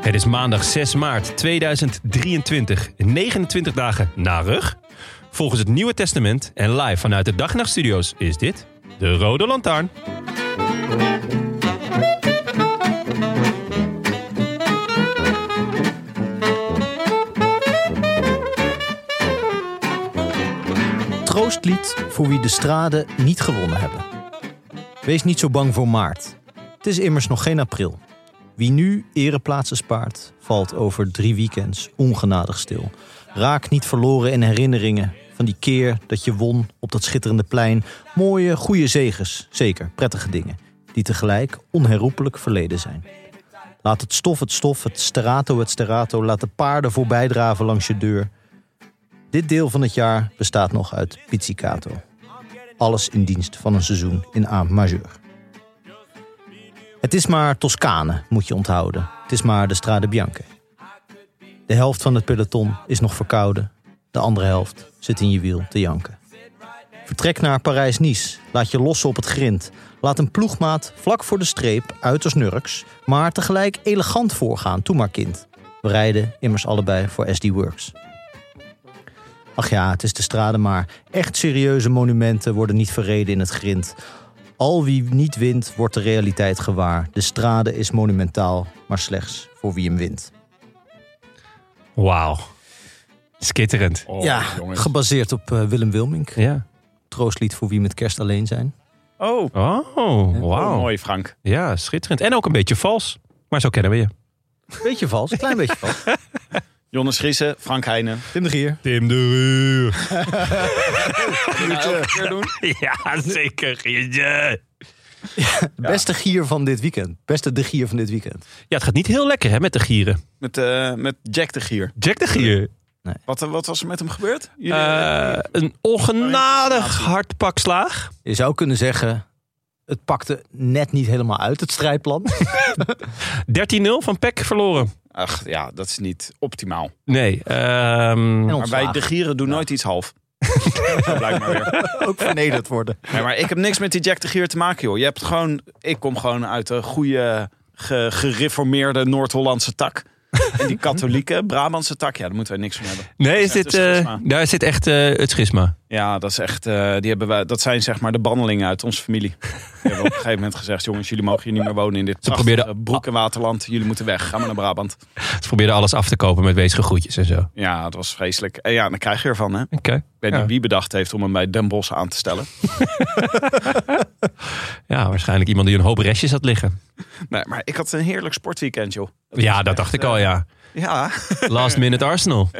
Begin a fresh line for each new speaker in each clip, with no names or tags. Het is maandag 6 maart 2023, 29 dagen na rug. Volgens het Nieuwe Testament en live vanuit de Dag en Nacht Studios is dit de Rode Lantaarn.
Troostlied voor wie de straden niet gewonnen hebben. Wees niet zo bang voor maart. Het is immers nog geen april. Wie nu ereplaatsen spaart, valt over drie weekends ongenadig stil. Raak niet verloren in herinneringen van die keer dat je won op dat schitterende plein. Mooie, goede zegens, zeker, prettige dingen, die tegelijk onherroepelijk verleden zijn. Laat het stof het stof, het sterato het sterato, laat de paarden voorbijdraven langs je deur. Dit deel van het jaar bestaat nog uit pizzicato. Alles in dienst van een seizoen in A majeur. Het is maar Toscane, moet je onthouden. Het is maar de Strade Bianche. De helft van het peloton is nog verkouden. De andere helft zit in je wiel te janken. Vertrek naar Parijs-Nice. Laat je lossen op het grind. Laat een ploegmaat vlak voor de streep, uiterst nurks, maar tegelijk elegant voorgaan. Toe maar kind. We rijden immers allebei voor SD Works. Ach ja, het is de straden maar. Echt serieuze monumenten worden niet verreden in het grind. Al wie niet wint, wordt de realiteit gewaar. De strade is monumentaal, maar slechts voor wie hem wint.
Wauw. Skitterend.
Oh,
ja,
jongens.
gebaseerd op eh, Willem Wilmink.
Ja.
Troostlied voor wie met kerst alleen zijn.
Oh,
Oh,
oh,
wauw.
mooi Frank.
Ja, schitterend. En ook een beetje vals. Maar zo kennen we je.
Beetje vals, klein beetje vals.
Jonas Schrissen, Frank Heijnen.
Tim de Gier.
Tim de Ruur.
doen.
Ja, zeker. Ja.
De beste gier van dit weekend. Beste de gier van dit weekend.
Ja, het gaat niet heel lekker hè, met de gieren.
Met, eh, met Jack de Gier.
Jack de Gier.
Wat, eh, wat was er met hem gebeurd? Jullie-
Eh, een ongenadig hard pak slaag.
Je zou kunnen zeggen, het pakte net niet helemaal uit, het strijdplan.
13-0 van Peck verloren.
Ach ja, dat is niet optimaal.
Nee. ehm,
En
Maar wij
ontslagen.
de Gieren doen nooit iets half. Dat blijkt maar weer.
Ook vernederd worden.
Nee, maar ik heb niks met die Jack de Gier te maken, joh. Je hebt gewoon, ik kom gewoon uit de goede, ge- gereformeerde Noord-Hollandse tak. En die katholieke Brabantse tak, ja, daar moeten wij niks van hebben.
nee, is
Ja, het
dit,
is
eh,
schisma.
daar zit echt eh, het schisma.
Ja, dat is echt, eh, die hebben wij, dat zijn zeg maar de bannelingen uit onze familie. Die hebben op een gegeven moment gezegd, jongens, jullie mogen hier niet meer wonen in dit
Ze probeerden-
prachtige broek- en waterland. Jullie moeten weg, ga maar naar Brabant.
Ze probeerden alles af te kopen met weesige groetjes en zo. Oké.
Ja, dat was vreselijk. En ja, dan krijg je ervan, hè. Ik weet niet wie bedacht heeft om hem bij Den Bosch aan te stellen.
Ja, waarschijnlijk iemand die een hoop restjes had liggen.
Nee, maar ik had een heerlijk sportweekend, joh.
Ja, dat dacht ik al, ja.
Ja.
Last minute Arsenal.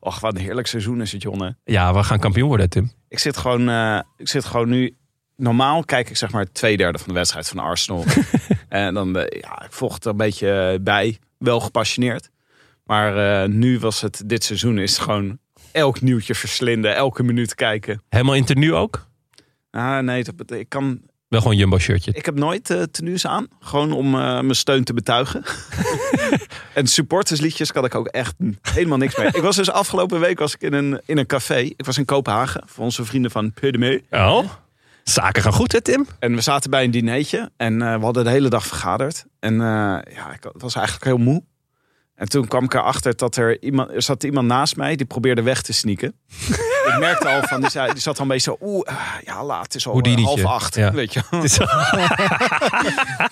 Och, wat een heerlijk seizoen is het, Jonne.
Ja, we gaan kampioen worden, Tim.
Ik zit gewoon, eh, ik zit gewoon nu. Normaal kijk ik zeg maar twee derde van de wedstrijd van Arsenal. en dan, eh, ja, ik volg het er een beetje eh, bij. Wel gepassioneerd. Maar eh, nu was het, dit seizoen is het gewoon elk nieuwtje verslinden, elke minuut kijken.
Helemaal in tenue ook?
Ah, nee, dat, bet- ik, kan,
Wel gewoon jumbo shirtje.
ik heb nooit eh tenues aan. Gewoon om eh, mijn steun te betuigen. en supportersliedjes kan ik ook echt helemaal niks mee. Ik was dus afgelopen week was ik in, een, in een café. Ik was in Kopenhagen voor onze vrienden van PDM.
Oh, zaken gaan goed, hè, Tim?
En we zaten bij een dinertje en eh, we hadden de hele dag vergaderd. En eh, ja, ik was eigenlijk heel moe. En toen kwam ik erachter dat er iemand, er zat iemand naast mij die probeerde weg te sneaken. ik merkte al van, die, zei, die zat al een beetje zo, oeh, eh, ja laat, het is al eh,
Houdinietje.
half acht,
Ja.
weet je. wel.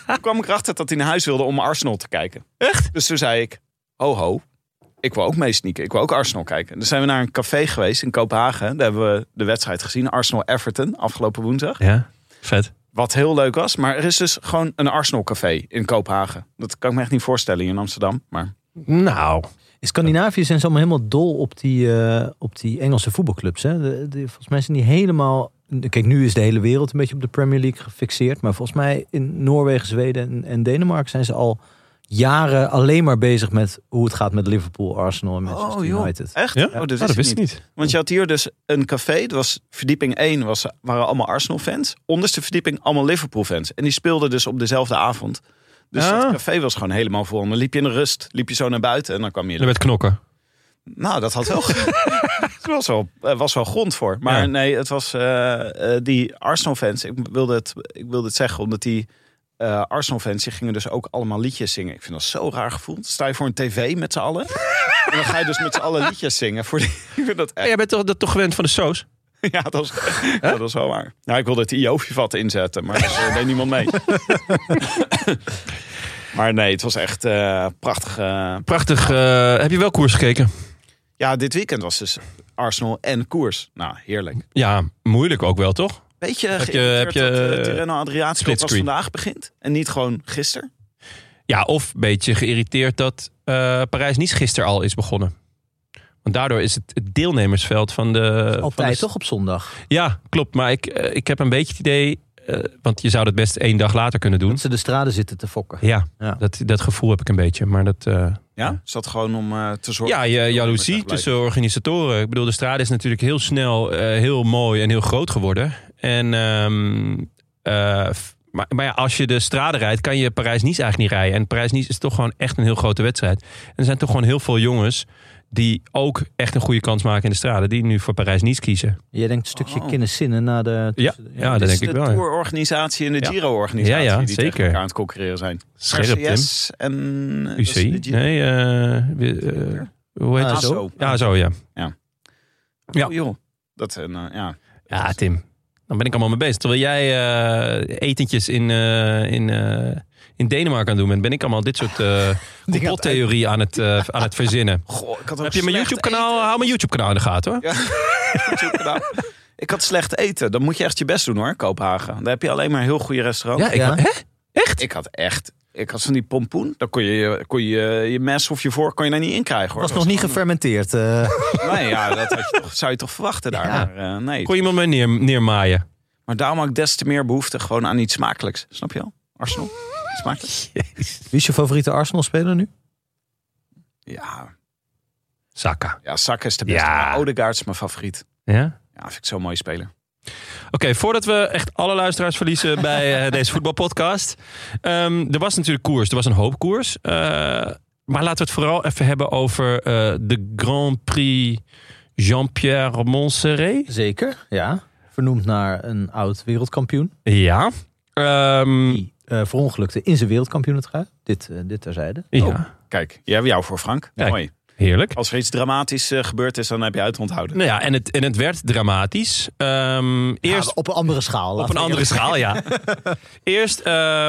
toen kwam ik erachter dat hij naar huis wilde om Arsenal te kijken. Echt? Dus toen zei ik, ho ho, ik wil ook mee sneaken, ik wil ook Arsenal kijken. En toen zijn we naar een café geweest in Kopenhagen. Daar hebben we de wedstrijd gezien, Arsenal-Everton, afgelopen woensdag.
Ja, vet.
Wat heel leuk was. Maar er is dus gewoon een Arsenal café in Kopenhagen. Dat kan ik me echt niet voorstellen hier in Amsterdam. Maar
Nou,
In Scandinavië zijn ze allemaal helemaal dol op die, eh, op die Engelse voetbalclubs. Hè? De, de- volgens mij zijn die helemaal... Kijk, nu is de hele wereld een beetje op de Premier League gefixeerd. Maar volgens mij in Noorwegen, Zweden en, en Denemarken zijn ze al jaren alleen maar bezig met hoe het gaat met Liverpool, Arsenal en Manchester
joh.
United.
Echt?
ja?
Oh, dat,
Oh,
wist
ik
ik niet. Want je had hier dus een café. Dat was verdieping 1 was, waren allemaal Arsenal fans. Onderste verdieping allemaal Liverpool fans. En die speelden dus op dezelfde avond. Dus
Ah.
dat café was gewoon helemaal vol. En dan liep je in de rust. Liep je zo naar buiten en dan kwam je...
Er werd knokken.
Nou, dat had wel... Het was wel, er was wel grond voor. Maar
Ja.
nee, het was eh, eh, die Arsenal-fans. Ik wilde, het, ik wilde het zeggen, omdat die eh, Arsenal-fans... die gingen dus ook allemaal liedjes zingen. Ik vind dat zo raar gevoel. Dan Sta je voor een tv met z'n allen... en dan ga je dus met z'n allen liedjes zingen. Voor die, ik vind dat
Ja,
echt...
Ah, jij bent toch, dat toch gewend van de saus?
Ja, dat is, dat is wel waar. Nou, ik wilde het IO-vat inzetten, maar daar deed niemand mee. maar nee, het was echt eh, prachtig... eh,
Prachtig. eh, heb je wel koers gekeken?
ja, dit weekend was dus Arsenal en koers. Nou, heerlijk.
Ja, moeilijk ook wel, toch?
Beetje
je-
heb je, heb
heb je,
je
eh,
Tirreno
split
Adriaat speelt pas
screen?
vandaag begint. En niet gewoon gisteren.
Ja, of een beetje geïrriteerd dat eh Parijs-Nice gisteren al is begonnen. Want daardoor is het, het deelnemersveld van de... van de-
Altijd toch op zondag?
Ja, klopt. Maar ik, eh, ik heb een beetje het idee... eh, want je zou dat best één dag later kunnen doen.
Dat ze de straten zitten te fokken.
Ja,
Ja.
Dat, dat gevoel heb ik een beetje. Maar dat, eh,
Ja? Is dat gewoon om eh, te zorgen?
ja, je, jaloezie
Tegelijk.
tussen organisatoren. Ik bedoel, de strade is natuurlijk heel snel eh, heel mooi en heel groot geworden. En, ehm, eh, f- maar, maar ja, als je de strade rijdt, kan je Parijs-Nice eigenlijk niet rijden. En Parijs-Nice is toch gewoon echt een heel grote wedstrijd. En er zijn toch gewoon heel veel jongens die ook echt een goede kans maken in de strade. Die nu voor Parijs-Nice kiezen.
Jij denkt een stukje
Oh.
kinderzinnen na de...
Ja, ja dat
Dus
denk ik
de
wel. ja.
tourorganisatie en de
Ja.
Giro-organisatie
Ja, ja,
die tegen
zeker.
elkaar aan het concurreren zijn.
Scherp, Tim.
RCS en eh, dat is
UCI?
de Giro.
Nee, eh, wie- eh, hoe heet
Ah,
het?
ASO.
Ja, zo ja. Ja.
Oh, joh. Dat is een, eh, ja.
Ja, Tim. Dan ben ik allemaal mee bezig. Terwijl jij eh, etentjes in, eh, in, eh, in Denemarken aan het doen bent, ben ik allemaal dit soort eh complottheorie aan het, eh, aan het verzinnen.
Goh, ik had ook
Heb je mijn
slecht
YouTube-kanaal? Hou mijn YouTube-kanaal in de gaten hoor.
YouTube-kanaal? ik had slecht eten. Dan moet je echt je best doen hoor, Kopenhagen. Daar heb je alleen maar heel goede restaurants.
Ja, ik,
Ja.
Hè? Echt?
Ik had echt... Ik had van die pompoen. Daar kon je kon je, je mes of je vork kon je daar niet in krijgen hoor.
was
Dat
nog niet
gewoon-
gefermenteerd. eh.
Nee, ja, dat had je toch, zou je toch verwachten daar.
Ja.
Maar, eh, nee.
Kon iemand mij neer, neermaaien?
maar daarom had ik des te meer behoefte gewoon aan iets smakelijks. Snap je wel? Arsenal. Smakelijk?
Wie is je favoriete Arsenal-speler nu?
Ja,
Saka.
ja Sak is de beste.
Ja.
Maar Odegaard is mijn favoriet.
Ja?
Ja, vind ik zo'n mooie speler.
Oké, voordat we echt alle luisteraars verliezen bij eh, deze voetbalpodcast. Ehm, er was natuurlijk koers. Er was een hoop koers. Eh, maar laten we het vooral even hebben over eh, de Grand Prix Jean-Pierre Montserrat.
Zeker, ja. Vernoemd naar een oud wereldkampioen.
Ja. Ehm,
Die eh, verongelukte in zijn wereldkampioenentrui. Dit, eh, dit terzijde.
ja,
Oh. Kijk, die hebben we jou voor, Frank.
Kijk.
Mooi.
heerlijk.
Als er iets dramatisch eh, gebeurd is, dan heb je uit te onthouden.
Nou ja, en het, en het werd dramatisch. Ehm, eerst
Ja, op een andere schaal.
op een andere schaal, ja. eerst, eh,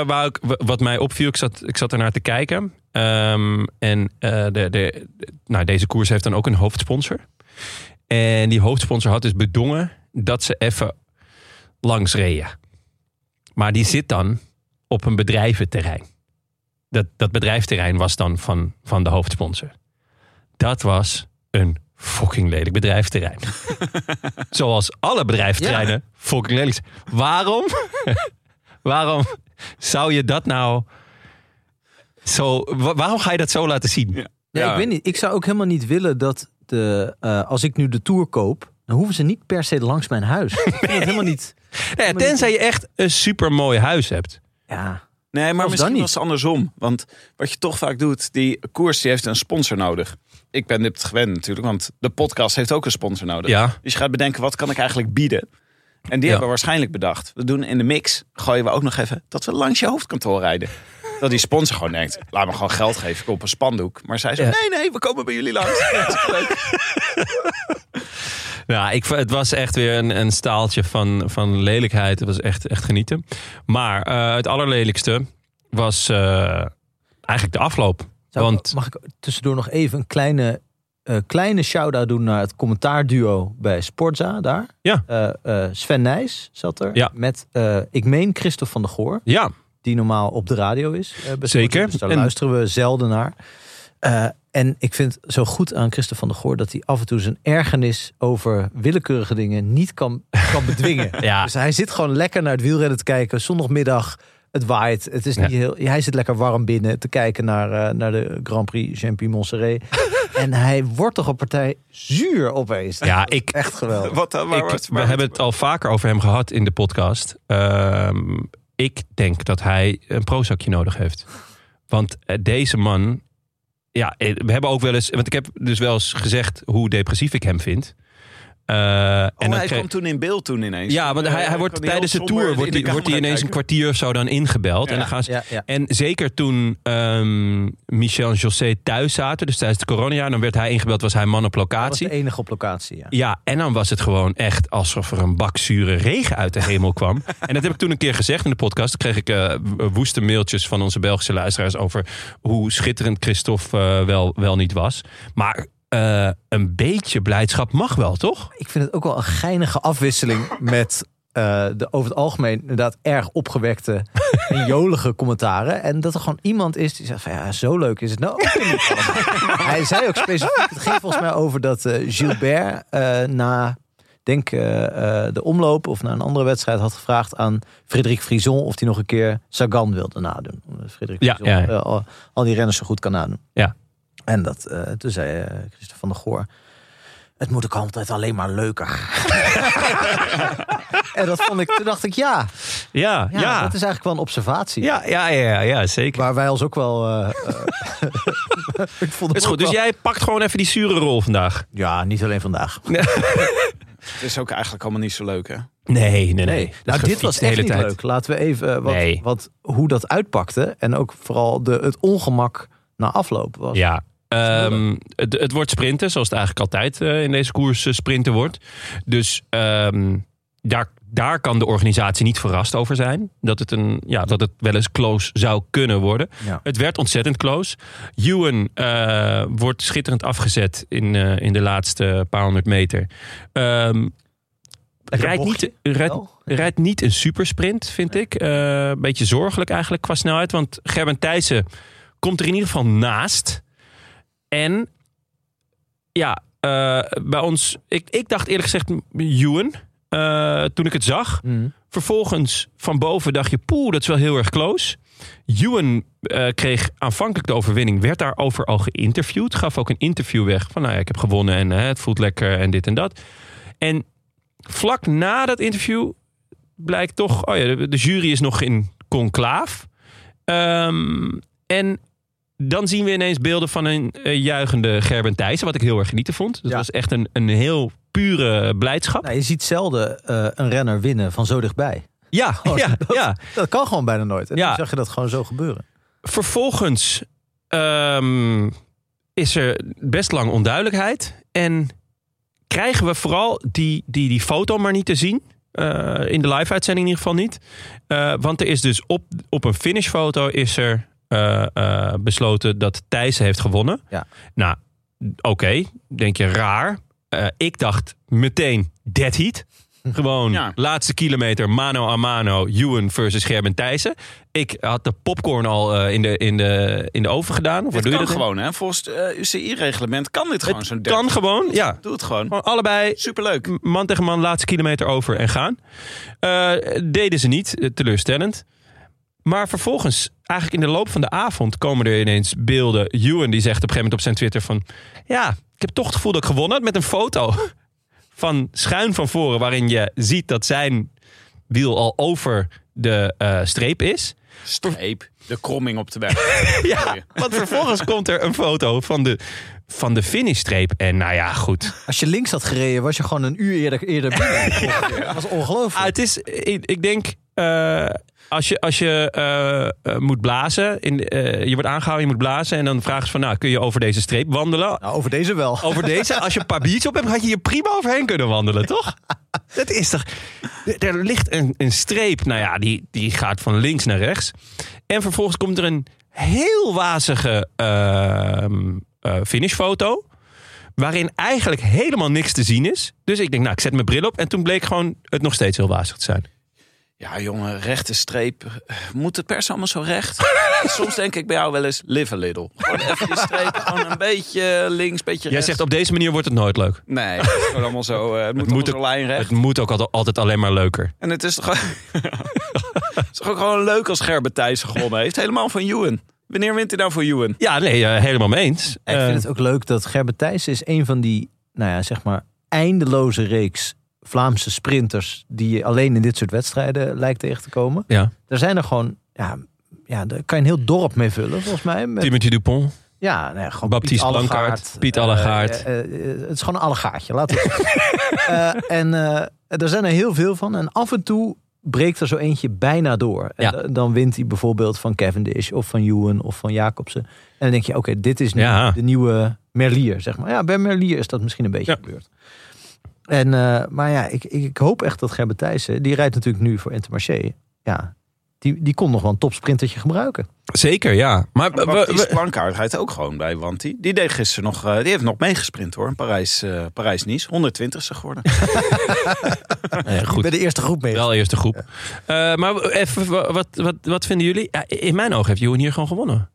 waar ik, wa- wat mij opviel, ik zat, ik zat ernaar te kijken. Ehm, en eh, de, de, nou, deze koers heeft dan ook een hoofdsponsor. En die hoofdsponsor had dus bedongen dat ze even langs reden. Maar die zit dan op een bedrijventerrein. Dat, dat bedrijfterrein was dan van, van de hoofdsponsor. Dat was een fucking lelijk bedrijfterrein. Zoals alle bedrijfterreinen fucking lelijk zijn. Waarom? waarom zou je dat nou zo... wa- waarom ga je dat zo laten zien?
Ja,
Ja.
ik weet niet. Ik zou ook helemaal niet willen dat de, eh, als ik nu de tour koop, dan hoeven ze niet per se langs mijn huis. Ik vind dat helemaal niet.
Nee, Nou tenzij je echt een supermooi huis hebt.
Ja,
Nee, maar
dan
misschien
niet.
was het andersom. Want wat je toch vaak doet, die koers die heeft een sponsor nodig. Ik ben dit gewend natuurlijk, want de podcast heeft ook een sponsor nodig.
Ja.
Dus je gaat bedenken, wat kan ik eigenlijk bieden? En die
Ja.
hebben we waarschijnlijk bedacht. We doen in de mix, gooien we ook nog even, dat we langs je hoofdkantoor rijden. Dat die sponsor gewoon denkt, laat me gewoon geld geven, ik koop een spandoek. Maar zij zegt, nee, nee, we komen bij jullie langs. Dat is leuk.
Ja, Nou, ik, v- het was echt weer een, een staaltje van, van lelijkheid. Het was echt, echt genieten. Maar eh, het allerlelijkste was eh, eigenlijk de afloop.
Zou ik-
Want-
mag ik tussendoor nog even een kleine, eh, kleine shout-out doen naar het commentaarduo bij Sportza daar?
Ja.
Eh, eh, Sven Nijs zat er.
Ja.
Met, eh, ik meen, Christophe van der Goor.
Ja,
die normaal op de radio is. eh, bij
Zeker.
Dus daar
En-
luisteren we zelden naar.
Eh, en ik vind zo goed aan Christen van der Goor dat hij af en toe zijn ergernis over willekeurige dingen niet kan, kan bedwingen.
Ja.
Dus hij zit gewoon lekker naar het wielrennen te kijken. Zondagmiddag, het waait. Het is
Ja.
niet heel, hij zit lekker warm binnen te kijken naar, eh, naar de Grand Prix Champion-Montserrat. en hij wordt toch een partij zuur opeens.
Ja, ik,
Echt geweldig.
Wat, eh, waar-
ik-
waar-
we
waar-
hebben het al vaker over hem gehad in de podcast. Ehm, ik denk dat hij een prozakje nodig heeft. Want eh, deze man... Ja, eh, we hebben ook wel eens... Want ik heb dus wel eens gezegd hoe depressief ik hem vind. Eh, en
Oh, hij
kreeg-
kwam toen in beeld toen ineens.
Ja, want hij,
Eh,
hij wordt
kwam heel
tijdens de
somber
tour
in
wordt
de
hij, wordt hij
camera
ineens een
kijken.
kwartier of zo dan ingebeld. En, dan gaan ze,
Ja, ja.
en zeker toen ehm, Michel en José thuis zaten, dus tijdens de coronajaar, dan werd hij ingebeld, was hij man op
Dat was
locatie.
de enige op locatie, ja.
Ja, en dan was het gewoon echt alsof er een bak zure regen uit de hemel kwam. En dat heb ik toen een keer gezegd in de podcast. Toen kreeg ik eh, woeste mailtjes van onze Belgische luisteraars over hoe schitterend Christophe eh, wel, wel niet was. Maar eh, een beetje blijdschap mag wel, toch?
Ik vind het ook wel een geinige afwisseling met eh, de over het algemeen inderdaad erg opgewekte en jolige commentaren. En dat er gewoon iemand is die zegt van ja, zo leuk is het nou ook weer niet allemaal. Hij zei ook specifiek, het ging volgens mij over dat eh, Gilbert eh, na, denk eh, eh, de omloop of na een andere wedstrijd had gevraagd aan Frederik Frison of hij nog een keer Sagan wilde nadoen. Omdat Frederik
Ja,
Frison
ja, ja.
eh, al, al die renners zo goed kan nadoen.
Ja.
En dat, eh, toen zei eh Christophe van der Goor, het moet ook altijd alleen maar leuker. en dat vond ik, toen dacht ik, ja,
Ja,
ja, dat is eigenlijk wel een observatie.
Ja, ja, ja, ja, zeker.
Waar wij ons ook wel. eh, eh, ik vond
is
ook
goed. Dus
wel-
jij pakt gewoon even die zure rol vandaag.
Ja, niet alleen vandaag.
Het is ook eigenlijk allemaal niet zo leuk, hè?
Nee, nee, nee. Dat
Nou, dit
gefietst
was
de
echt
hele
niet
tijd.
leuk. Laten we even eh, wat,
Nee.
wat, hoe dat uitpakte. En ook vooral de, het ongemak na afloop was.
Ja. Ehm, het, het wordt sprinten, zoals het eigenlijk altijd eh, in deze koers eh, sprinten wordt. Dus ehm, daar, daar kan de organisatie niet verrast over zijn. Dat het, een, ja, dat het wel eens close zou kunnen worden.
Ja.
Het werd ontzettend close. Ewan eh, wordt schitterend afgezet in, eh, in de laatste paar honderd meter. Ehm rijdt, niet,
bochtje,
rijdt,
wel.
rijdt niet een supersprint, vind ik. Eh beetje zorgelijk eigenlijk qua snelheid. Want Gerben Thijssen komt er in ieder geval naast. En ja, eh, bij ons... Ik, ik dacht eerlijk gezegd Ewan, eh, toen ik het zag.
Mm.
Vervolgens van boven dacht je, poeh, dat is wel heel erg close. Ewan eh, kreeg aanvankelijk de overwinning, werd daarover al geïnterviewd. Gaf ook een interview weg van, nou ja, ik heb gewonnen en eh, het voelt lekker en dit en dat. En vlak na dat interview blijkt toch, oh ja, de, de jury is nog in conclaaf. Ehm, en dan zien we ineens beelden van een eh, juichende Gerben Thijssen, wat ik heel erg genieten vond. Dat
Ja.
was echt een, een heel pure blijdschap.
Nou, je ziet zelden eh, een renner winnen van zo dichtbij.
Ja, ja, ja.
oh, Dat kan gewoon bijna nooit. En
Ja.
dan zag je dat gewoon zo gebeuren.
Vervolgens ehm, is er best lang onduidelijkheid. En krijgen we vooral die, die, die foto maar niet te zien. Eh, in de live-uitzending in ieder geval niet. Eh, want er is dus op, op een finishfoto is er eh, eh, besloten dat Thijs heeft gewonnen.
Ja.
Nou, oké, denk je raar. Eh, ik dacht meteen dead heat. Gewoon
Ja.
laatste kilometer, mano a mano, Ewan versus Gerben Thijssen. Ik had de popcorn al eh, in, de, in, de, in de oven gedaan. Of
Dit
wat doe
kan
je dat in?
gewoon, hè? Volgens het eh, UCI-reglement kan dit gewoon zo'n
Het kan gewoon, ja.
Doe het gewoon.
Gewoon allebei
Superleuk.
M- man tegen man, laatste kilometer over en gaan. Eh, deden ze niet, eh, teleurstellend. Maar vervolgens, eigenlijk in de loop van de avond, komen er ineens beelden. Ewan die zegt op een gegeven moment op zijn Twitter van... Ja, ik heb toch het gevoel dat ik gewonnen had met een foto van schuin van voren... waarin je ziet dat zijn wiel al over de eh, streep is.
Streep. De kromming op de weg.
Ja, want vervolgens komt er een foto van de, van de finishstreep. En nou ja, goed...
Als je links had gereden, was je gewoon een uur eerder, eerder binnen. Dat was
Ah,
ongelooflijk.
het is, ik, ik denk, eh, als je, als je eh, eh, moet blazen, in, eh, je wordt aangehouden, je moet blazen. En dan vragen ze van, nou, kun je over deze streep wandelen?
Nou, over deze wel.
Over deze, als je een paar biertjes op hebt, had je hier prima overheen kunnen wandelen, toch? Dat is toch... Er- Er ligt een, een streep, nou ja, die, die gaat van links naar rechts. En vervolgens komt er een heel wazige ehm, eh, finishfoto... waarin eigenlijk helemaal niks te zien is. Dus ik denk, nou, ik zet mijn bril op... en toen bleek gewoon het nog steeds heel wazig te zijn.
Ja, jongen, rechte streep. Moet het pers allemaal zo recht? Soms denk ik bij jou wel eens, live a little. Gewoon even die streep, gewoon een beetje links, beetje
Jij
rechts.
zegt op deze manier wordt het nooit leuk.
Nee, het is gewoon allemaal zo. eh, het moet,
moet
moet allemaal zo lijnrecht.
Het moet ook al- altijd alleen maar leuker.
En het is toch, het is toch ook gewoon leuk als Gerben Thijs gewonnen heeft. Helemaal van Ewan. Wanneer wint hij nou voor Ewan?
Ja, nee, eh, helemaal mee eens.
ik
Eh,
vind het ook leuk dat Gerben Thijs is een van die, nou ja, zeg maar, eindeloze reeks Vlaamse sprinters die je alleen in dit soort wedstrijden lijkt tegen te komen.
ja,
Er zijn er gewoon, ja, ja daar kan je een heel dorp mee vullen, volgens mij. Met,
Timothy Dupont.
ja, nou ja, gewoon
Baptiste
Piet
Blankaart,
Allegaart.
Piet
Eh,
Allegaart.
eh, eh, het is gewoon een allegaartje, laten we het Eh, En eh, er zijn er heel veel van. En af en toe breekt er zo eentje bijna door. En
Ja.
da- dan wint hij bijvoorbeeld van Cavendish of van Ewan of van Jacobsen. En dan denk je, oké, dit is nu
Ja.
de nieuwe Merlier, zeg maar. Ja, bij Merlier is dat misschien een beetje
Ja.
gebeurd. En, eh, maar ja, ik, ik, ik hoop echt dat Gerben Thijssen, die rijdt natuurlijk nu voor Intermarché. Ja, die, die kon nog wel een topsprintertje gebruiken.
Zeker, ja. Maar we- we-
Baptiste
we-
Blankaart rijdt ook gewoon bij Wanti. Die deed gisteren nog, eh, die heeft nog meegesprint hoor. Parijs, eh Parijs-Nice, 120ste geworden.
eh, goed.
Bij de eerste groep mee.
Wel eerste groep. Eh, maar even, wa- wat, wat, wat vinden jullie? Ja, in mijn ogen heeft Johan hier gewoon gewonnen.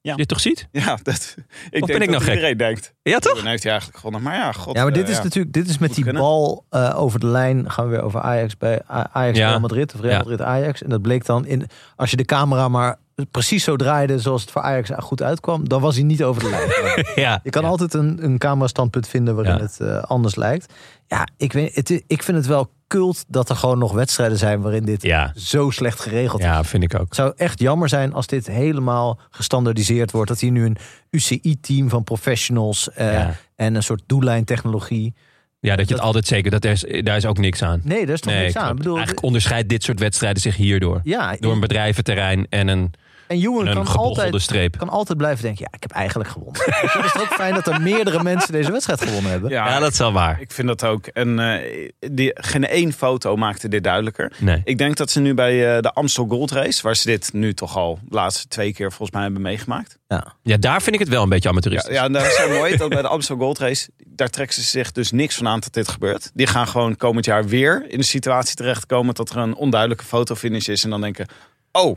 Ja.
Je het toch ziet?
Ja, dat, ik
Of
denk
ben ik
dat
nou gek?
iedereen denkt.
Ja, toch?
Dan heeft hij eigenlijk gewonnen. Maar ja, god.
Ja, maar dit
eh,
is natuurlijk, dit is met
Moet
die
kunnen.
bal eh, over de lijn. Gaan we weer over Ajax bij A- Ajax
Ja.
Real Madrid of Real
Ja.
Madrid Ajax. En dat bleek dan in, als je de camera maar precies zo draaide zoals het voor Ajax goed uitkwam, dan was hij niet over de lijn.
Ja.
Je kan
ja.
altijd een, een camera standpunt vinden waarin
Ja.
het eh, anders lijkt. Ja, ik, weet, het, is- ik vind het wel kult dat er gewoon nog wedstrijden zijn waarin dit
Ja.
zo slecht geregeld is.
ja, vind ik ook.
Het zou echt jammer zijn als dit helemaal gestandardiseerd wordt. Dat hier nu een UCI-team van professionals eh,
Ja.
en een soort doellijntechnologie.
Ja, dat je het altijd zeker... Dat er is, daar is ook niks aan.
Nee, daar is toch
Nee,
niks aan. Ik
klopt.
bedoel,
eigenlijk onderscheidt dit soort wedstrijden zich hierdoor.
ja,
Door een bedrijventerrein en een,
en Ewan
en een
kan
gebochelde
altijd,
streep.
kan altijd blijven denken, ja, ik heb eigenlijk gewonnen. Dus het is toch ook fijn dat er meerdere mensen deze wedstrijd gewonnen hebben.
Ja,
Ja, dat is wel waar.
ik vind dat ook. En eh, die, geen één foto maakte dit duidelijker.
Nee.
Ik denk dat ze nu bij eh, de Amstel Gold Race, waar ze dit nu toch al de laatste twee keer volgens mij hebben meegemaakt.
Ja, daar vind ik het wel een beetje
Ja,
amateuristisch.
ja en dat is zo mooi dat bij de Amstel Gold Race, daar trekken ze zich dus niks van aan dat dit gebeurt. Die gaan gewoon komend jaar weer in de situatie terechtkomen dat er een onduidelijke fotofinish is. En dan denken, oh,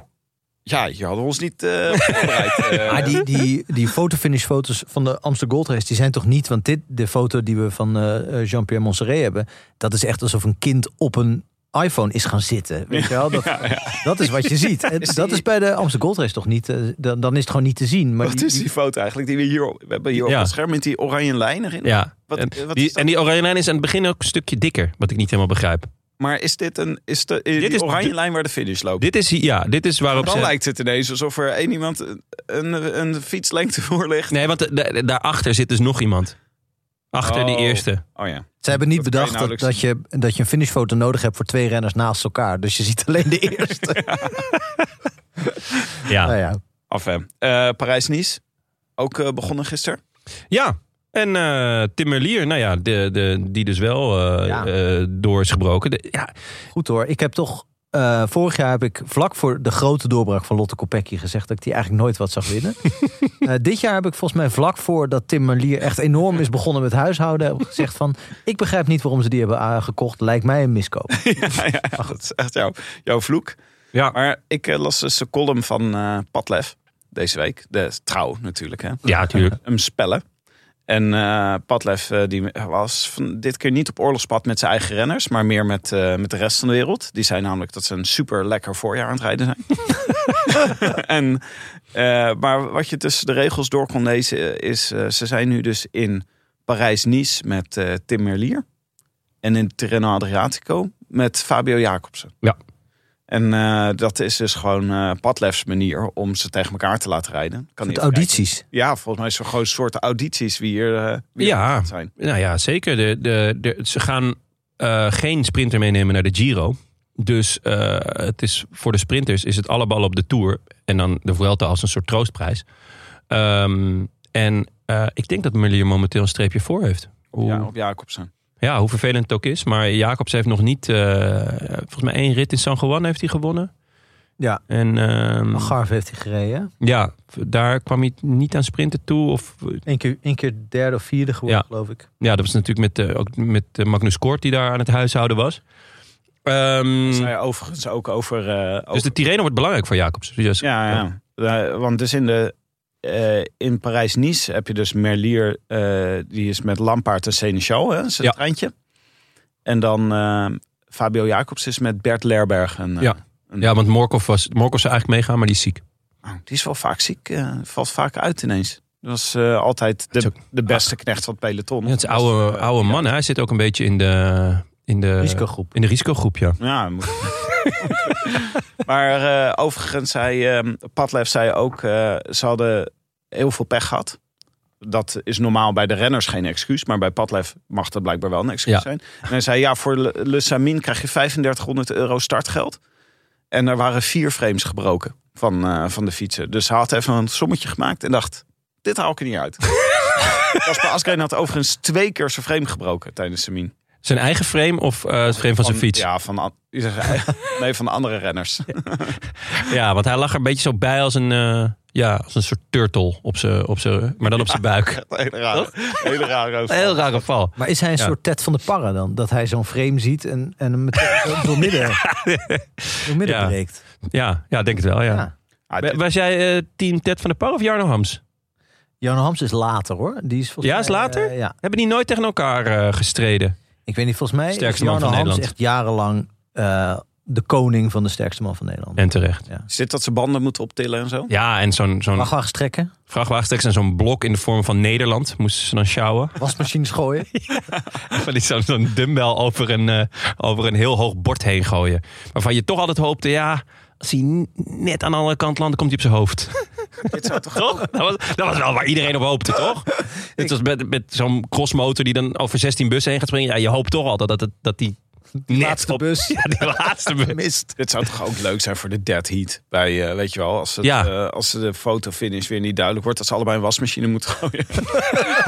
ja, hier hadden we ons niet eh, voorbereid. eh.
Maar Ah, die, die, die fotofinish-foto's van de Amsterdam Gold Race, die zijn toch niet... Want dit, de foto die we van eh, eh, Jean-Pierre Montserrat hebben... dat is echt alsof een kind op een iPhone is gaan zitten. Weet je wel? Dat, dat is wat je ziet. En dat is bij de Amsterdam Gold Race toch niet... eh, dan, dan is het gewoon niet te zien. Maar
Wat
die-
is die foto eigenlijk? Die we, hier, op- we hebben hier
Ja.
op het scherm met die oranje lijn erin.
Ja.
Wat-
en,
eh, wat
die,
is dat?
en die oranje lijn is aan het begin ook een stukje dikker, wat ik niet helemaal begrijp.
Maar is dit een is de, eh,
Dit
die
is
oranje
de-
lijn waar de finish loopt?
Dit is, ja, dit is waarop
dan
ze...
lijkt het ineens alsof er één iemand een, een, een fietslengte voor ligt.
Nee, want da- da- daarachter zit dus nog iemand. Achter die
Oh.
eerste.
Oh ja.
Ze hebben niet
Dat kan je
bedacht dat, dat,
nauwelijks
je, dat je een finishfoto nodig hebt voor twee renners naast elkaar. Dus je ziet alleen de eerste.
Ja.
Nou ja.
Af hem. Eh, Parijs-Nice. Ook eh, begonnen gisteren.
Ja, en eh Tim Merlier, nou ja, de, de, die dus wel eh,
Ja.
eh, door is gebroken. De- ja,
Goed hoor, ik heb toch... eh, vorig jaar heb ik vlak voor de grote doorbraak van Lotte Kopecky gezegd... dat ik die eigenlijk nooit wat zag winnen. Eh, dit jaar heb ik volgens mij vlak voor dat Tim Merlier echt enorm is begonnen met huishouden... heb ik gezegd van, ik begrijp niet waarom ze die hebben eh, gekocht. Lijkt mij een miskoop.
ja, ja, ja, dat is echt jouw, jouw vloek.
ja.
Maar ik eh, las dus de column van eh Padlef deze week. De trouw natuurlijk. Hè.
ja, natuurlijk.
Hem spellen. En eh Padlef eh, die was van, dit keer niet op oorlogspad met zijn eigen renners, maar meer met, eh, met de rest van de wereld. Die zei namelijk dat ze een super lekker voorjaar aan het rijden zijn. en, eh, maar wat je tussen de regels door kon lezen is, eh, ze zijn nu dus in Parijs-Nice met eh, Tim Merlier. En in Tirreno Adriatico met Fabio Jacobsen.
Ja.
En eh, dat is dus gewoon eh Padlefs manier om ze tegen elkaar te laten rijden. Kan
Met
hij even kijken.
audities.
Ja, volgens mij is er gewoon een soort audities wie hier, eh, wie
Ja.
er aan het zijn.
Nou ja, zeker. De, de, de, ze gaan eh, geen sprinter meenemen naar de Giro. Dus eh, het is, voor de sprinters is het alle bal op de Tour. En dan de Vuelta als een soort troostprijs. Ehm, en eh, ik denk dat Merlier momenteel een streepje voor heeft. Hoe,
Ja,
ja.
op
Mm.
Jacobsen.
hoe vervelend het ook is. Maar Jacobs heeft nog niet... eh, volgens mij één rit in San Juan heeft hij gewonnen.
Ja.
En ehm,
Garf heeft hij gereden.
ja, daar kwam hij niet aan sprinten toe. Of,
Eén keer, één keer derde of vierde geworden,
Ja.
geloof ik.
ja, dat was natuurlijk met, eh, ook met eh, Magnus Kort die daar aan het huishouden was. Ehm,
Zei je overigens ook over... eh,
dus de
over-
Tirreno wordt belangrijk voor Jacobs. Dus,
ja, ja. Eh, want dus in, de, eh, in Parijs-Nice heb je dus Merlier. eh, die is met Lampaard en Seneschal, hè, zijn
Ja.
treintje. En dan eh, Fabio Jacobs is met Bert Lerberg. En, eh,
Ja. Ja, want Morkov, was, Morkov zou eigenlijk meegaan, maar die is ziek.
oh, die is wel vaak ziek. eh, valt vaak uit ineens. Dat was eh, altijd
is
de,
ook- Ah.
de beste knecht van het peloton.
Ja, het is
eh,
oude, oude man. hè. Hij zit ook een beetje in de... In de
Risicogroep.
In de risicogroep, ja.
Ja, moet- maar eh, overigens zei ehm Padlef zei ook, eh, ze hadden heel veel pech gehad. Dat is normaal bij de renners geen excuus, maar bij Padlef mag dat blijkbaar wel een excuus
Ja.
zijn. En hij zei, ja, voor Le- Le Samin krijg je 3500 euro startgeld. En er waren vier frames gebroken van, eh, van de fietsen. Dus hij had even een sommetje gemaakt en dacht, dit haal ik er niet uit. Kasper Asgreen had overigens twee keer zijn frame gebroken tijdens Samin.
Zijn eigen frame of eh, het frame van zijn fiets? Ja.
Ja, van, an- eh, nee, van de andere renners.
want hij lag er een beetje zo bij als een... eh, ja, als een soort turtle op zijn... Op zijn- maar dan op zijn buik.
Hele rare, hele rare
Een heel raar geval.
Maar is hij een
Ja.
soort Ted van de Parra dan? Dat hij zo'n frame ziet en, en hem meteen zo doormidden, doormidden
Ja.
breekt.
Ja, ja, denk het wel, ja.
Ja.
Ah,
Wa-
dit-
Was jij eh, team Ted van der Par of Jarno Hams?
Jan Hams is later hoor. Die is volgens
Ja, is
mij,
later?
eh, ja.
Hebben die nooit tegen elkaar eh, gestreden?
Ik weet niet, volgens mij
Sterkste
is
man
Jan
van
Hams
Nederland.
echt jarenlang eh, de koning van de sterkste man van Nederland.
En terecht.
is dit dat ze banden moeten optillen en zo?
Ja, en zo'n zo'n
Wachtwagens trekken,
vrachtwagenstreks en zo'n blok in de vorm van Nederland moesten ze dan sjouwen.
wasmachines gooien.
Van die zo'n zo'n dumbbell over een, eh, over een heel hoog bord heen gooien. Waarvan je toch altijd hoopte, ja, als hij n- net aan de andere kant landt, komt hij op zijn hoofd.
Dit zou toch
toch? Dat was, dat was wel waar iedereen op hoopte, toch? Het was met, met zo'n crossmotor die dan over 16 bussen heen gaat springen. Ja, je hoopt toch altijd dat, het, dat die... net
laatste
op-
bus.
Ja, die laatste bus.
Mist.
Dit zou toch ook leuk zijn voor de dead heat? Bij, eh, weet je wel, als, het,
Ja.
eh, als de fotofinish weer niet duidelijk wordt... dat ze allebei een wasmachine moeten gooien.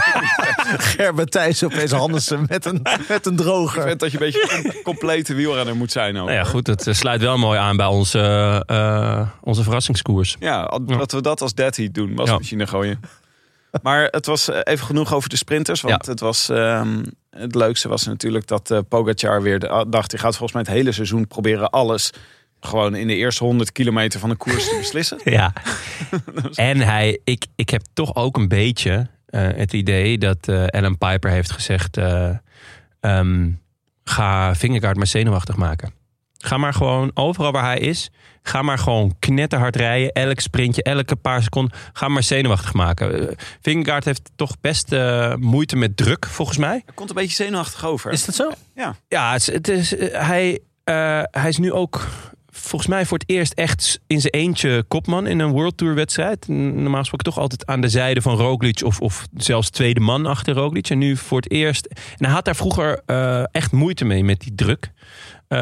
Gerben Thijs opeens Hansen met een, met een
Ik
droger.
vind dat je een beetje een complete wielrenner moet zijn ook.
Nou ja, goed, het eh, sluit wel mooi aan bij onze, eh, eh, onze verrassingskoers.
Ja, al- dat we dat als dead heat doen, wasmachine gooien. Maar het was eh, even genoeg over de sprinters. Want het, was, ehm, het leukste was natuurlijk dat eh, Pogacar weer de- ah, dacht... die gaat volgens mij het hele seizoen proberen alles... gewoon in de eerste 100 kilometer van de koers te beslissen.
Ja. en hij, ik, ik heb toch ook een beetje eh, het idee dat eh Alan Piper heeft gezegd: eh, ehm, ga Vingegaard maar zenuwachtig maken. Ga maar gewoon overal waar hij is. Ga maar gewoon knetterhard rijden. Elk sprintje, elke paar seconden. Ga maar zenuwachtig maken. Eh, Vingegaard heeft toch best eh, moeite met druk, volgens mij.
Hij komt een beetje zenuwachtig over.
Is dat zo?
Ja, het is, het is, eh, hij, eh, hij is nu ook volgens mij voor het eerst echt in zijn eentje kopman in een World Tour wedstrijd. N- Normaal gesproken toch altijd aan de zijde van Roglic of, of zelfs tweede man achter Roglic. En nu voor het eerst. En hij had daar vroeger eh, echt moeite mee met die druk.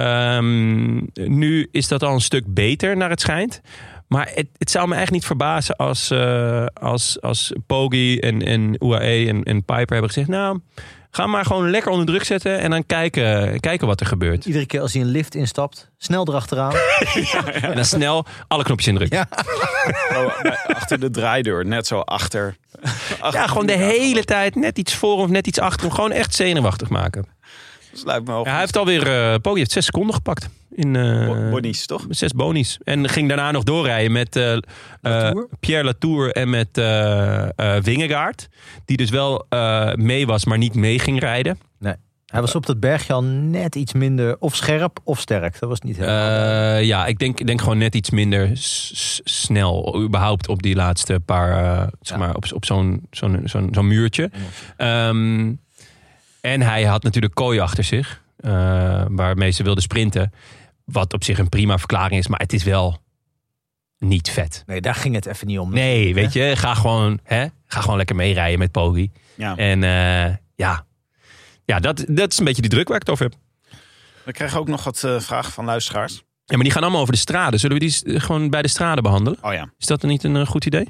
Ehm, nu is dat al een stuk beter naar het schijnt. Maar het, het zou me echt niet verbazen als, eh als, als Poggi en, en UAE en, en Piper hebben gezegd... nou, ga maar gewoon lekker onder druk zetten en dan kijken, kijken wat er gebeurt.
Iedere keer als hij een lift instapt, snel erachteraan.
En dan snel alle knopjes indrukken.
Ja.
Oh, bij- achter de draaideur, net zo achter.
Ja, gewoon de hele tijd net iets voor of net iets achter hem. Gewoon echt zenuwachtig maken.
Sluit me op.
Ja, hij heeft alweer, eh Poggi heeft zes seconden gepakt. In, eh,
Bo- Bonnies, toch?
Zes bonies. En ging daarna nog doorrijden met eh, eh,
Latour?
Pierre Latour en met eh eh, Wingegaard. Die dus wel eh, mee was, maar niet mee ging rijden.
Nee. Hij was op dat bergje al net iets minder of scherp of sterk. Dat was niet heel.
Eh, ja, ik denk, denk gewoon net iets minder s- s- snel. Überhaupt op die laatste paar, eh,
Ja.
zeg maar, op, op zo'n zo'n zo'n zo'n muurtje. Ehm, en hij had natuurlijk kooi achter zich, eh, waarmee ze wilde sprinten. Wat op zich een prima verklaring is, maar het is wel niet vet.
nee, daar ging het even niet om.
Nee, weet je, ga gewoon, hè, ga gewoon lekker meerijden met Poggi.
Ja.
En eh, ja, ja dat, dat is een beetje die druk waar ik het over heb.
We krijgen ook nog wat eh, vragen van luisteraars.
Ja, maar die gaan allemaal over de straden. Zullen we die s- gewoon bij de straden behandelen?
Oh ja, oké.
Is dat dan niet een eh, goed idee?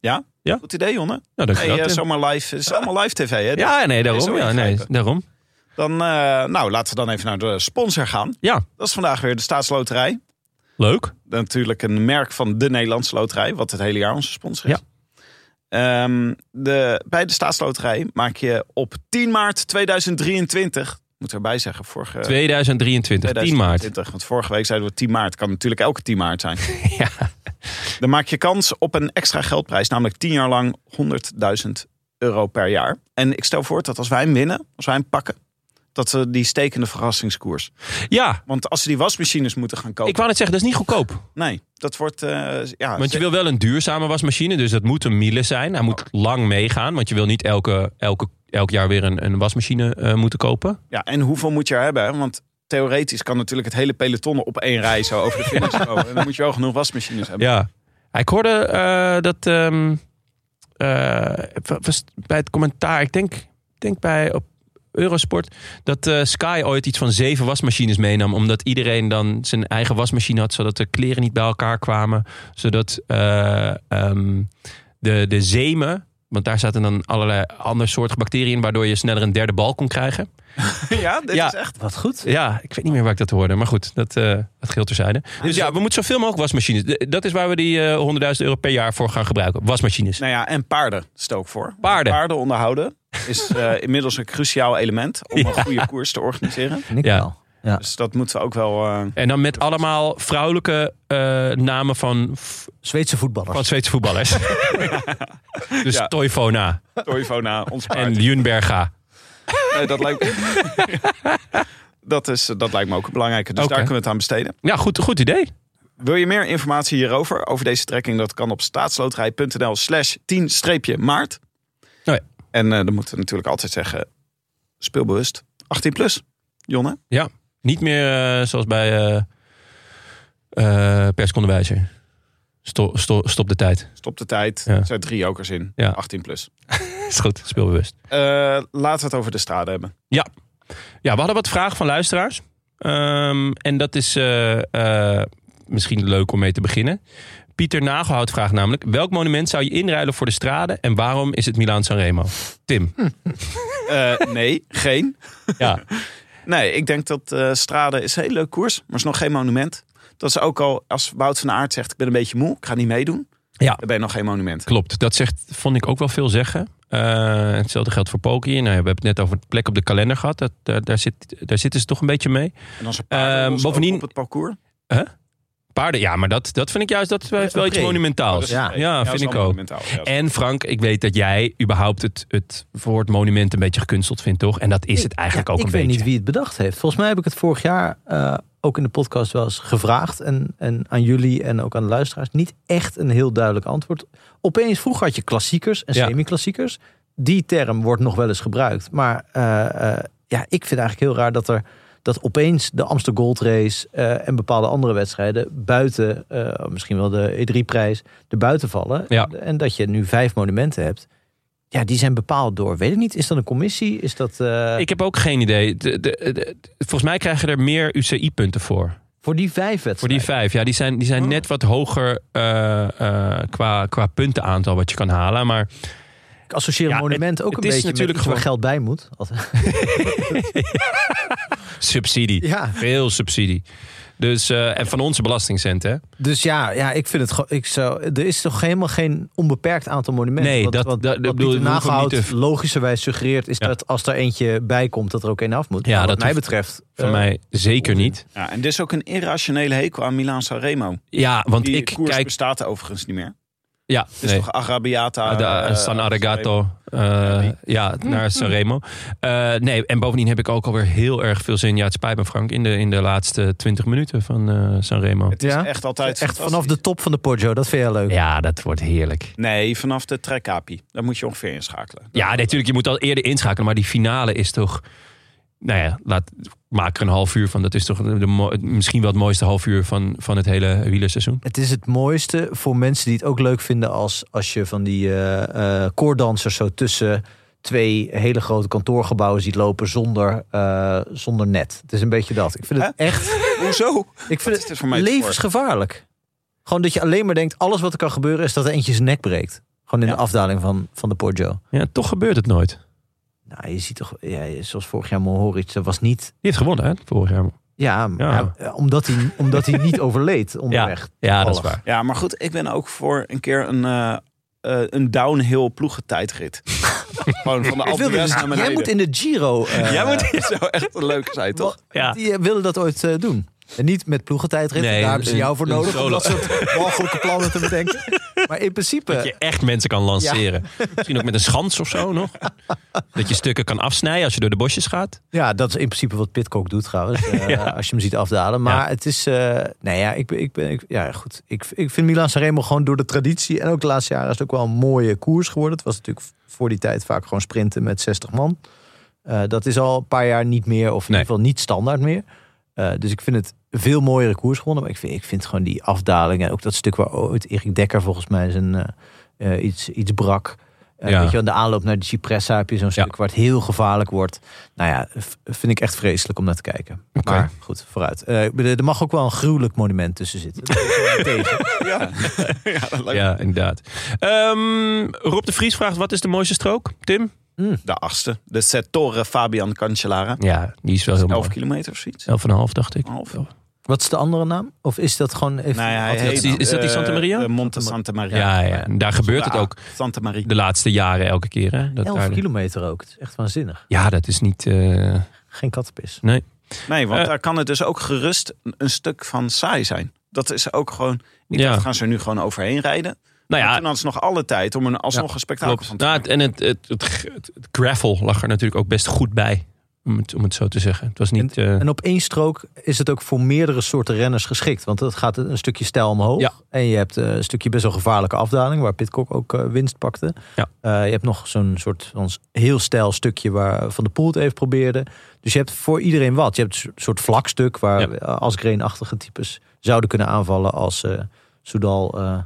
Ja?
Ja.
Goed idee, Jonne.
Nou, dank je
Hey,
wel,
eh,
Tim.
zomaar live. Het is allemaal live tv, hè?
Ja, nee, daarom.
Zo
Ja, nee,
ingrijpen.
daarom.
Dan, eh, nou, laten we dan even naar de sponsor gaan.
Ja,
Dat is vandaag weer de Staatsloterij.
leuk.
Natuurlijk een merk van de Nederlandse Loterij, wat het hele jaar onze sponsor is. Ehm, de, bij de Staatsloterij maak je op 10 maart 2023 moet erbij zeggen, vorige...
2023, 10 maart.
2020, want vorige week zeiden we 10 maart. Kan natuurlijk elke 10 maart zijn.
Ja.
Dan maak je kans op een extra geldprijs, namelijk 10 jaar lang 100.000 euro per jaar. En ik stel voor dat als wij hem winnen, als wij hem pakken, dat ze die stekende verrassingskoers.
ja,
Want als ze die wasmachines moeten gaan kopen,
ik wou net zeggen, dat is niet goedkoop.
nee, dat wordt eh, ja,
Want je wil wel een duurzame wasmachine, dus dat moet een Miele zijn. Hij moet lang meegaan, want je wil niet elke, elke, elk jaar weer een, een wasmachine eh, moeten kopen.
ja, en hoeveel moet je er hebben? hè? Want theoretisch kan natuurlijk het hele peloton op één rij zo over de finish komen. En dan moet je wel genoeg wasmachines hebben.
Ja. Ik hoorde eh, dat ehm, eh, v- was bij het commentaar, ik denk, ik denk bij op Eurosport, dat eh, Sky ooit iets van zeven wasmachines meenam. Omdat iedereen dan zijn eigen wasmachine had, zodat de kleren niet bij elkaar kwamen. Zodat eh, ehm, de, de zemen, want daar zaten dan allerlei andere soorten bacteriën, in, waardoor je sneller een derde bal kon krijgen.
Ja, dit
Ja.
is echt.
Wat goed.
Ja, ik weet niet meer waar ik dat hoorde. Maar goed, dat, eh dat geldt terzijde. Dus ja, we moeten zoveel mogelijk wasmachines. De- Dat is waar we die eh, 100.000 euro per jaar voor gaan gebruiken. Wasmachines.
Nou ja, en paarden stook voor.
Paarden.
Paarden onderhouden is eh, inmiddels een cruciaal element om een goede koers te organiseren.
Ik
Ja.
wel. Ja.
Dus dat moeten we ook wel. eh,
En dan met allemaal vrouwelijke eh, namen van, v-
Zweedse voetballers.
van Zweedse voetballers. dus
Ja.
Toyfona
Toivona, ons paard.
en Ljungberga.
Nee, dat, lijkt... dat, is, dat lijkt me ook belangrijk. Dus
Oké.
daar kunnen we het aan besteden.
Ja, goed, goed idee.
Wil je meer informatie hierover, over deze trekking? Dat kan op staatsloterij.nl slash 10-maart.
Oh ja.
En eh, dan moeten we natuurlijk altijd zeggen, speelbewust 18 plus. Jonne?
Ja, niet meer eh, zoals bij eh eh perskonderwijzer. Sto- sto- stop de tijd.
Stop de tijd.
Ja.
Er zijn drie jokers in.
Ja.
18 plus.
Is goed, speelbewust.
Eh, laten we het over de straten hebben.
Ja. ja, we hadden wat vragen van luisteraars. Ehm, en dat is eh, eh, misschien leuk om mee te beginnen. Pieter Nagelhout vraagt namelijk... welk monument zou je inruilen voor de strade... en waarom is het Milaan Sanremo? Tim.
Eh, nee, geen.
Ja,
Nee, ik denk dat eh Strade is een hele leuk koers, maar is nog geen monument. Dat is ook al, als Wout van Aert zegt, ik ben een beetje moe, ik ga niet meedoen.
Ja.
Dan ben je nog geen monument.
klopt. Dat zegt, vond ik ook wel veel zeggen. Eh, hetzelfde geldt voor Poki. Nou, ja, we hebben het net over de plek op de kalender gehad. Dat, daar, daar, zit, daar zitten ze toch een beetje mee.
En dan zijn
Eh,
paarden ons
bovendien-
ook op het parcours.
Paarden, ja, maar dat, dat vind ik juist... dat heeft wel iets
pre.
monumentaals.
Ja.
ja
dat
vind
is
ik
wel
ook.
monumentaal, ja.
En Frank, ik weet dat jij überhaupt het, het woord monument een beetje gekunsteld vindt, toch? En dat is het eigenlijk
Ja,
ook een
Ik weet
beetje.
niet wie het bedacht heeft. Volgens mij heb ik het vorig jaar eh, ook in de podcast wel eens gevraagd. En, en aan jullie en ook aan de luisteraars. Niet echt een heel duidelijk antwoord. Opeens vroeger had je klassiekers en
Ja.
semi-klassiekers. Die term wordt nog wel eens gebruikt. Maar eh, eh, ja, ik vind eigenlijk heel raar dat er dat opeens de Amsterdam Gold Race eh, en bepaalde andere wedstrijden buiten, eh, misschien wel de E3-prijs, er buiten vallen.
Ja.
En dat je nu vijf monumenten hebt. Ja, die zijn bepaald door, weet ik niet, is dat een commissie? Is dat... eh,
Ik heb ook geen idee. De, de, de- volgens mij krijgen er meer UCI-punten voor.
Voor die vijf
Voor
wedstrijden.
die vijf. Ja, die zijn, die zijn
Oh.
net wat hoger eh, eh, qua, qua puntenaantal wat je kan halen. Maar
Ik associeer een
Ja,
monument
het-
ook een
het is
beetje
natuurlijk
natuurlijk met iets waar
gewoon-
geld bij moet. Altijd.
subsidie.
Ja,
Veel subsidie. Dus, eh, en van onze belastingcenten. hè?
dus ja, ja, ik vind het gewoon. Ik zou, er is toch helemaal geen onbeperkt aantal monumenten.
Nee,
Wat-
dat-
wat,
dat-
wat
dat bedoel
Pieter
ik, we hoeven hem niet
Nagelhout
te-
logischerwijs suggereert is
Ja.
dat als er eentje bij komt, dat er ook één af moet.
Ja,
Maar wat
dat
mij
hoeft-
betreft.
Van
eh,
mij zeker niet.
Ja, en dit is ook een irrationele hekel aan Milaan Sanremo.
Ja, want
Die
ik
koers
kijk...
bestaat er overigens niet meer.
Ja,
Het is
nee.
toch Arabiata.
Ah, de, eh,
eh,
San Aragato. eh, ja, naar Sanremo. Eh, nee, en bovendien heb ik ook alweer heel erg veel zin. Ja, het spijt me Frank. In de, in de laatste 20 minuten van eh Sanremo.
Het is
Ja.
echt altijd
echt vanaf de
fantastisch.
top van de Poggio, dat vind jij leuk.
Ja, dat wordt heerlijk.
Nee, vanaf de Trekapi. Daar moet je ongeveer inschakelen.
Ja, nee, natuurlijk. Je moet al eerder inschakelen. Maar die finale is toch... Nou ja, laat, maak er een half uur van. Dat is toch de, mo- misschien wel het mooiste half uur van, van het hele wielerseizoen.
Het is het mooiste voor mensen die het ook leuk vinden als, als je van die eh eh, koordansers zo tussen twee hele grote kantoorgebouwen ziet lopen zonder, eh, zonder net. Het is een beetje dat. Ik vind het echt
Hoezo?
ik
Wat
vind
is
het
dit voor mij te
levensgevaarlijk. Gewoon dat je alleen maar denkt, alles wat er kan gebeuren is dat er eentje zijn nek breekt. Gewoon in
Ja.
de afdaling van, van de Poggio.
Ja, toch gebeurt het nooit.
Nou, je ziet toch, ja, zoals vorig jaar Mohoric, dat was niet...
Die heeft gewonnen, hè? Vorig jaar.
Ja, maar- eh, omdat hij, omdat hij niet overleed onderweg.
Ja, dat is
Toevallig.
waar.
Ja, maar goed, ik ben ook voor een keer een eh, eh, een downhill ploegentijdrit. Gewoon van de
Ik
Alpe
wilde
d'Huez
dus- jij
naar beneden.
moet in de Giro. eh,
Jij moet... Dat zou echt een leuke zijn, toch?
Ja.
Die willen dat ooit eh, doen. En niet met ploegentijdrit,
Nee,
daar hebben ze
een-
jou voor
een
nodig om
solo.
dat soort mogelijke plannen te bedenken. Maar in principe,
Dat je echt mensen kan lanceren. Misschien ook met een schans of zo nog. Dat je stukken kan afsnijden als je door de bosjes gaat.
ja, dat is in principe wat Pitcock doet trouwens. eh, Als je hem ziet afdalen. Maar
Ja.
het is, eh nou ja, ik ben, ik ben, ik, ja goed. Ik, ik vind Milan Sanremo gewoon door de traditie en ook de laatste jaren is het ook wel een mooie koers geworden. Het was natuurlijk voor die tijd vaak gewoon sprinten met 60 man. Eh, dat is al een paar jaar niet meer, of in
Nee.
ieder geval niet standaard meer. Eh, dus ik vind het een veel mooiere koers gewonnen. Maar ik vind, ik vind gewoon die afdaling en ook dat stuk waar ooit Erik Dekker volgens mij zijn eh, eh, iets, iets brak. Eh,
Ja.
Weet je, wel, de aanloop naar de Cipressa heb je zo'n
Ja.
stuk waar het heel gevaarlijk wordt. Nou ja, v- vind ik echt vreselijk om naar te kijken. Maar goed, vooruit. Eh, ik bedoel, er mag ook wel een gruwelijk monument tussen zitten. Dat is wel tegen.
Ja, Oh ja dat lijkt
Ja, inderdaad. Ehm, Rob de Vries vraagt, wat is de mooiste strook, Tim?
De achtste. De Settore Fabian Cancellara.
Ja, die is wel heel
11
mooi.
kilometer of zoiets.
Elf en een half, dacht ik.
Half.
Wat is de andere naam? Of is dat gewoon even...
Nou ja, hij
had hij
heet,
die- is dat die
eh,
Santa Maria?
de Monte Santa Maria.
Ja, ja. En daar gebeurt het
Ah,
ook
Santa Maria.
de laatste jaren elke keer. Hè? Dat
11
daar-
kilometer ook. Het is echt waanzinnig.
Ja, dat is niet... eh,
Geen kattenpis.
nee.
Nee, want
Eh.
daar kan het dus ook gerust een- een stuk van saai zijn. Dat is ook gewoon... Ik
Ja.
dacht, gaan ze er nu gewoon overheen rijden?
Nou
Maar
ja,
toen hadden ze nog alle tijd om er alsnog een spektakel
Klopt.
van te
Nou, het- en het, het, het, g- het- het gravel lag er natuurlijk ook best goed bij. Om het, om het zo te zeggen. Het was niet. eh,
En op één strook is het ook voor meerdere soorten renners geschikt. Want dat gaat een stukje stijl omhoog.
Ja.
En je hebt eh, een stukje best wel gevaarlijke afdaling. Waar Pitcock ook eh, winst pakte.
Ja.
Eh, je hebt nog zo'n soort van heel stijl stukje waar Van de Poel het even probeerde. Dus je hebt voor iedereen wat. Je hebt een soort- soort vlak stuk waar
Ja.
eh, als Green-achtige types zouden kunnen aanvallen. Als eh Soudal... eh,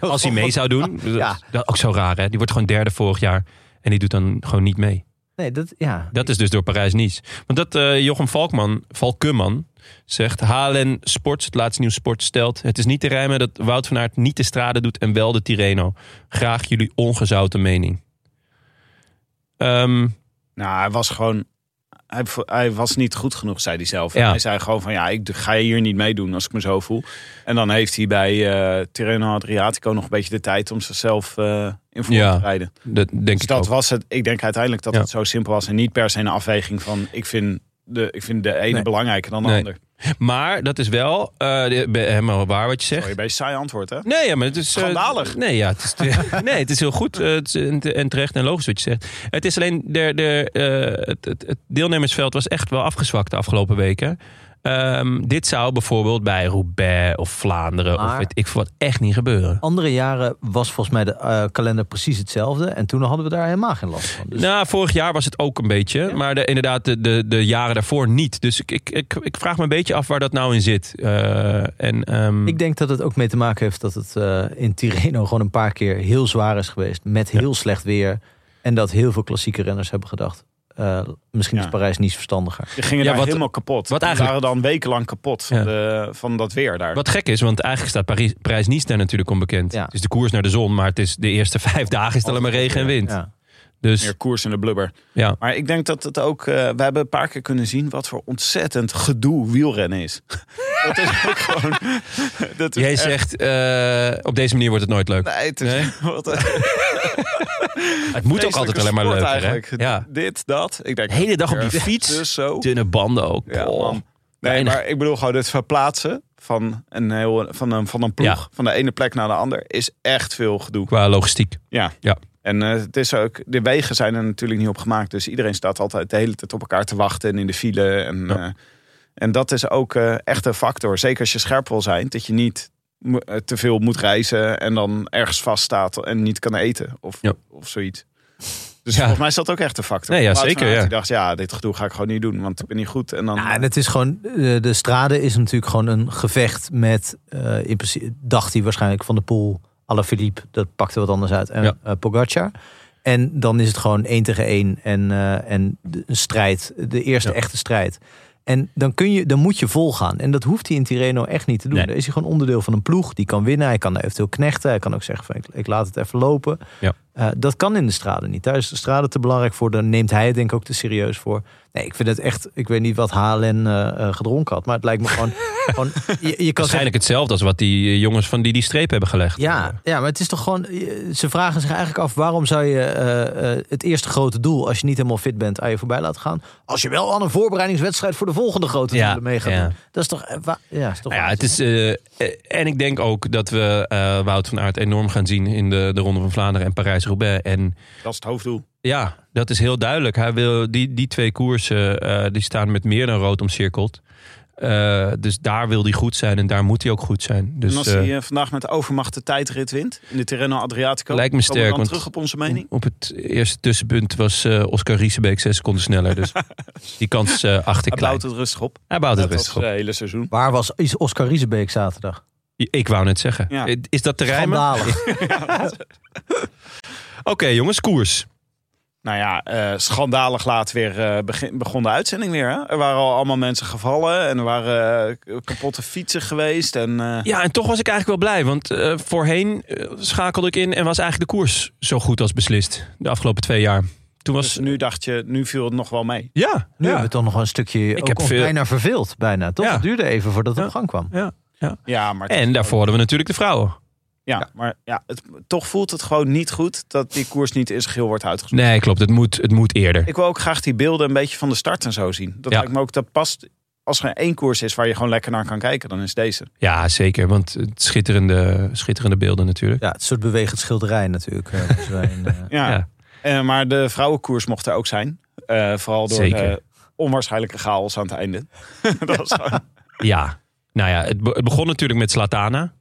als hij mee zou doen.
Ja.
Dat, dat- ook zo raar, hè? Die wordt gewoon derde vorig jaar. En die doet dan gewoon niet mee.
nee, dat, ja.
Dat is dus door Parijs-Nice. Want dat eh, Jochem Valkman, Valkumman zegt... HLN Sports, het laatste nieuws sport, stelt... Het is niet te rijmen dat Wout van Aert niet de strade doet... en wel de Tirreno. Graag jullie ongezouten mening. Ehm,
Nou, hij was gewoon... Hij, vo- hij was niet goed genoeg, zei hij zelf.
Ja.
Hij zei gewoon van, ja, ik d- ga hier niet meedoen als ik me zo voel. En dan heeft hij bij eh Tirreno Adriatico nog een beetje de tijd om zichzelf eh in vorm
Ja.
te rijden.
dat denk
Dus
ik
dat
ook.
was het. Ik denk uiteindelijk dat
Ja.
het zo simpel was. En niet per se een afweging van ik vind de, ik vind de ene
Nee.
belangrijker dan de
Nee.
ander.
Maar dat is wel eh, de- be- helemaal waar wat je zegt.
Sorry, je bij saai antwoord hè?
Nee, ja, maar het is... eh,
Schandalig.
nee, ja, het is, nee, het is heel goed eh, het is en te- en terecht en logisch wat je zegt. Het is alleen, de, de, eh, het, het, het deelnemersveld was echt wel afgezwakt de afgelopen weken. Ehm, dit zou bijvoorbeeld bij Roubaix of Vlaanderen of
Maar-
weet ik veel wat echt niet gebeuren.
Andere jaren was volgens mij de eh, kalender precies hetzelfde. En toen hadden we daar helemaal geen last van. Dus
Nou, vorig jaar was het ook een beetje. Maar de, inderdaad, de, de, de jaren daarvoor niet. Dus ik, ik, ik, ik vraag me een beetje af waar dat nou in zit. Eh, en, ehm,
Ik denk dat het ook mee te maken heeft dat het eh, in Tirreno gewoon een paar keer heel zwaar is geweest. Met heel slecht weer. En dat heel veel klassieke renners hebben gedacht. eh, misschien
Ja.
is Parijs niet verstandiger.
Die gingen
Ja,
daar
wat-
helemaal kapot.
wat
Die
eigenlijk-
waren dan wekenlang kapot van,
Ja.
de, van dat weer daar.
Wat gek is, want eigenlijk staat Parijs- Parijs-Nice daar natuurlijk onbekend.
Ja.
Het is de koers naar de zon, maar het is de eerste vijf dagen is het alleen maar regen en wind.
Ja.
Dus
Meer koers in de blubber.
ja,
Maar ik denk dat het ook... eh, we hebben een paar keer kunnen zien wat voor ontzettend gedoe wielrennen is. dat is ook gewoon... dat is
jij
echt-
zegt eh, op deze manier wordt het nooit leuk.
Nee, het is,
Nee?
Wat een
het moet ook altijd
vreselijke
alleen maar
sport
leuk.
eigenlijk.
Hè? Ja,
Dit, dat. Ik denk,
de hele dag op die
Ja,
fiets,
dus zo.
dunne banden ook.
Ja,
Oh.
man. Nee,
Weinig.
maar ik bedoel gewoon het verplaatsen van een, heel, van een, van een ploeg,
Ja.
van de ene plek naar de ander, is echt veel gedoe.
Qua logistiek.
Ja.
Ja.
En eh, het is ook, de wegen zijn er natuurlijk niet op gemaakt, dus iedereen staat altijd de hele tijd op elkaar te wachten en in de file. En,
Ja.
eh, en dat is ook eh, echt een factor, zeker als je scherp wil zijn, dat je niet mo- eh, te veel moet reizen en dan ergens vaststaat en niet kan eten of,
Ja.
of zoiets. Dus
Ja.
volgens mij is dat ook echt een factor.
Nee, ja,
Wout van
zeker,
Aert,
ja.
die dacht, ja, dit gedoe ga ik gewoon niet doen, want ik ben niet goed. En dan,
Ja, Nou, en het is gewoon, eh, de strade is natuurlijk gewoon een gevecht met, eh, in principe, dacht hij waarschijnlijk van de pool, Alaphilippe, dat pakte wat anders uit, en
Ja.
eh, Pogacar. En dan is het gewoon één tegen één en, eh, en de- een strijd, de eerste
Ja.
echte strijd. En dan, kun je, dan moet je volgaan. En dat hoeft hij in Tirreno echt niet te doen.
Nee.
Dan is hij gewoon onderdeel van een ploeg. Die kan winnen. Hij kan eventueel knechten. Hij kan ook zeggen van ik, ik laat het even lopen.
Ja.
Eh, dat kan in de straten niet. Daar is de straten te belangrijk voor. Daar neemt hij het denk ik ook te serieus voor. Nee, ik vind het echt... Ik weet niet wat Halen eh, eh, gedronken had. Maar het lijkt me gewoon... gewoon je, je kan zeggen,
Waarschijnlijk hetzelfde als wat die eh, jongens van die die streep hebben gelegd.
ja, ja, maar het is toch gewoon... je- Ze vragen zich eigenlijk af... waarom zou je eh, eh, het eerste grote doel... als je niet helemaal fit bent, aan je voorbij laten gaan? Als je wel aan een voorbereidingswedstrijd... voor de volgende grote
Ja,
doelen mee gaat
ja.
doen. Dat is toch... eh, wa- ja, is toch
Nou ja, het is, eh, eh, en ik denk ook dat we eh, Wout van Aert enorm gaan zien in de, de Ronde van Vlaanderen en Parijs-Roubaix. En
Dat is het hoofddoel.
ja, dat is heel duidelijk. Hij wil, die, die twee koersen eh, die staan met meer dan rood omcirkeld. Eh, dus daar wil hij goed zijn en daar moet hij ook goed zijn. Dus
en als
eh,
hij eh, vandaag met overmacht de tijdrit wint in de Tirreno Adriatico,
Lijkt me
komen we
sterk,
dan
want-
terug op onze mening.
op het eerste tussenpunt was eh, Oscar Riesebeek zes seconden sneller. Dus die kans eh acht ik klein.
Hij bouwt het rustig op.
Hij bouwt het
Dat
rustig
was
op.
het hele seizoen.
Waar was is Oscar Riesebeek zaterdag?
Ik wou net zeggen.
Ja.
Eh, Is dat te rijmen? Oké
Schandalig.
jongens, koers.
Nou ja, eh, schandalig laat weer eh, begin, begon de uitzending weer. Hè? Er waren al allemaal mensen gevallen en er waren eh, kapotte fietsen geweest. En, eh,
Ja, en toch was ik eigenlijk wel blij. Want eh, voorheen eh, schakelde ik in en was eigenlijk de koers zo goed als beslist. De afgelopen twee jaar. Toen was...
dus nu dacht je, nu viel het nog wel mee.
Nu
Ja, ja.
hebben we toch nog wel een stukje... ook
heb
ons
veel-
bijna verveeld, bijna. Toch?
Ja.
Het duurde even voordat het
Ja.
op gang kwam.
ja.
Ja, maar,
En daarvoor hadden we natuurlijk de vrouwen.
ja, maar ja, het, toch voelt het gewoon niet goed dat die koers niet in zijn geheel wordt uitgezonden.
Nee, klopt. Het moet, het moet eerder.
Ik wil ook graag die beelden een beetje van de start en zo zien. Dat
Ja.
lijkt me ook, dat past... Als er één koers is waar je gewoon lekker naar kan kijken, dan is deze.
Ja, zeker. Want het schitterende, schitterende beelden natuurlijk.
Ja, het soort bewegend schilderij natuurlijk. eh, dus waarin, eh,
Ja.
Ja.
Eh, maar de vrouwenkoers mocht er ook zijn. Eh, vooral door
Zeker.
de onwaarschijnlijke chaos aan het einde. dat was gewoon-
Ja. Nou ja, het, be- het begon natuurlijk met Slatana.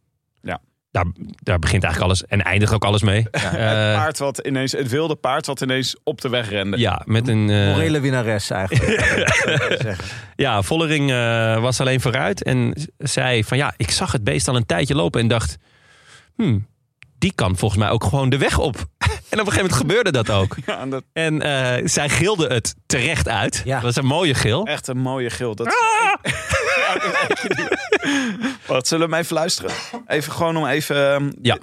Ja.
Daar, daar begint eigenlijk alles en eindigt ook alles mee. Eh,
Het
Ja,
paard wat ineens, het wilde paard wat ineens op de weg rende.
ja met een... eh,
Morele winnares eigenlijk. zou ik willen zeggen.
Ja, Vollering eh, was alleen vooruit en z- zei van ja, ik zag het beest al een tijdje lopen en dacht, hmm, die kan volgens mij ook gewoon de weg op. en op een gegeven moment gebeurde dat ook.
Ja, en dat,
En eh, zij gilde het terecht uit.
Ja.
Dat was een mooie gil.
echt een mooie gil. Dat,
Ah!
wat, zullen we hem even luisteren? Even gewoon om even... ehm,
Ja.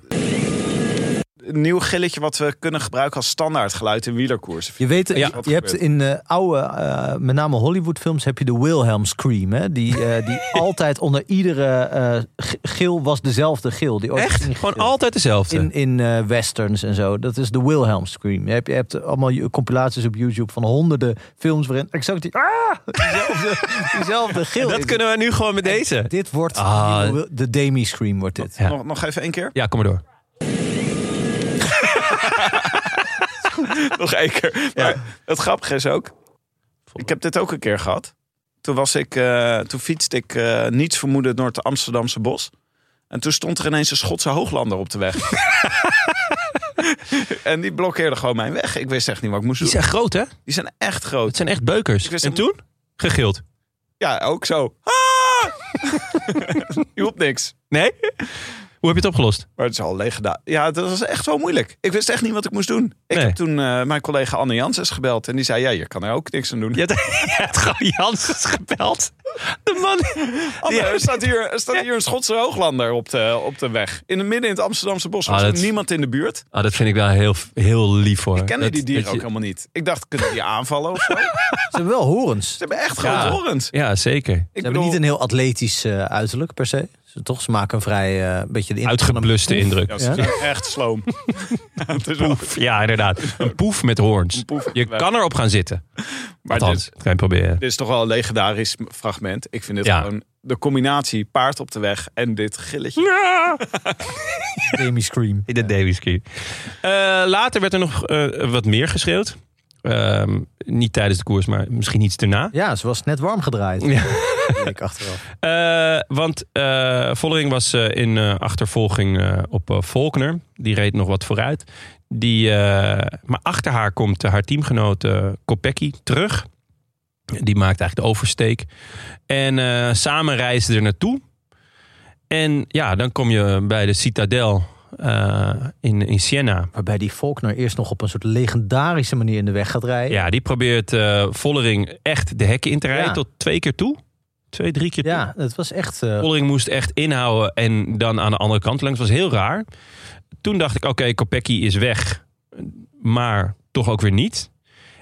Een nieuw gilletje wat we kunnen gebruiken als standaard geluid in wielerkoersen.
Je weet,
Ja.
je, je hebt in eh, oude, eh, met name Hollywoodfilms, heb je de Wilhelm Scream. Hè? Die, eh, die altijd onder iedere eh, g- gil was dezelfde gil. Die ooit
Echt?
is
Gewoon
ingegild.
altijd dezelfde.
In, in eh, westerns en zo. Dat is de Wilhelm Scream. Je hebt, je hebt allemaal ju- compilaties op YouTube van honderden films waarin exact die, ah, diezelfde, diezelfde gil
dat
is.
kunnen we nu gewoon met deze.
Dit wordt
Ah.
de nieuwe- de Demi Scream wordt dit.
Ja.
Nog, nog even één keer?
Ja, kom maar door.
Nog één keer. Maar het grappige is ook, ik heb dit ook een keer gehad. Toen, was ik, eh, toen fietste ik eh, niets vermoedend door het Amsterdamse bos. En toen stond er ineens een Schotse hooglander op de weg. en die blokkeerde gewoon mijn weg. Ik wist echt niet wat ik moest
Die
doen.
zijn groot hè?
Die zijn echt
Het
groot.
zijn echt beukers.
wist
En
helemaal-
toen? Gegild.
Ja, ook zo. Ah! Je hoeft niks.
Nee? Hoe heb je het opgelost?
Maar het is al leeg gedaan. Ja, dat was echt zo moeilijk. Ik wist echt niet wat ik moest doen. Ik
Nee.
heb toen eh, mijn collega Anne Janssens gebeld. En die zei, ja, je kan er ook niks aan doen.
Je hebt, je hebt gewoon Janssens gebeld. De man. Oh,
Anne,
Ja.
er, staat hier, er staat hier een Schotse hooglander op de, op de weg. In het midden in het Amsterdamse bos. Er
Ah,
was
dat-
niemand in de buurt.
Ah, dat vind ik wel heel, heel lief hoor.
Ik kende
Dat-
die dieren
dat
ook
je-
helemaal niet. Ik dacht, kunnen die aanvallen of zo? Ze
Ze hebben wel horens.
hebben echt
Ja.
grote horens.
Ja, zeker.
Ik
Ze hebben
bedoel,
niet een heel atletisch eh, uiterlijk per se. Ze, toch, ze maken een vrij eh, beetje de indruk van een
Uitgebluste
poef.
indruk.
ja, ze zijn echt sloom. het is wel-
Poef. Ja, inderdaad. Een poef met hoorns.
poef.
Je kan erop gaan zitten.
Maar
Althans,
dit,
dat kan je proberen.
dit is toch wel een legendarisch fragment. Ik vind het
Ja.
gewoon de combinatie paard op de weg en dit gilletje.
Demi Scream.
In de Davieskey. later werd er nog eh, wat meer geschreeuwd. Ehm, niet tijdens de koers, maar misschien iets daarna.
Ja, ze was net warm gedraaid.
Ja.
weet Ik achteraf.
Eh, want eh, Vollering was eh, in eh, achtervolging eh, op eh, Volkner. Die reed nog wat vooruit. Die, eh, maar achter haar komt eh, haar teamgenoot eh Kopecky terug. Die maakt eigenlijk de oversteek. En eh, samen reizen er naartoe. En ja, dan kom je bij de Citadel eh, in, in Siena.
Waarbij die Faulkner eerst nog op een soort legendarische manier in de weg gaat rijden.
Ja, die probeert eh, Vollering echt de hekken in te rijden
Ja.
tot twee keer toe. Twee, drie keer toe.
Ja, het was echt... eh,
Vollering moest echt inhouden en dan aan de andere kant langs. was heel raar. Toen dacht ik, oké, Kopecky is weg. Eh, maar toch ook weer niet.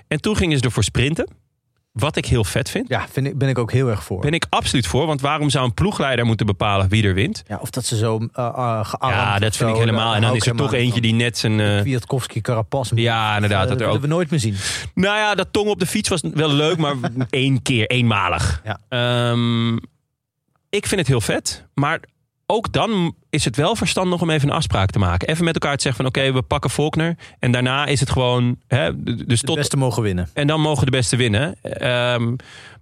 En toen gingen ze ervoor sprinten. Wat ik heel vet vind.
Ja, vind ik, ben ik ook heel erg voor.
Ben ik absoluut voor, want waarom zou een ploegleider moeten bepalen wie er wint?
Ja, of dat ze zo eh, eh, gearmd
Ja,
of
dat vind
zo,
ik helemaal.
daar
En dan
hou
is
ik
er toch
helemaal
eentje
niet
die net zijn. eh,
van. Kwiatkowski, Karapas.
ja, inderdaad.
dat
Dat er ook
willen we nooit meer zien.
Nou ja, dat tong op de fiets was wel leuk, maar één keer, eenmalig.
Ja.
Ehm, ik vind het heel vet, maar ook dan is het wel verstandig om even een afspraak te maken. Even met elkaar te zeggen van oké, we pakken Faulkner. En daarna is het gewoon, hè, d- dus
De
tot,
beste mogen winnen.
en dan mogen de beste winnen. Ehm,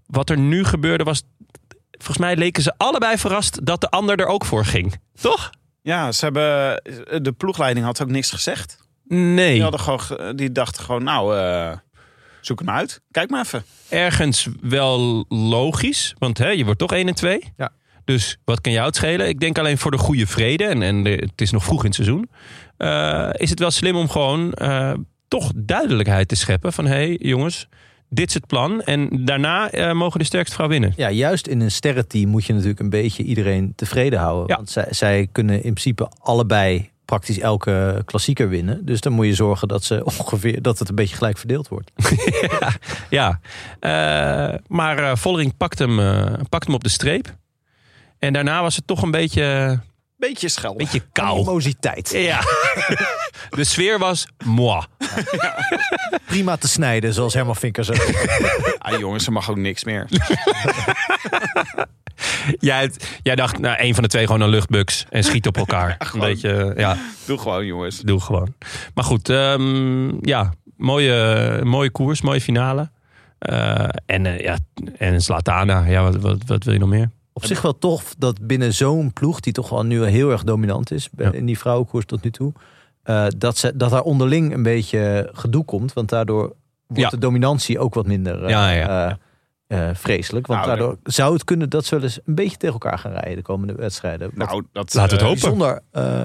wat er nu gebeurde was, volgens mij leken ze allebei verrast dat de ander er ook voor ging. Toch?
Ja, ze hebben, de ploegleiding had ook niks gezegd.
Nee.
Die, hadden gewoon, ge- die dachten gewoon, nou, eh, zoek hem uit. Kijk maar even.
ergens wel logisch. Want hè, je wordt toch 1 en 2.
Ja.
Dus wat kan jou het schelen? Ik denk alleen voor de goede vrede. En, en de- het is nog vroeg in het seizoen. eh, is het wel slim om gewoon eh, toch duidelijkheid te scheppen. Van hé hey, jongens, dit is het plan. En daarna eh, mogen de sterkste vrouw winnen.
Ja, juist in een sterrenteam moet je natuurlijk een beetje iedereen tevreden houden.
Ja.
Want zij, zij kunnen in principe allebei praktisch elke klassieker winnen. Dus dan moet je zorgen dat, ze ongeveer, dat het een beetje gelijk verdeeld wordt.
Ja, eh, maar eh Vollering pakt hem, eh, pakt hem op de streep. En daarna was het toch een beetje, eh,
Beetje schelden.
beetje kou.
Animositeit.
Ja. De sfeer was moi.
Prima te snijden, zoals Herman Vinker zei.
Ah, jongens, er mag ook niks meer.
Jij, hebt- jij dacht, nou, één van de twee gewoon een luchtbuks en schiet op elkaar. een
Gewoon.
beetje, eh, ja,
Doe gewoon, jongens.
doe gewoon. Maar goed, ehm, ja, mooie, mooie koers, mooie finale. Eh, en, eh, ja, en Zlatana, ja, wat, wat, wat wil je nog meer?
Op zich wel tof dat binnen zo'n ploeg, die toch wel nu heel erg dominant is, bij-
Ja.
in die vrouwenkoers tot nu toe, eh, dat, ze, dat daar onderling een beetje gedoe komt. Want daardoor wordt
Ja.
de dominantie ook wat minder eh,
Ja, ja.
eh, eh, vreselijk. Want
Nou, dat-
daardoor zou het kunnen dat ze wel eens een beetje tegen elkaar gaan rijden de komende wedstrijden. Wat
Nou, dat,
Laten we het
eh,
hopen.
bijzonder eh,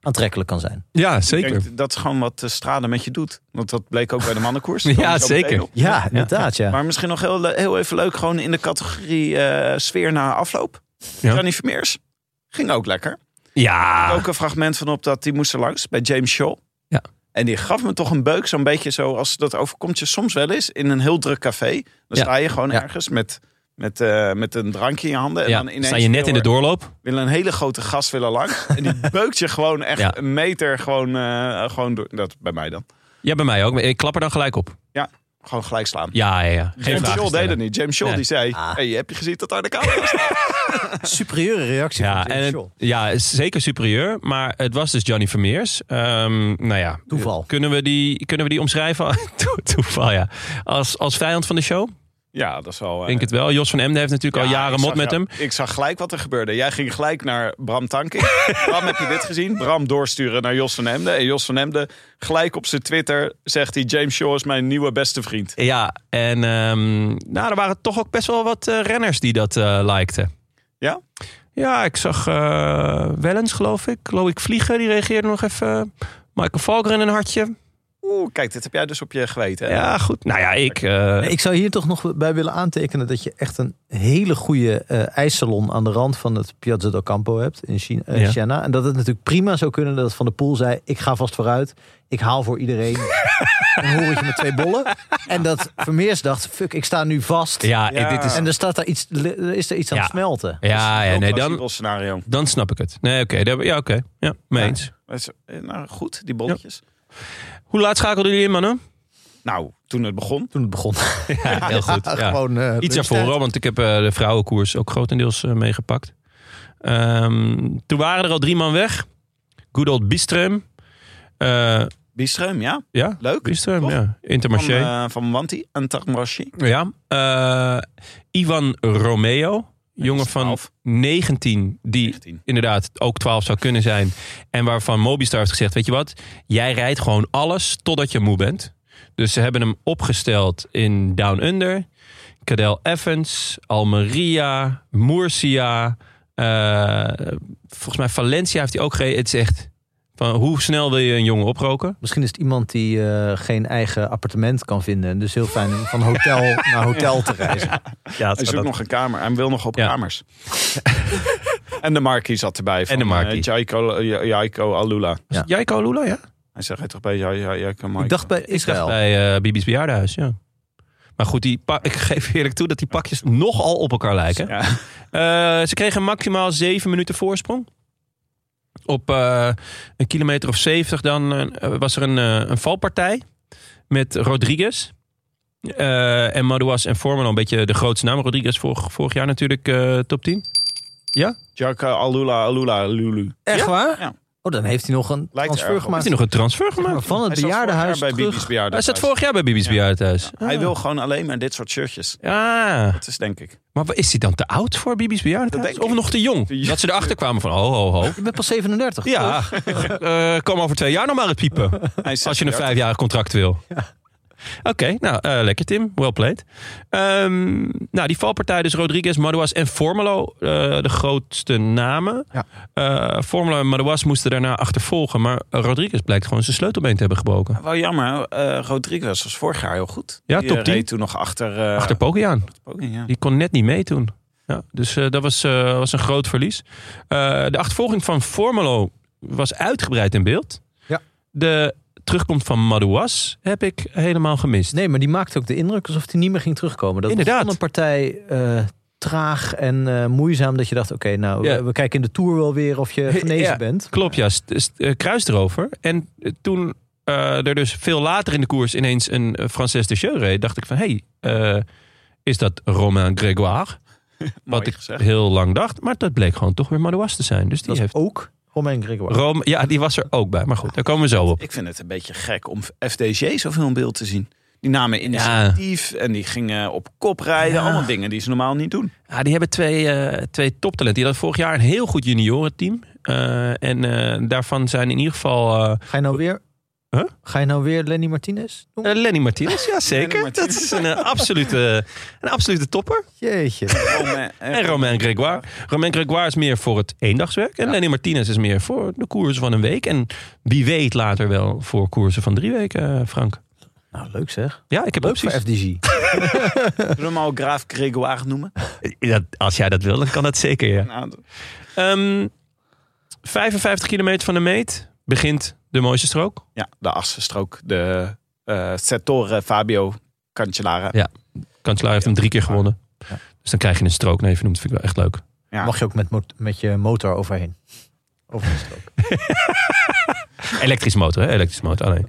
aantrekkelijk kan zijn.
Ja,
ik denk dat is gewoon wat de strade met je doet. Want dat bleek ook bij de mannenkoers.
Ja,
Daar kom ik zo
zeker.
meteen op.
Ja, inderdaad. Ja.
Maar misschien nog heel, le- heel even leuk, gewoon in de categorie eh, sfeer na afloop.
Ja.
Johnny Vermeers ging ook lekker.
Ja,
Ook een fragment van op dat die moest er langs bij James Shaw.
Ja.
En die gaf me toch een beuk, zo'n beetje zo als dat overkomt je soms wel eens in een heel druk café. Dan
Ja.
sta je gewoon
Ja.
ergens met, met, eh, met een drankje in je handen. En
ja.
dan ineens
sta je net in de
wil-
doorloop.
wil een hele grote gas willen langs. en die beukt je gewoon echt
Ja.
een meter gewoon, eh, gewoon door. Dat bij mij dan.
Ja, bij mij ook. Ik klap er dan gelijk op.
Gewoon gelijk slaan.
Ja, ja, ja. Geen
James
vragen
Shaw deed
stellen.
het niet. James Shaw
Nee.
die zei,
Ah.
hey, heb je gezien dat daar de camera staat?
Superieure reactie
Ja,
van James
en het-
Shaw.
ja, zeker superieur. Maar het was dus Johnny Vermeers. Ehm, nou ja.
Toeval.
Kunnen we die, kunnen we die omschrijven? To- Toeval, ja. Als, als vijand van de show?
Ja, dat is wel... eh,
Denk het wel. Jos van Emden heeft natuurlijk
ja,
al jaren
ik
mot
zag
met
jou-
hem.
Ik zag gelijk wat er gebeurde. Jij ging gelijk naar Bram Tanking. Bram, heb je dit gezien? Bram doorsturen naar Jos van Emden. En Jos van Emden gelijk op zijn Twitter zegt hij... James Shaw is mijn nieuwe beste vriend.
Ja, en ehm, nou, er waren toch ook best wel wat eh, renners die dat eh likten.
Ja?
Ja, ik zag eh Wellens, geloof ik. Loïc Vlieger, die reageerde nog even. Michael Valgren een hartje.
Oeh, kijk, dit heb jij dus op je geweten. hè?
Ja, goed. Nou ja, ik... eh,
Nee, Ik zou hier toch nog bij willen aantekenen dat je echt een hele goede eh, ijssalon aan de rand van het Piazza del Campo hebt in China, eh,
Ja.
Siena. En dat het natuurlijk prima zou kunnen dat Van der Poel zei, ik ga vast vooruit, ik haal voor iedereen een horentje met twee bollen. En dat Vermeers dacht, fuck, ik sta nu vast.
ja,
Ja.
dit is...
En er, staat daar iets, er is er iets aan
Ja.
het smelten.
Ja, ja,
Heel
nee, dan,
plausibel scenario.
Dan snap ik het. Nee, oké. daar- ja, oké. Ja, mee eens.
Maar het is- eh, Nou, goed, die bolletjes.
Hoe laat schakelden jullie in, mannen?
Nou, toen het begon...
Toen het begon.
Ja, heel goed. Ja.
Gewoon, eh,
Iets
lunchtijd.
daarvoor, hoor, want ik heb eh, de vrouwenkoers ook grotendeels eh, meegepakt. Ehm, toen waren er al drie man weg. Good old Bistrum. Eh,
Bistreum, ja.
ja,
Leuk.
Bistrum,
Toch?
ja.
Van,
Intermarché.
eh, van Wanti en Tarmarchi.
Ja. Eh, Ivan Romeo, jongen van
12.
19, die
19.
inderdaad ook 12 zou kunnen zijn. En waarvan Mobistar heeft gezegd: Weet je wat, jij rijdt gewoon alles totdat je moe bent. Dus ze hebben hem opgesteld in Down Under, Cadel Evans, Almeria, Murcia. eh, volgens mij Valencia heeft hij ook gereden. Het is echt van hoe snel wil je een jongen oproken?
Misschien is het iemand die eh, geen eigen appartement kan vinden. En dus heel fijn om van hotel naar hotel te reizen.
Ja,
Hij zoekt nog een kamer. Hij wil nog op
Ja.
kamers. en de Marquis zat erbij. Van,
En de Marquis.
eh, Jaiko, Ja- Jaiko Alula.
Ja.
Jaiko Lula, ja?
Hij zegt, hij toch bij jou, ja, ja, kan Michael.
Ik dacht bij
Ik dacht
Oh.
Israël.
bij eh Bibi's bejaardenhuis, ja. Maar goed, die pa- ik geef eerlijk toe dat die pakjes nogal op elkaar lijken.
Ja.
Eh, ze kregen maximaal zeven minuten voorsprong. Op eh, een kilometer of zeventig dan eh, was er een, eh, een valpartij met Rodriguez. Eh, en Madouas en Forman een beetje de grootste naam. Rodriguez vorig, vorig jaar natuurlijk eh, top 10.
Jack eh, Alula, Alula, Lulu.
Echt
Ja?
waar?
Ja.
Oh, dan heeft hij nog een
erg
transfer
op.
Heeft
gemaakt.
hij nog een transfer gemaakt?
Maar van het
Hij zat
bejaardenhuis
vorig jaar bij
terug.
Bibi's
Hij
bejaardenhuis.
zat vorig Ah. jaar bij Bibi's bejaardenhuis. Ah.
Ja, Hij wil gewoon alleen maar dit soort shirtjes.
Ja,
Dat is denk ik.
maar wa- is hij dan te oud voor Bibi's bejaardenhuis?
Dat denk
Of
ik.
nog te jong? Dat ze erachter kwamen van, ho, ho, ho.
Je bent pas 37.
Ja, eh kom over twee jaar nog maar het piepen.
Hij is
Als je een
36.
vijfjarig contract wil. Oké, nou, eh, lekker Tim. Well played. Ehm, nou, die valpartij dus Rodriguez, Madouas en Formelo. eh, de grootste namen.
Ja.
Eh, Formelo en Madouas moesten daarna achtervolgen. Maar Rodriguez blijkt gewoon zijn sleutelbeen te hebben gebroken.
Wel jammer, eh Rodriguez was vorig jaar heel goed.
Ja,
Die,
top
eh,
10.
reed toen nog achter... eh,
Achter Pokiaan.
Poggi, ja.
Die kon net niet mee toen. Ja, dus eh, dat was, eh, was een groot verlies. Eh, de achtervolging van Formelo was uitgebreid in beeld.
Ja.
De terugkomst van Madouas heb ik helemaal gemist.
Nee, maar die maakte ook de indruk alsof hij niet meer ging terugkomen. Dat
Inderdaad.
was van een partij eh, traag en eh, moeizaam. Dat je dacht, oké, nou,
Ja.
eh, we kijken in de Tour wel weer of je genezen
Ja.
bent.
Klopt, ja. St- st- eh, kruis erover. En eh, toen eh, er dus veel later in de koers ineens een eh, Frances de Jeu reed, dacht ik van, hé, hey, eh, is dat Romain Grégoire?
Mooi
Wat ik
gezegd.
heel lang dacht, maar dat bleek gewoon toch weer Madouas te zijn. Dus die
Dat
heeft...
heeft ook Romain Grégoire.
Rome, ja, die was er ook bij. Maar goed, daar komen we zo op.
Ik vind het een beetje gek om FDG zoveel in beeld te zien. Die namen initiatief en die gingen op kop rijden.
Ja.
Allemaal dingen die ze normaal niet doen.
Ja, die hebben twee, eh, twee toptalenten. Die hadden vorig jaar een heel goed juniorenteam. Eh en eh, daarvan zijn in ieder geval eh,
Ga je nou weer...
Huh?
Ga je nou weer Lenny Martinez doen?
eh, Lenny Martinez. Ja, zeker.
Lenny Martinez.
Dat is een, eh, absolute, een absolute topper.
Jeetje.
Romain- eh,
En Romain Grégoire. Romain Grégoire is meer voor het eendagswerk. En Lenny Martinez is meer voor de koersen van een week. En wie weet later wel voor koersen van drie weken, eh, Frank.
Nou, leuk zeg.
Ja, ik heb
Leuk voor
opties.
FDG.
Zullen we hem al Graaf Grégoire noemen?
Dat, als jij dat wil, dan kan dat zeker, ja.
Nou,
Ehm, 55 kilometer van de meet begint de mooiste strook.
ja, de assenstrook. De eh Settore Fabio Cancellara.
Ja. Kanselaar heeft hem drie keer gewonnen.
Ja.
Dus dan krijg je een strook naar je vernoemd. Vind ik wel echt leuk.
Ja.
Mag je ook met, mo- met je motor overheen. Over de strook.
Elektrisch motor, hè? Elektrisch motor alleen.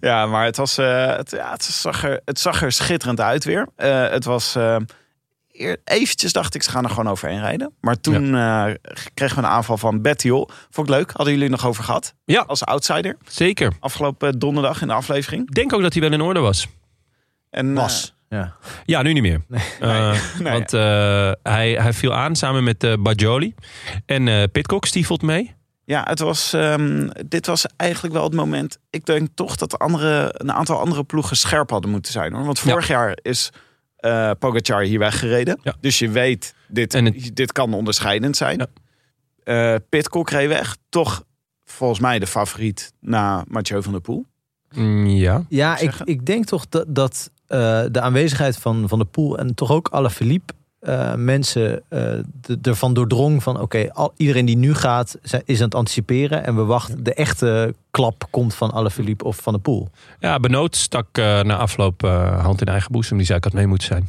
Ja, maar het, was, eh, het, ja, het, zag er, het zag er schitterend uit weer. Eh, het was... eh, eer- Eventjes dacht ik, ze gaan er gewoon overheen rijden. Maar toen eh, kregen we een aanval van Bettiol. Vond ik leuk. Hadden jullie het nog over gehad?
Ja.
Als outsider.
Zeker.
Afgelopen donderdag in de aflevering.
Ik denk ook dat hij wel in orde was.
En,
Was. Ja.
Ja, nu niet meer. Eh, want eh, hij, hij viel aan samen met eh Bajoli. En eh Pitcock stiefelt mee.
Ja, het was, ehm, dit was eigenlijk wel het moment. Ik denk toch dat de andere, een aantal andere ploegen scherp hadden moeten zijn. Hoor. Want
Ja.
vorig jaar is eh Pogacar hier weggereden.
Ja.
Dus je weet, dit,
En het-
dit kan onderscheidend zijn.
Ja.
Eh, Pidcock reed weg. Toch volgens mij de favoriet na Mathieu van der Poel.
Mm, ja.
Ja, ik,
zeggen?
ik denk toch dat, dat eh, de aanwezigheid van, van de pool en toch ook Alaphilippe eh mensen eh, de- ervan doordrong van oké, al- iedereen die nu gaat zij- is aan het anticiperen en we wachten. De echte klap komt van Alaphilippe of van de pool.
ja, Benoot stak eh, na afloop eh, hand in eigen boezem. Die zei ik had mee moeten zijn.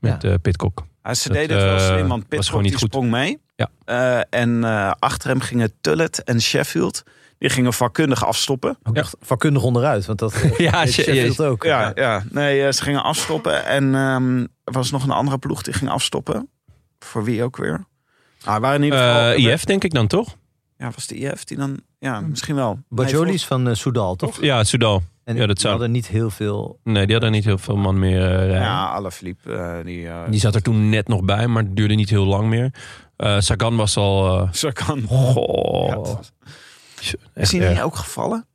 Met eh Pitcock.
Ja, ze
Dat,
deden het wel
eh,
slim,
was
want Pitcock
gewoon niet
die
goed.
sprong mee.
Ja.
Eh, en eh, achter hem gingen Tullet en Sheffield. Die gingen vakkundig afstoppen.
Ook
Ja.
echt vakkundig onderuit, want dat
Ja,
deed
je- je-
Sheffield ook.
Ja, ja. Nee, eh, ze gingen afstoppen. En ehm, er was nog een andere ploeg die ging afstoppen. Voor wie ook weer? Ah, waren in ieder geval...
Eh IF denk ik dan toch?
Ja, was de IF die dan... Ja, misschien wel.
Bajoli
Nee,
is van eh, Soudal, toch?
Ja, Soudal.
En
Ja, dat
die
zou-
hadden niet heel veel.
Nee, die hadden niet heel veel man meer eh, rijden.
Ja, Alaphilippe. eh, die, eh,
Die zat er toen net nog bij, maar het duurde niet heel lang meer. Eh, Sagan was al... eh,
Zo kan.
goh,
Ja.
echt
Is hij niet
erg.
ook gevallen?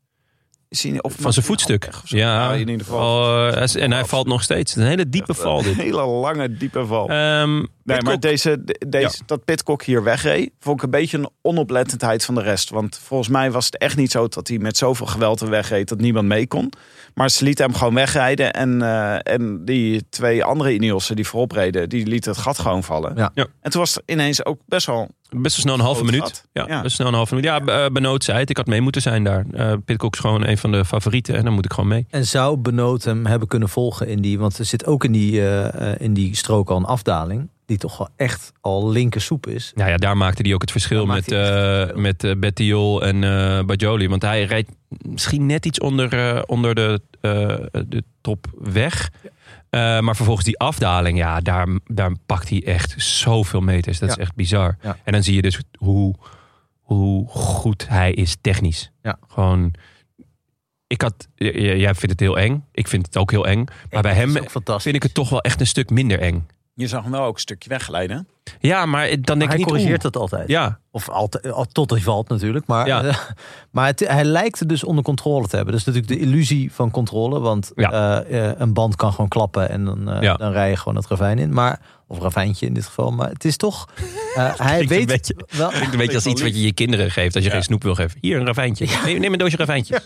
Is hij niet op...
van zijn voetstuk.
Of zo.
Ja, Oh.
Nou, in ieder geval.
Al, eh, en hij valt nog steeds. Een hele diepe val dit.
Een hele lange, diepe val.
Ehm,
Nee, maar
Pitcock.
deze, de- deze, dat Pitcock hier wegreed, vond ik een beetje een onoplettendheid van de rest. Want volgens mij was het echt niet zo dat hij met zoveel geweld er wegreed dat niemand mee kon. Maar ze lieten hem gewoon wegrijden. En, eh, en die twee andere Ineossen die voorop reden, die lieten het gat gewoon vallen.
Ja.
Ja.
En toen was het ineens ook best wel...
Best wel snel een halve
Groot
minuut.
gat.
Ja,
Ja.
best snel een halve minuut. Ja, be- eh, Benoot zei het. Ik had mee moeten zijn daar. Eh Pitcock is gewoon een van de favorieten. En dan moet ik gewoon mee.
En zou Benoot hem hebben kunnen volgen in die... Want er zit ook in die, eh, eh, in die strook al een afdaling... die toch wel echt al linker soep is.
Nou ja, daar maakte hij ook het verschil
Daar
met,
maakte hij echt het
eh
verschil.
met eh, Bettiol en eh Bajoli. Want hij rijdt misschien net iets onder, eh, onder de, eh, de top weg. Eh, maar vervolgens die afdaling, ja, daar, daar pakt hij echt zoveel meters. Dat
Ja.
is echt bizar.
Ja.
En dan zie je dus hoe, hoe goed hij is technisch.
Ja.
Gewoon, ik had, j- j- jij vindt het heel eng. Ik vind het ook heel eng. Maar bij
Dat is
hem
ook fantastisch.
vind ik het toch wel echt een stuk minder eng.
Je zag hem wel ook een stukje wegglijden.
Ja, maar dan denk
Maar
ik
hij
niet...
corrigeert
oeh.
dat altijd.
Ja,
Of altijd, eh, al- tot hij valt natuurlijk. Maar,
Ja.
eh, maar het, hij lijkt het dus onder controle te hebben. Dat is natuurlijk de illusie van controle. Want
Ja.
eh, eh, een band kan gewoon klappen en dan, eh,
Ja.
dan rij je gewoon het ravijn in. Maar, of ravijntje in dit geval. Maar het is toch... eh, hij
Klinkt een
weet
beetje-
wel...
Klinkt een beetje als iets wat je je kinderen geeft als je geen snoep wil geven. Hier, een ravijntje. Neem, neem een doosje ravijntjes.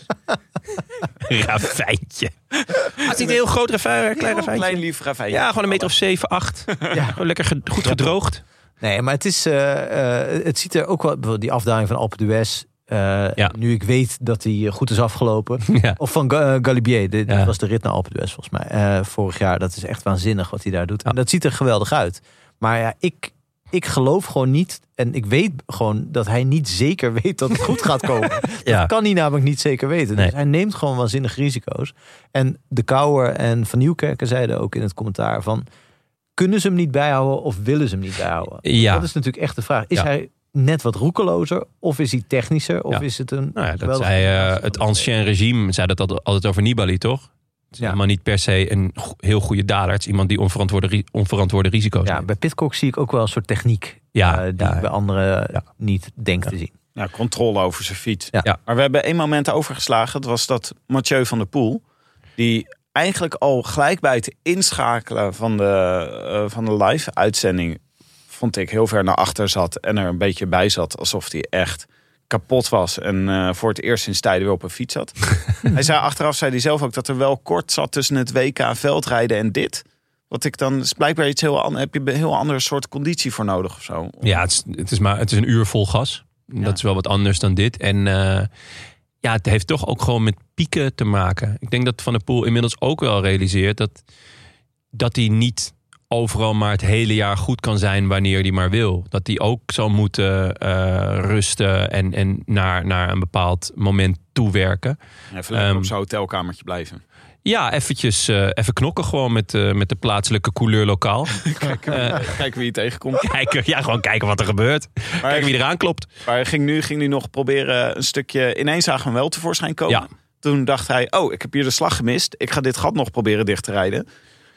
ravijntje. Ah, het is niet een heel groot ravijn, een klein ravijntje.
Klein lief ravijntje.
Ja, gewoon een meter of 7, 8. Gewoon Lekker ge- goed gedroogd.
Nee, maar het is... eh, eh, het ziet er ook wel... bijvoorbeeld Die afdaling van Alpe d'Huez. eh,
Ja.
Nu ik weet dat hij eh, goed is afgelopen.
Ja.
Of van Ga- eh, Galibier. Dit
Ja.
was de rit naar Alpe d'Huez volgens mij. eh, vorig jaar. Dat is echt waanzinnig wat hij daar doet.
Ja.
En dat ziet er geweldig uit. Maar ja, ik, ik geloof gewoon niet. En ik weet gewoon dat hij niet zeker weet dat het goed gaat komen.
Ja.
Dat kan hij namelijk niet zeker weten.
Nee.
Dus hij neemt gewoon waanzinnig risico's. En de Kouwer en Van Nieuwkerken zeiden ook in het commentaar van... Kunnen ze hem niet bijhouden of willen ze hem niet bijhouden?
Ja.
Dat is natuurlijk echt de vraag. Is
Ja.
hij net wat roekelozer? Of is hij technischer? Of
Ja.
is het een...
Nou ja, dat
geweldige
zei eh,
combinatie van
het
de twee?
ancien regime, zei dat al- altijd over Nibali, toch? Het is
Ja.
helemaal niet per se een go- heel goede dader. Het is iemand die onverantwoorde, ri- onverantwoorde risico's
Ja,
neemt.
bij Pitcock zie ik ook wel een soort techniek. eh,
Ja,
die
ja.
ik bij anderen
Ja.
niet denk te zien.
Ja, Nou, controle over zijn fiets.
Ja.
Ja.
Maar we hebben één moment overgeslagen. Dat was dat Mathieu van der Poel. Die eigenlijk al gelijk bij het inschakelen van de, eh, van de live uitzending... vond ik heel ver naar achter zat. En er een beetje bij zat. Alsof hij echt kapot was. En eh, voor het eerst sinds tijden weer op een fiets zat. hij zei achteraf, zei hij zelf ook, dat er wel kort zat tussen het WK veldrijden en dit. Wat ik dan, is blijkbaar iets heel anders. Heb je een heel ander soort conditie voor nodig of zo?
Ja, het is, het is, maar, het is een uur vol gas. Dat is wel wat anders dan dit. En eh, ja, het heeft toch ook gewoon met pieken te maken. Ik denk dat Van der Poel inmiddels ook wel realiseert dat, dat hij niet overal maar het hele jaar goed kan zijn wanneer hij maar wil. Dat hij ook zal moeten eh, rusten en, en naar, naar een bepaald moment toewerken.
Even lekker
Ehm,
op zo'n hotelkamertje blijven.
Ja, eventjes eh, even knokken gewoon met, eh, met de plaatselijke couleur lokaal. Eh,
Kijken wie je tegenkomt.
kijken, ja, gewoon kijken wat er gebeurt. kijken wie eraan klopt.
Maar hij ging nu, ging hij nog proberen een stukje... Ineens zagen we hem wel tevoorschijn komen.
Ja.
Toen dacht hij, oh, ik heb hier de slag gemist. Ik ga dit gat nog proberen dicht te rijden.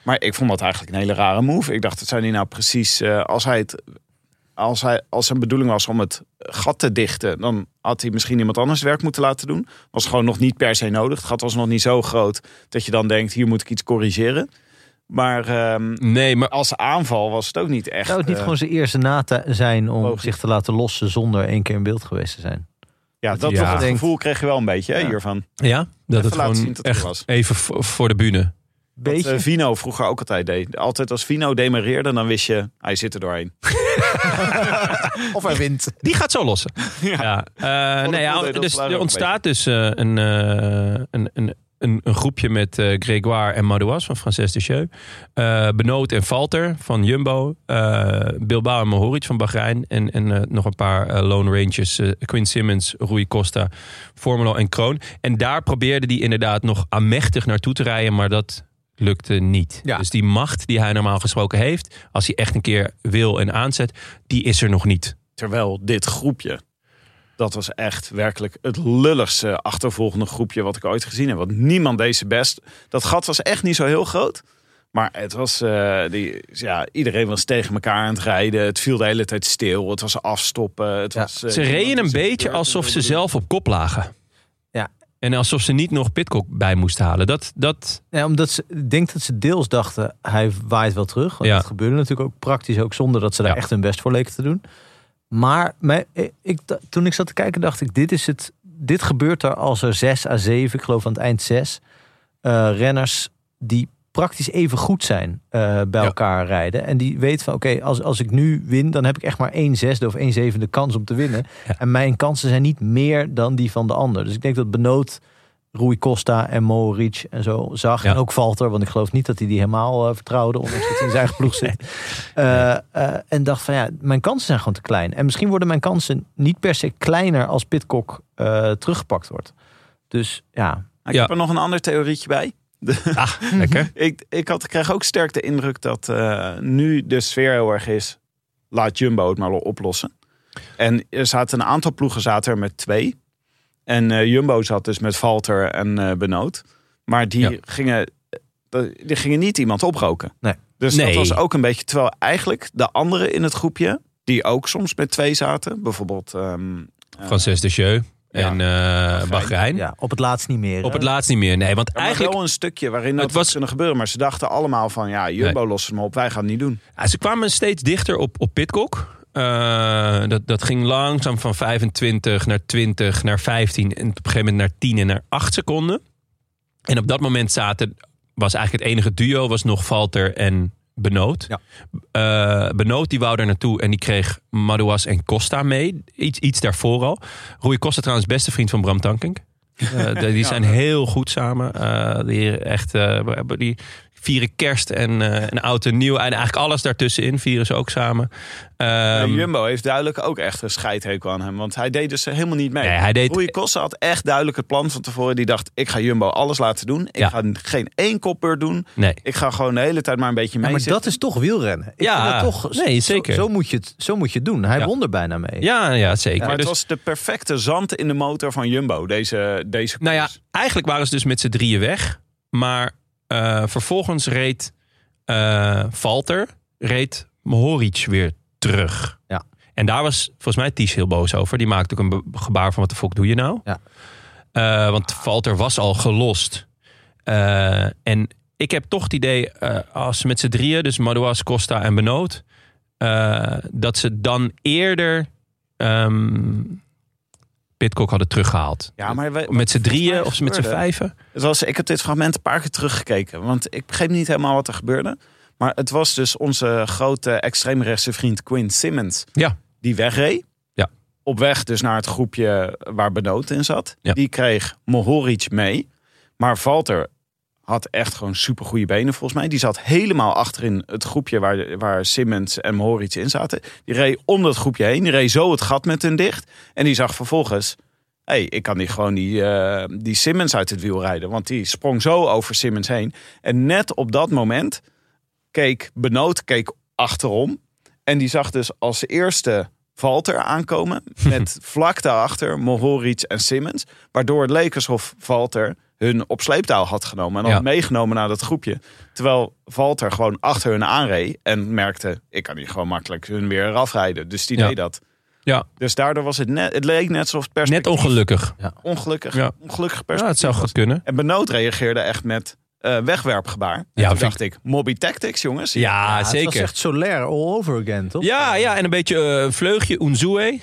Maar ik vond dat eigenlijk een hele rare move. Ik dacht, dat zijn die nou precies... eh, als, hij het, als, hij, als zijn bedoeling was om het gat te dichten... dan had hij misschien iemand anders werk moeten laten doen. Was gewoon nog niet per se nodig. Het gat was nog niet zo groot dat je dan denkt... hier moet ik iets corrigeren. Maar ehm,
Nee, maar
als aanval was het ook niet echt...
Zou het niet
eh,
gewoon zijn eerste na te- zijn om
logisch.
zich te laten lossen zonder één keer in beeld geweest te zijn?
Ja, dat
Ja.
toch het
Denkt-
gevoel kreeg je wel een beetje hè,
Ja.
hiervan.
Ja, dat het
laten
gewoon
zien dat het
echt
was.
even vo- voor de bühne.
Beetje.
Dat eh, Vino vroeger ook altijd deed. Altijd als Vino demareerde, dan wist je, hij zit er doorheen.
of hij wint.
Die gaat zo lossen. Ja. Eh, nou
Van de Poel
ja,
deed dat
dus
vandaag
er
ook
ontstaat dus eh, een, eh, een, een, een, een groepje met eh Grégoire en Madouas van Frances de Cheu. Eh, Benoot en Falter van Jumbo. eh, Bilbao en Mohoric van Bahrein. En, en eh, nog een paar eh, Lone Rangers. eh, Quinn Simmons, Rui Costa, Formelo en Kroon. En daar probeerde hij inderdaad nog amechtig naartoe te rijden, maar dat lukte niet.
Ja.
Dus die macht die hij normaal gesproken heeft, als hij echt een keer wil en aanzet, die is er nog niet.
Terwijl dit groepje, dat was echt werkelijk het lulligste achtervolgende groepje wat ik ooit gezien heb. Want niemand deed zijn best. Dat gat was echt niet zo heel groot. Maar het was, eh, die, ja, iedereen was tegen elkaar aan het rijden. Het viel de hele tijd stil. Het was afstoppen. Het
Ja.
was, eh,
Ze
niemand
reden een
eh, die zijn
beetje
beurt
alsof
wilde
ze
doen.
zelf op kop lagen. En alsof ze niet nog Pitcock bij moest halen. Dat, dat,
Ja, omdat ze, ik denk dat ze deels dachten, hij waait wel terug. Want
Ja.
dat gebeurde natuurlijk ook praktisch, ook zonder dat ze daar
Ja.
echt hun best voor leken te doen. Maar mij- ik, da- toen ik zat te kijken, dacht ik, dit, is het, dit gebeurt er als er zes à zeven, ik geloof aan het eind zes, eh, renners die praktisch even goed zijn eh, bij
Ja.
elkaar rijden. En die weten van, oké, als, als ik nu win, dan heb ik echt maar één zesde of één zevende kans om te winnen.
Ja.
En mijn kansen zijn niet meer dan die van de ander. Dus ik denk dat Benoot Rui Costa en Mohoric en zo zag.
Ja.
En ook Valter, want ik geloof niet dat hij die helemaal eh, vertrouwde, ondanks dat hij in zijn eigen ploeg zit. Eh, eh, en dacht van ja, mijn kansen zijn gewoon te klein. En misschien worden mijn kansen niet per se kleiner als Pitcock eh, teruggepakt wordt. Dus ja,
Ik
Ja.
heb er nog een ander theorietje bij.
ah, lekker.
Ik, ik had, kreeg ook sterk de indruk dat eh, nu de sfeer heel erg is... laat Jumbo het maar wel oplossen. En er zaten een aantal ploegen zaten er met twee. En eh, Jumbo zat dus met Valter en eh Benoot. Maar die,
Ja.
gingen, eh, die gingen niet iemand oproken.
Nee.
Dus
Nee.
dat was ook een beetje... Terwijl eigenlijk de anderen in het groepje... die ook soms met twee zaten. Bijvoorbeeld... ehm, eh,
Frances de Jeu en eh Bahrein.
ja, op het laatst niet meer.
Op het
hè?
laatst niet meer. Nee, want
Ja, maar
eigenlijk...
wel een stukje waarin dat
Het
het
was-
was kunnen gebeuren. Maar ze dachten allemaal van ja, Jumbo lost het maar op, wij gaan het niet doen.
Ja, Ah, ze kwamen steeds dichter op, op Pitcock. Eh, dat, dat ging langzaam van 25 naar 20 naar 15 en op een gegeven moment naar 10 en naar 8 seconden. En op dat moment zaten, was eigenlijk het enige duo, was nog Valter en Benoot.
Ja.
Eh, Benoot die wou daar naartoe en die kreeg Madouas en Costa mee. Iets, iets daarvoor al. Rui Costa trouwens beste vriend van Bram Tankink. Eh, de- die zijn heel goed samen. Eh, die, echt, eh, die vieren kerst en, eh, en oud en nieuw. En eigenlijk alles daartussenin vieren ze ook samen. Ehm,
En Jumbo heeft duidelijk ook echt een scheidhekel aan hem. Want hij deed dus helemaal niet mee.
Nee, hij deed-
Rui Costa had echt duidelijk het plan van tevoren. Die dacht, ik ga Jumbo alles laten doen. Ik
Ja.
ga geen één kopbeurt doen.
nee.
Ik ga gewoon de hele tijd maar een beetje
Ja,
mee
maar
zitten.
dat is toch wielrennen. Ik
Ja,
vind dat toch,
nee,
zo-
zeker.
Zo, moet je het, zo moet je het doen. Hij
Ja.
won er bijna mee.
Ja, ja, zeker.
Maar
Dus-
het was de perfecte zand in de motor van Jumbo, deze, deze
Nou ja,
koers.
eigenlijk waren ze dus met z'n drieën weg. Maar eh, vervolgens reed eh Valter, reed Mohoric weer terug.
Ja.
En daar was volgens mij Ties heel boos over. Die maakte ook een be- gebaar van wat de fuck doe je nou?
Ja.
Eh, want Valter was al gelost. Eh, en ik heb toch het idee, eh, als ze met z'n drieën, dus Madouas, Costa en Benoot... eh, dat ze dan eerder ehm Pitcock hadden teruggehaald.
Ja, maar we-
Eh, Met z'n drieën
volgens
of
mij
met z'n
gebeurde-
vijven?
Het was, ik heb dit fragment een paar keer teruggekeken. Want ik begreep niet helemaal wat er gebeurde. Maar het was dus onze grote extreemrechtse vriend Quinn Simmons.
Ja.
Die wegreed.
Ja.
Op weg dus naar het groepje waar Benoot in zat.
Ja.
Die kreeg Mohoric mee. Maar Valter had echt gewoon supergoeie benen volgens mij. Die zat helemaal achterin het groepje waar, waar Simmons en Mohoric in zaten. Die reed om dat groepje heen. Die reed zo het gat met hun dicht. En die zag vervolgens... Hé, hey, ik kan die gewoon die, eh, die Simmons uit het wiel rijden. Want die sprong zo over Simmons heen. En net op dat moment keek Benoot keek achterom. En die zag dus als eerste Valter aankomen. Met vlak daarachter Mohoric en Simmons. Waardoor het leek alsof Valter hun op sleeptouw had genomen. En had
Ja.
meegenomen naar dat groepje. Terwijl Valter gewoon achter hun aanreed. En merkte, ik kan hier gewoon makkelijk hun weer afrijden. Dus die
Ja.
deed dat.
Ja,
Dus daardoor was het net, het leek net alsof het
net
perspectief
ongelukkig.
ongelukkig,
Ja.
ongelukkig
Ja,
perspectief.
het zou goed kunnen.
En Benoot reageerde echt met eh, wegwerpgebaar. En
Ja,
toen
vind
dacht ik, Mobby Tactics, jongens.
Ja,
Het was
zeker.
echt Solaire all over again, toch?
Ja, ja, en een beetje eh, een vleugje Unzue.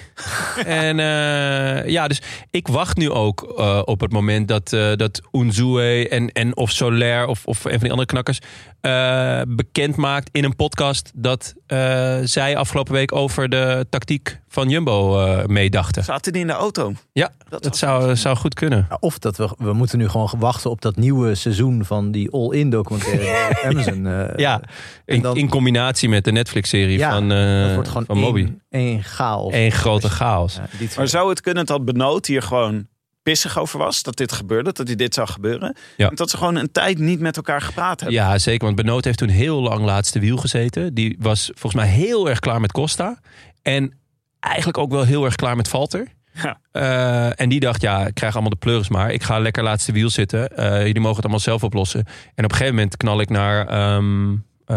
en eh, ja, dus ik wacht nu ook eh, op het moment dat, eh dat Unzue en, en of Soler of, of een van die andere knakkers eh, bekend maakt in een podcast dat eh, zij afgelopen week over de tactiek van Jumbo eh, meedachten.
Zaten die in de auto?
Ja, dat zou, zou goed kunnen.
Ja, Of dat we, we moeten nu gewoon wachten op dat nieuwe seizoen van die all-in documentaire op Amazon. eh.
Ja, in,
dan-
in combinatie met de Netflix-serie
Ja,
van, eh,
dat wordt gewoon
van Moby.
één, één chaos.
Eén grote chaos.
Ja, die twee.
Maar zou het kunnen dat Benoot hier gewoon pissig over was? Dat dit gebeurde, dat hij dit zou gebeuren?
Ja.
En dat ze gewoon een tijd niet met elkaar gepraat hebben.
Ja, zeker. Want Benoot heeft toen heel lang laatste wiel gezeten. Die was volgens mij heel erg klaar met Costa. En eigenlijk ook wel heel erg klaar met Valter.
Ja.
Eh, en die dacht, ja, ik krijg allemaal de pleuris maar. Ik ga lekker laatste wiel zitten. Eh, jullie mogen het allemaal zelf oplossen. En op een gegeven moment knal ik naar, ehm eh,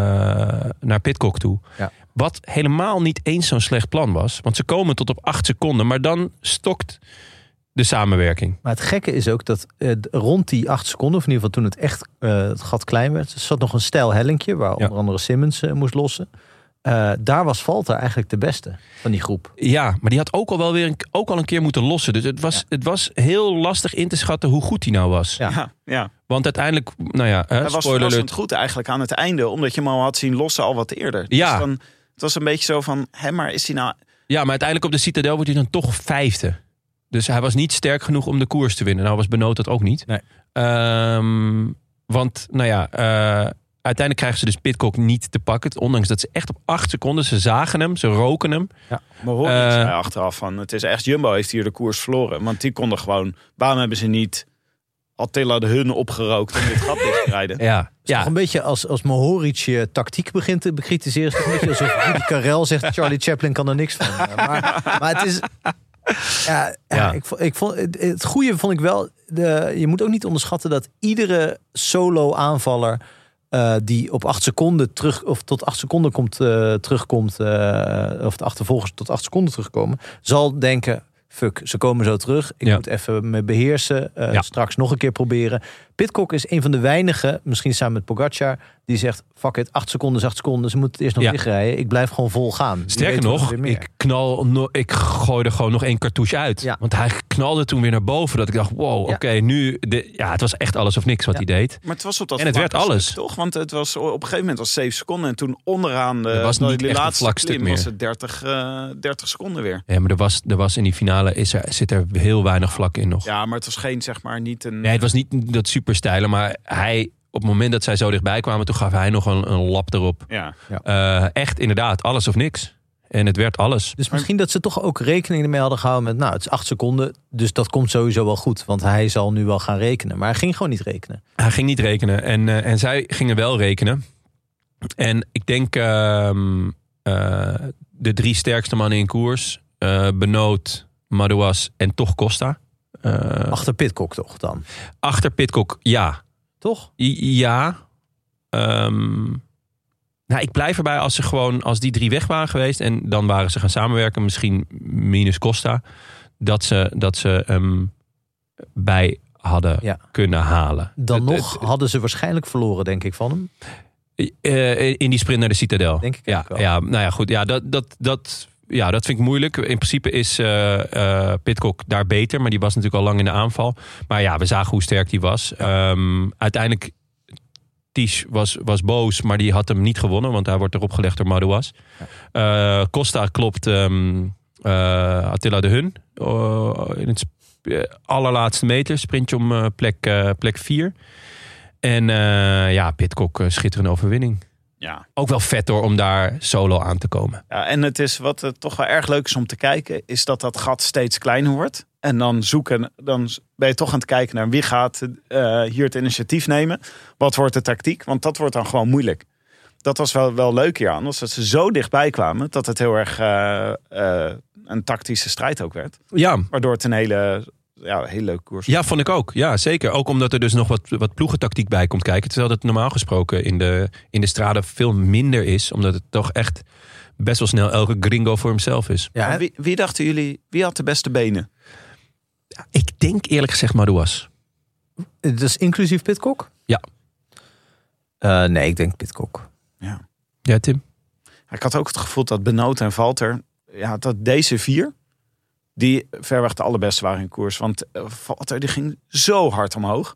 naar Pitcock toe.
Ja.
Wat helemaal niet eens zo'n slecht plan was. Want ze komen tot op acht seconden. Maar dan stokt de samenwerking.
Maar het gekke is ook dat eh, d- rond die acht seconden, of in ieder geval toen het echt eh, het gat klein werd, zat nog een stijl hellinkje waar onder andere Simmons eh, moest lossen. Eh, daar was Valter eigenlijk de beste van die groep.
Ja, maar die had ook al wel weer een, ook al een keer moeten lossen. Dus het was, het was heel lastig in te schatten hoe goed hij nou was.
Ja.
Ja, ja.
Want uiteindelijk, nou ja, hè,
Hij was
spoiler alert.
verrassend goed eigenlijk aan het einde. Omdat je hem al had zien lossen al wat eerder.
Ja.
Dus dan, het was een beetje zo van, hè, maar is hij nou...
Ja, maar uiteindelijk op de Citadel wordt hij dan toch vijfde. Dus hij was niet sterk genoeg om de koers te winnen. Nou was Benoot dat ook niet.
Nee.
Ehm, want, nou ja, eh, uiteindelijk krijgen ze dus Pitcock niet te pakken. Ondanks dat ze echt op acht seconden, ze zagen hem, ze roken hem.
Maar hoor,
Eh.
zei achteraf van, het is echt Jumbo heeft hier de koers verloren. Want die konden gewoon, waarom hebben ze niet Attila de Hun opgerookt om dit gat dicht te rijden?
Ja,
Toch
ja.
een beetje als, als Mohoric je tactiek begint te bekritiseren. is het Een beetje alsof Rudy Karel zegt, Charlie Chaplin kan er niks van. Eh, Maar, maar het is... Ja, ja,
Ja.
Ik, vo- ik vond, het, het goede vond ik wel... De, je moet ook niet onderschatten dat iedere solo aanvaller... eh, die op acht seconden terug, of tot acht seconden komt, eh, terugkomt, eh, of de achtervolgers tot acht seconden terugkomen, zal denken: fuck, ze komen zo terug. Ik
Ja.
moet even me beheersen. eh,
Ja.
Straks nog een keer proberen. Pitcock is een van de weinigen, misschien samen met Pogacar, die zegt: fuck it, acht seconden is acht seconden. Ze moeten het eerst nog
Ja.
wegrijden. Ik blijf gewoon vol gaan. Wie
Sterker
weet wordt
nog,
er weer meer.
ik, knal, no- ik gooi er gewoon nog één cartouche uit.
Ja.
Want hij knalde toen weer naar boven. Dat ik dacht, wow, oké,
Ja.
nu... De, ja, het was echt alles of niks wat
Ja.
hij deed.
Maar het was op dat
En het werd
vlakke stuk,
alles.
toch? Want het was op een gegeven moment was 7 seconden. En toen onderaan de,
Het was niet
die
echt een
laatste
vlak stuk
klim
meer.
was het 30, eh, 30 seconden weer.
Ja, maar er was, er was in die finale is er, zit er heel weinig vlak in nog.
Ja, maar het was geen, zeg maar, niet een...
Nee, het was niet dat super stijlen, maar hij, op het moment dat zij zo dichtbij kwamen, toen gaf hij nog een, een lap erop.
Ja.
Eh, echt inderdaad, alles of niks. En het werd alles.
Dus misschien dat ze toch ook rekening ermee hadden gehouden met, nou, het is acht seconden, dus dat komt sowieso wel goed, want hij zal nu wel gaan rekenen. Maar hij ging gewoon niet rekenen.
Hij ging niet rekenen en, eh, en zij gingen wel rekenen. En ik denk ehm, eh, de drie sterkste mannen in koers, eh Benoot, Madouas en toch Costa. Eh,
Achter Pitcock toch dan?
achter Pitcock, ja.
Toch?
I- Ja. Ehm, nou, ik blijf erbij als ze gewoon, als die drie weg waren geweest en dan waren ze gaan samenwerken, misschien minus Costa, dat ze, dat ze hem bij hadden
Ja.
kunnen halen.
Dan
Het-
nog
het-
hadden ze waarschijnlijk verloren, denk ik, van hem.
eh, in die sprint naar de Citadel.
Denk ik
ja,
ook wel.
ja, nou ja, goed. Ja, dat, dat, dat, ja, dat vind ik moeilijk. In principe is eh eh Pitcock daar beter. Maar die was natuurlijk al lang in de aanval. Maar ja, we zagen hoe sterk die was. Ehm, uiteindelijk, Ties was, was boos. Maar die had hem niet gewonnen. Want hij wordt erop gelegd door Madouas. Eh, Costa klopt ehm, eh, Attila de Hun. eh, in het sp- eh, allerlaatste meter. Sprintje om eh, plek 4. plek vier. en eh, ja, Pitcock, eh, schitterende overwinning
ja.
ook wel vet hoor om daar solo aan te komen.
Ja, en het is wat het toch wel erg leuk is om te kijken, is dat dat gat steeds kleiner wordt. En dan zoeken, dan ben je toch aan het kijken naar wie gaat eh, hier het initiatief nemen. Wat wordt de tactiek? Want dat wordt dan gewoon moeilijk. Dat was wel, wel leuk hier aan, was dat ze zo dichtbij kwamen dat het heel erg eh, eh, een tactische strijd ook werd.
Ja,
Waardoor het een hele, ja, heel leuk koers
ja vond ik ook. Ja, zeker. Ook omdat er dus nog wat, wat ploegentactiek bij komt kijken. Terwijl dat normaal gesproken in de, in de straten veel minder is. Omdat het toch echt best wel snel elke gringo voor himself is.
Ja,
Maar Wie, wie dachten jullie, wie had de beste benen?
Ik denk eerlijk gezegd Madouas.
Dat is inclusief Pitcock?
Ja.
Eh, nee, ik denk Pitcock.
Ja, Tim?
Ik had ook het gevoel dat Benoot en Valter, ja, dat deze vier, die verreweg de allerbeste waren in koers. Want eh, Valter die ging zo hard omhoog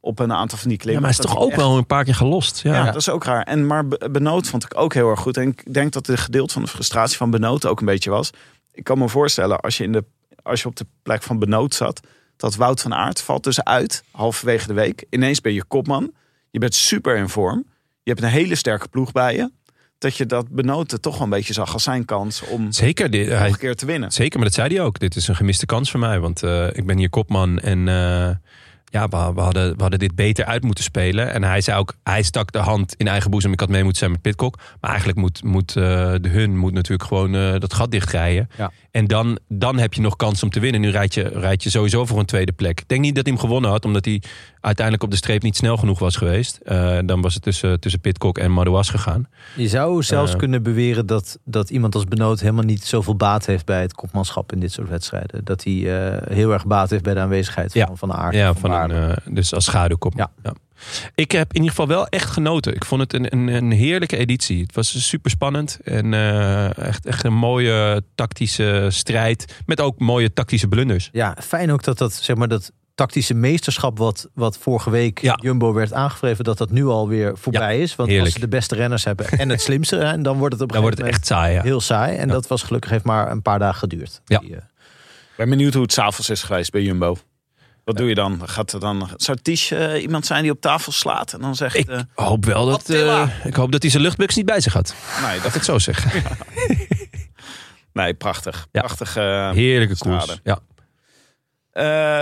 op een aantal van die
Ja,
klimmen.
maar hij is
Dat
toch ook
echt-
wel een paar keer gelost. Ja,
Ja,
ja.
dat is ook raar. En, maar Be- Benoot vond ik ook heel erg goed. En ik denk dat de gedeelte van de frustratie van Benoot ook een beetje was. Ik kan me voorstellen, als je, in de, als je op de plek van Benoot zat, dat Wout van Aert valt dus uit halverwege de week. Ineens ben je kopman. Je bent super in vorm. Je hebt een hele sterke ploeg bij je. Dat je dat Benoot er toch wel een beetje zag als zijn kans om nog
Zeker, dit, hij,
een keer te winnen.
zeker, maar dat zei hij ook. Dit is een gemiste kans voor mij, want eh, ik ben hier kopman en... eh, ja, we, we hadden, we hadden dit beter uit moeten spelen. En hij zei ook, hij stak de hand in eigen boezem. Ik had mee moeten zijn met Pitcock. Maar eigenlijk moet, moet eh, de hun moet natuurlijk gewoon eh, dat gat dichtrijden.
Ja.
En dan, dan heb je nog kans om te winnen. Nu rijd je, rijd je sowieso voor een tweede plek. Ik denk niet dat hij hem gewonnen had, omdat hij uiteindelijk op de streep niet snel genoeg was geweest. Eh, dan was het tussen, tussen Pitcock en Madouas gegaan.
Je zou zelfs
Eh.
kunnen beweren dat, dat iemand als Benoot helemaal niet zoveel baat heeft bij het kopmanschap in dit soort wedstrijden. Dat hij eh, heel erg baat heeft bij de aanwezigheid van,
Ja.
van Aard.
Ja, van een,
Baarle.
eh, dus als schaduwkop.
Ja.
Ik heb in ieder geval wel echt genoten. Ik vond het een, een, een heerlijke editie. Het was super spannend en eh, echt, echt een mooie tactische strijd. Met ook mooie tactische blunders.
Ja, fijn ook dat dat, zeg maar, dat tactische meesterschap wat, wat vorige week
Ja.
Jumbo werd aangevreven, dat dat nu alweer voorbij is. Want
heerlijk.
als ze de beste renners hebben en het slimste, en dan wordt het op een
Dan wordt
gegeven
het
moment
echt saai. ja.
heel saai. En
Ja.
dat was gelukkig heeft maar een paar dagen geduurd.
Ja.
Die, eh,
Ik ben benieuwd hoe het s'avonds is geweest bij Jumbo. Wat doe je dan? Gaat er dan zou Ties eh, iemand zijn die op tafel slaat en dan zegt...
Ik
eh,
hoop wel dat,
Attila.
eh, ik hoop dat hij zijn luchtbuks niet bij zich had.
nee,
Laat ik
dat,
het zo zeggen.
nee, prachtig.
Ja.
Prachtig. eh,
Heerlijke
Strade.
koers. Ja.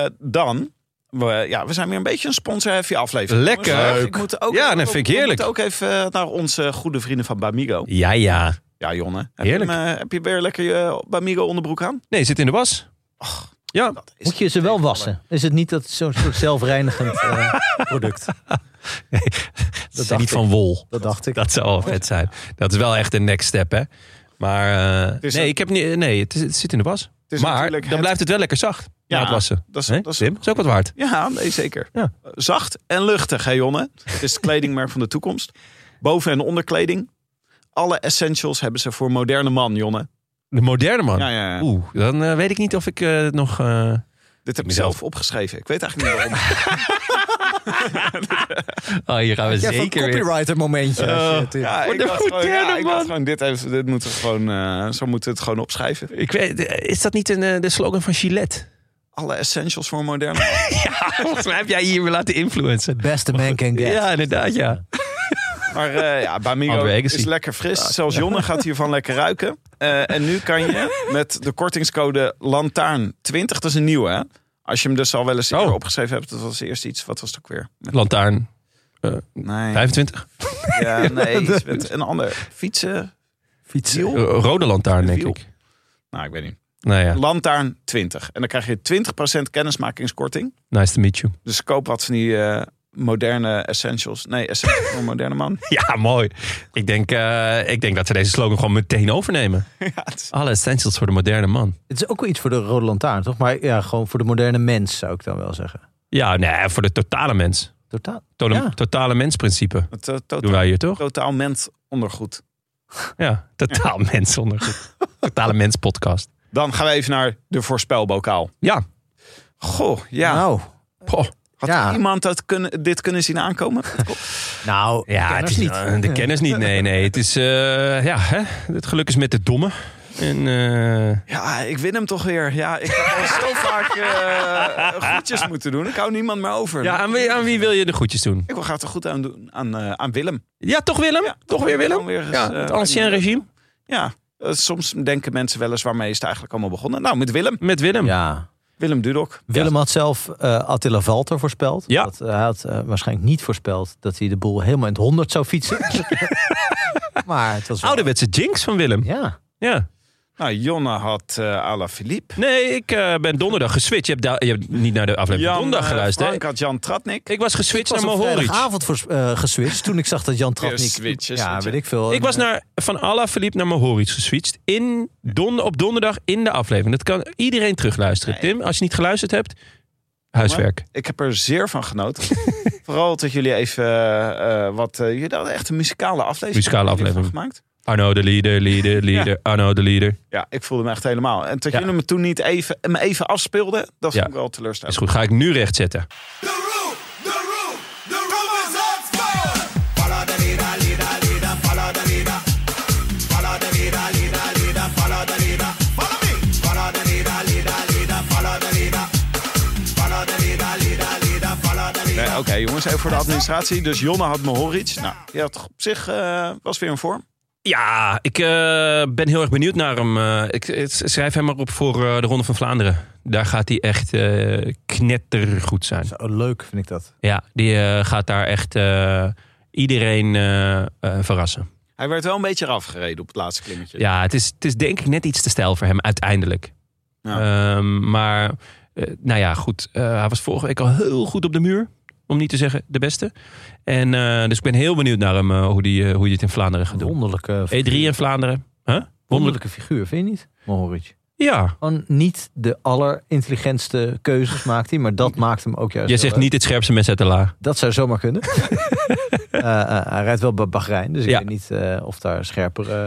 eh, dan, we, ja, we zijn weer een beetje een sponsor-heavy aflevering.
Lekker.
Jongens, Ik
Leuk.
moet ook,
Ja, dat vind ik heerlijk.
We moeten ook even eh, naar onze goede vrienden van Bamigo.
ja, ja.
Ja, Jonne. Heb
Heerlijk.
Je, hem, eh, heb je weer lekker je Bamigo onderbroek aan?
Nee, zit in de was. Ja,
Dat is
moet je ze wel wassen? Is het niet dat het zo'n soort zelfreinigend eh, product?
dat is
dacht
niet
ik.
van wol.
Dat dacht ik.
Dat zou wel vet zijn. Dat is wel echt een next step, hè? Maar eh,
is
nee,
een-
ik heb niet, nee het, is- het zit in de was.
is
Maar
natuurlijk
dan
het-
blijft het wel lekker zacht.
Ja,
na het wassen.
dat is-
Hè,
dat is-
Tim, is ook wat waard.
Ja, nee, zeker.
Ja.
Zacht en luchtig, hè Jonne? Het is het kledingmerk van de toekomst. Boven- en onderkleding. Alle essentials hebben ze voor moderne man, Jonne.
De moderne man.
Ja, ja, ja.
Oeh, dan eh, weet ik niet of ik eh, het nog. eh,
Dit heb ik
Mezelf.
zelf opgeschreven. Ik weet eigenlijk niet waarom.
Oh, hier gaan we
Ja, van
zeker. weer-
copywriter momentje. als je het-
Ja, ik
Oh, de
dacht gewoon, ja,
moderne
ik dacht
man.
gewoon, dit, heeft, dit moeten we gewoon, eh, zo moeten we het gewoon opschrijven.
Ik weet, is dat niet een, eh, de slogan van Gillette?
Alle essentials voor moderne man.
Volgens mij heb jij hier weer laten influencen.
Beste man can get.
Ja, inderdaad, ja.
Maar eh ja, Bamigo
Andre Agassi.
is lekker fris. Zelfs Jonne gaat hiervan lekker ruiken. Eh, en nu kan je met de kortingscode LANTAARN20, dat is een nieuwe hè. Als je hem dus al wel eens eerder
Oh.
opgeschreven hebt, dat was eerst iets, wat was het ook weer? Met-
Lantaarn
Nee,
25.
ja, nee iets met een ander. Fietsen,
Fietsen.
wiel?
Eh, rode lantaarn, denk
Wiel.
ik.
Nou, ik weet niet.
Nou ja,
Lantaarn20. En dan krijg je 20% kennismakingskorting.
nice to meet you.
Dus koop wat van die eh, moderne essentials. Nee, essentials voor een moderne man.
Ja, mooi. Ik denk, eh, ik denk dat ze deze slogan gewoon meteen overnemen.
Ja, het is-
Alle essentials voor de moderne man.
Het is ook wel iets voor de rode lantaarn, toch? Maar ja, gewoon voor de moderne mens, zou ik dan wel zeggen.
Ja, nee, voor de totale mens.
Totaal.
Totale,
Ja.
totale mensprincipe
het eh,
doen
totaal,
wij hier toch?
totaal mens ondergoed.
Ja, totaal mens zonder goed. Totale mens podcast.
Dan gaan we even naar de voorspelbokaal.
Ja.
Goh, ja.
Nou,
Goh.
Had
ja.
iemand dat kunnen, dit kunnen zien aankomen?
nou
Ja,
kenners
het is
niet.
eh, de kennis niet. Nee, nee. Het is, eh, ja, hè? het geluk is met de domme. En eh,
Ja, ik win hem toch weer. Ja, ik heb al zo vaak eh goedjes moeten doen. Ik hou niemand meer over.
ja, aan, wie, aan wie wil je de goedjes doen?
Ik wil graag er goed aan doen aan, eh, aan Willem.
Ja, toch Willem?
Ja,
toch weer Willem?
dan weer eens,
ja,
eh,
het ancien regime
Ja, eh, soms denken mensen wel eens waarmee is het eigenlijk allemaal begonnen. Nou, met Willem.
met Willem.
Ja.
Willem Dudok.
Willem had zelf eh, Attila Valter voorspeld.
Ja.
Dat, hij had eh, waarschijnlijk niet voorspeld dat hij de boel helemaal in het honderd zou fietsen. maar het was wel...
Ouderwetse jinx van Willem.
Ja.
ja.
Nou, Jonne had eh à la Philippe.
Nee, ik eh, ben donderdag geswitcht. Je hebt, da- je hebt niet naar de aflevering van donderdag
eh,
geluisterd. hè?
Frank had Jan Tratnik.
Ik was geswitcht
Ik was
naar
op
Mohoric.
vrijdagavond voor, eh, geswitcht toen ik zag dat Jan Tratnik...
Ja, switchen,
ja,
switchen.
weet ik veel.
Ik was naar Van Alla verliep naar Mohoric geswitcht. In don, op donderdag in de aflevering. Dat kan iedereen terugluisteren. Tim, als je niet geluisterd hebt, huiswerk.
Ik heb er zeer van genoten. Vooral dat jullie even eh, eh, wat... eh, jullie hadden echt een muzikale aflevering.
Muzikale
Jullie hebben
aflevering.
Gemaakt.
Arno de leader, leader, leader. Arno de leader.
Ja, ik voelde me echt helemaal. En dat
Ja.
jullie me toen niet even, me even afspeelden, dat
Ja.
vond ik wel
Is
teleurstellend.
goed, ga ik nu rechtzetten.
The room, the room, the room is on fire. Follow the leader, leader, leader, follow the leader. Follow the leader, leader, leader, follow the leader. Follow me. Follow the leader, leader, leader, follow the leader. Follow the leader, leader, leader, follow the leader.
Nee, Eh, Oké, jongens, even voor de administratie. Dus Jonne had Mohoric. Nou, die had op zich eh, was weer een vorm.
Ja, ik eh, ben heel erg benieuwd naar hem. Eh, ik, ik schrijf hem maar op voor eh, de Ronde van Vlaanderen. Daar gaat hij echt eh, knettergoed zijn.
Zo Oh, leuk vind ik dat.
Ja, die eh, gaat daar echt eh, iedereen eh, eh, verrassen.
Hij werd wel een beetje afgereden op het laatste klimmetje.
Ja, het is, het is denk ik net iets te stijl voor hem uiteindelijk. Ehm, maar, eh, nou ja, goed. eh, hij was vorige week al heel goed op de muur. Om niet te zeggen de beste. En, eh, dus ik ben heel benieuwd naar hem eh, hoe, die, eh, hoe hij het in Vlaanderen gaat doen.
Wonderlijke,
E3 in Vlaanderen. Huh? Wonderlijk.
E wonderlijke figuur, vind je niet? Mohoric.
Ja.
Gewoon niet de allerintelligentste keuzes maakt hij, maar dat maakt hem ook juist.
Je
heel
zegt
leuk.
niet het scherpste mes uit de la.
Dat zou zomaar kunnen. Eh, eh, hij rijdt wel bij Bahrein, dus ik
Ja.
weet niet eh, of daar scherper. eh, ja,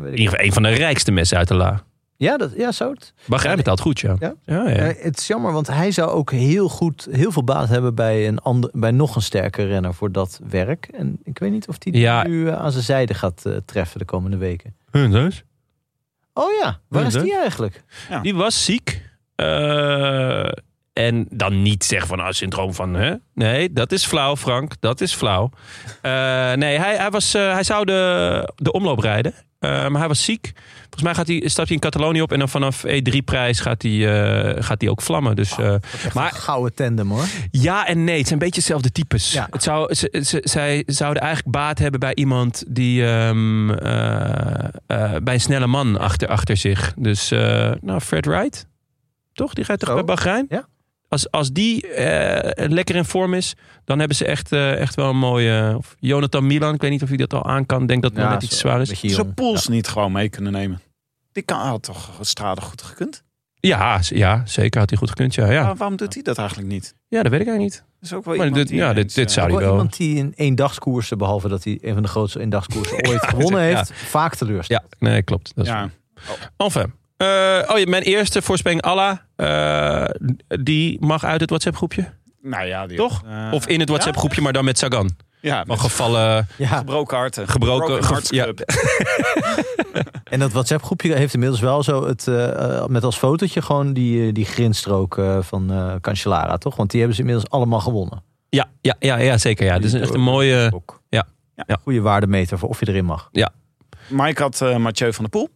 weet
In
ik
ieder geval een van de rijkste messen uit de la.
Ja, dat, ja, zo. het.
Bahrein betaalt goed, ja.
Ja?
ja, ja.
Eh, het is jammer, want hij zou ook heel goed, heel veel baat hebben bij, een ander, bij nog een sterke renner voor dat werk. En ik weet niet of die
Ja.
nu eh, aan zijn zijde gaat eh, treffen de komende weken.
Huh, dus?
Oh ja, waar
Ja,
is
dat-
die eigenlijk?
Die was ziek. Eh, en dan niet zeggen van ah, syndroom van. Hè? Nee, dat is flauw, Frank. Dat is flauw. Eh, nee, hij, hij, was, eh, hij zou de, de omloop rijden. Eh, maar hij was ziek. Volgens mij gaat hij, stapt hij in Catalonië op. En dan vanaf E3-prijs gaat, hij, eh, gaat hij ook vlammen. Dus, eh,
Maar
maar
gouden tandem hoor.
ja en nee, het zijn een beetje dezelfde types.
Ja.
Het zou, ze, ze- zij zouden eigenlijk baat hebben bij iemand die ehm, eh, eh, bij een snelle man achter, achter zich. Dus eh, nou, Fred Wright, toch? Die gaat toch
Zo.
bij Bahrein?
Ja.
Als, als die eh, lekker in vorm is, dan hebben ze echt, eh, echt wel een mooie... Of Jonathan Milan, ik weet niet of hij dat al aan kan. Ik denk dat het nog
Ja,
net iets
zo,
te zwaar is.
beetje
Zou
jong.
Poels niet gewoon mee kunnen nemen? Die kan, had toch strade goed gekund?
Ja, z- ja, zeker had hij goed gekund. Ja, ja.
Oh.
Waar- waarom doet hij dat eigenlijk niet?
ja dat weet ik eigenlijk niet.
Dat is ook wel
Maar
iemand
dit-
die
ja, dit-
ineens,
dit
eh,
zou-
Ook wel
die wel.
iemand die in eendagskoersen, behalve dat hij een van de grootste eendagskoersen ooit gewonnen
ja.
heeft, vaak teleurstelt.
Ja, nee, klopt. Dat is
Ja,
Enfin. Eh, oh ja, mijn eerste voorspelling, Allah. eh, die mag uit het WhatsApp groepje.
nou ja, die
Toch?
eh,
Of in het WhatsApp groepje, maar dan met Sagan.
Ja,
Van
met
gevallen.
Ja.
gebroken harten.
Gebroken-
Broken
ge-
Hearts
ja.
Club.
En dat WhatsApp-groepje heeft inmiddels wel zo het, eh, eh, met als fotootje gewoon die, eh, die grinstrook eh, van eh Cancellara, toch? Want die hebben ze inmiddels allemaal gewonnen.
Ja, ja, ja, ja zeker. Ja. Het is een- echt een mooie.
Ook.
ja. Ja.
Goede waardemeter voor of je erin mag.
Mike had eh, Mathieu van der Poel.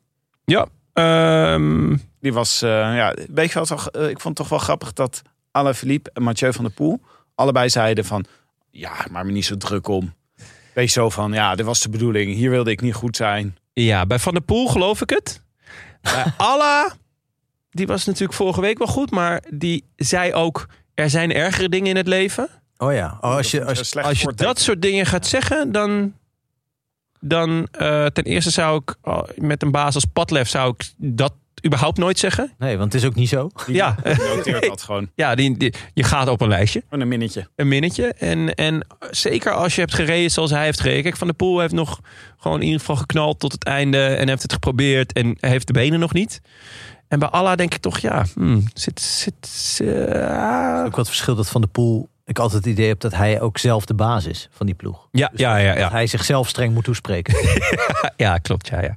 Ja. ehm,
Die was, eh, ja, weet je wat, toch, eh, ik vond het toch wel grappig dat Alain Philippe en Mathieu van der Poel allebei zeiden van, ja, maar me niet zo druk om. Wees zo van, ja, dit was de bedoeling. Hier wilde ik niet goed zijn.
ja, bij Van der Poel geloof ik het. Bij Allah. Die was natuurlijk vorige week wel goed. Maar die zei ook. Er zijn ergere dingen in het leven.
Oh ja, oh, als je, als,
slecht
Als je
voorteken.
dat soort dingen gaat zeggen, dan. Dan eh, ten eerste zou ik oh, met een baas als Padlef zou ik dat überhaupt nooit zeggen.
nee, want het is ook niet zo.
Ja,
noteert dat gewoon.
ja die, die- je gaat op een lijstje,
Gewoon een minnetje.
een minnetje. En, en zeker als je hebt gereden zoals hij heeft gereden. Kijk, Van der Poel heeft nog gewoon in ieder geval geknald tot het einde. En heeft het geprobeerd en heeft de benen nog niet. En bij Allah denk ik toch, ja, hmm, zit, zit, eh,
Ook wat verschil dat Van de Poel, ik altijd het idee heb dat hij ook zelf de baas is van die ploeg.
ja, ja, ja,
Dat
ja,
hij zichzelf streng moet toespreken.
ja, klopt, ja, ja.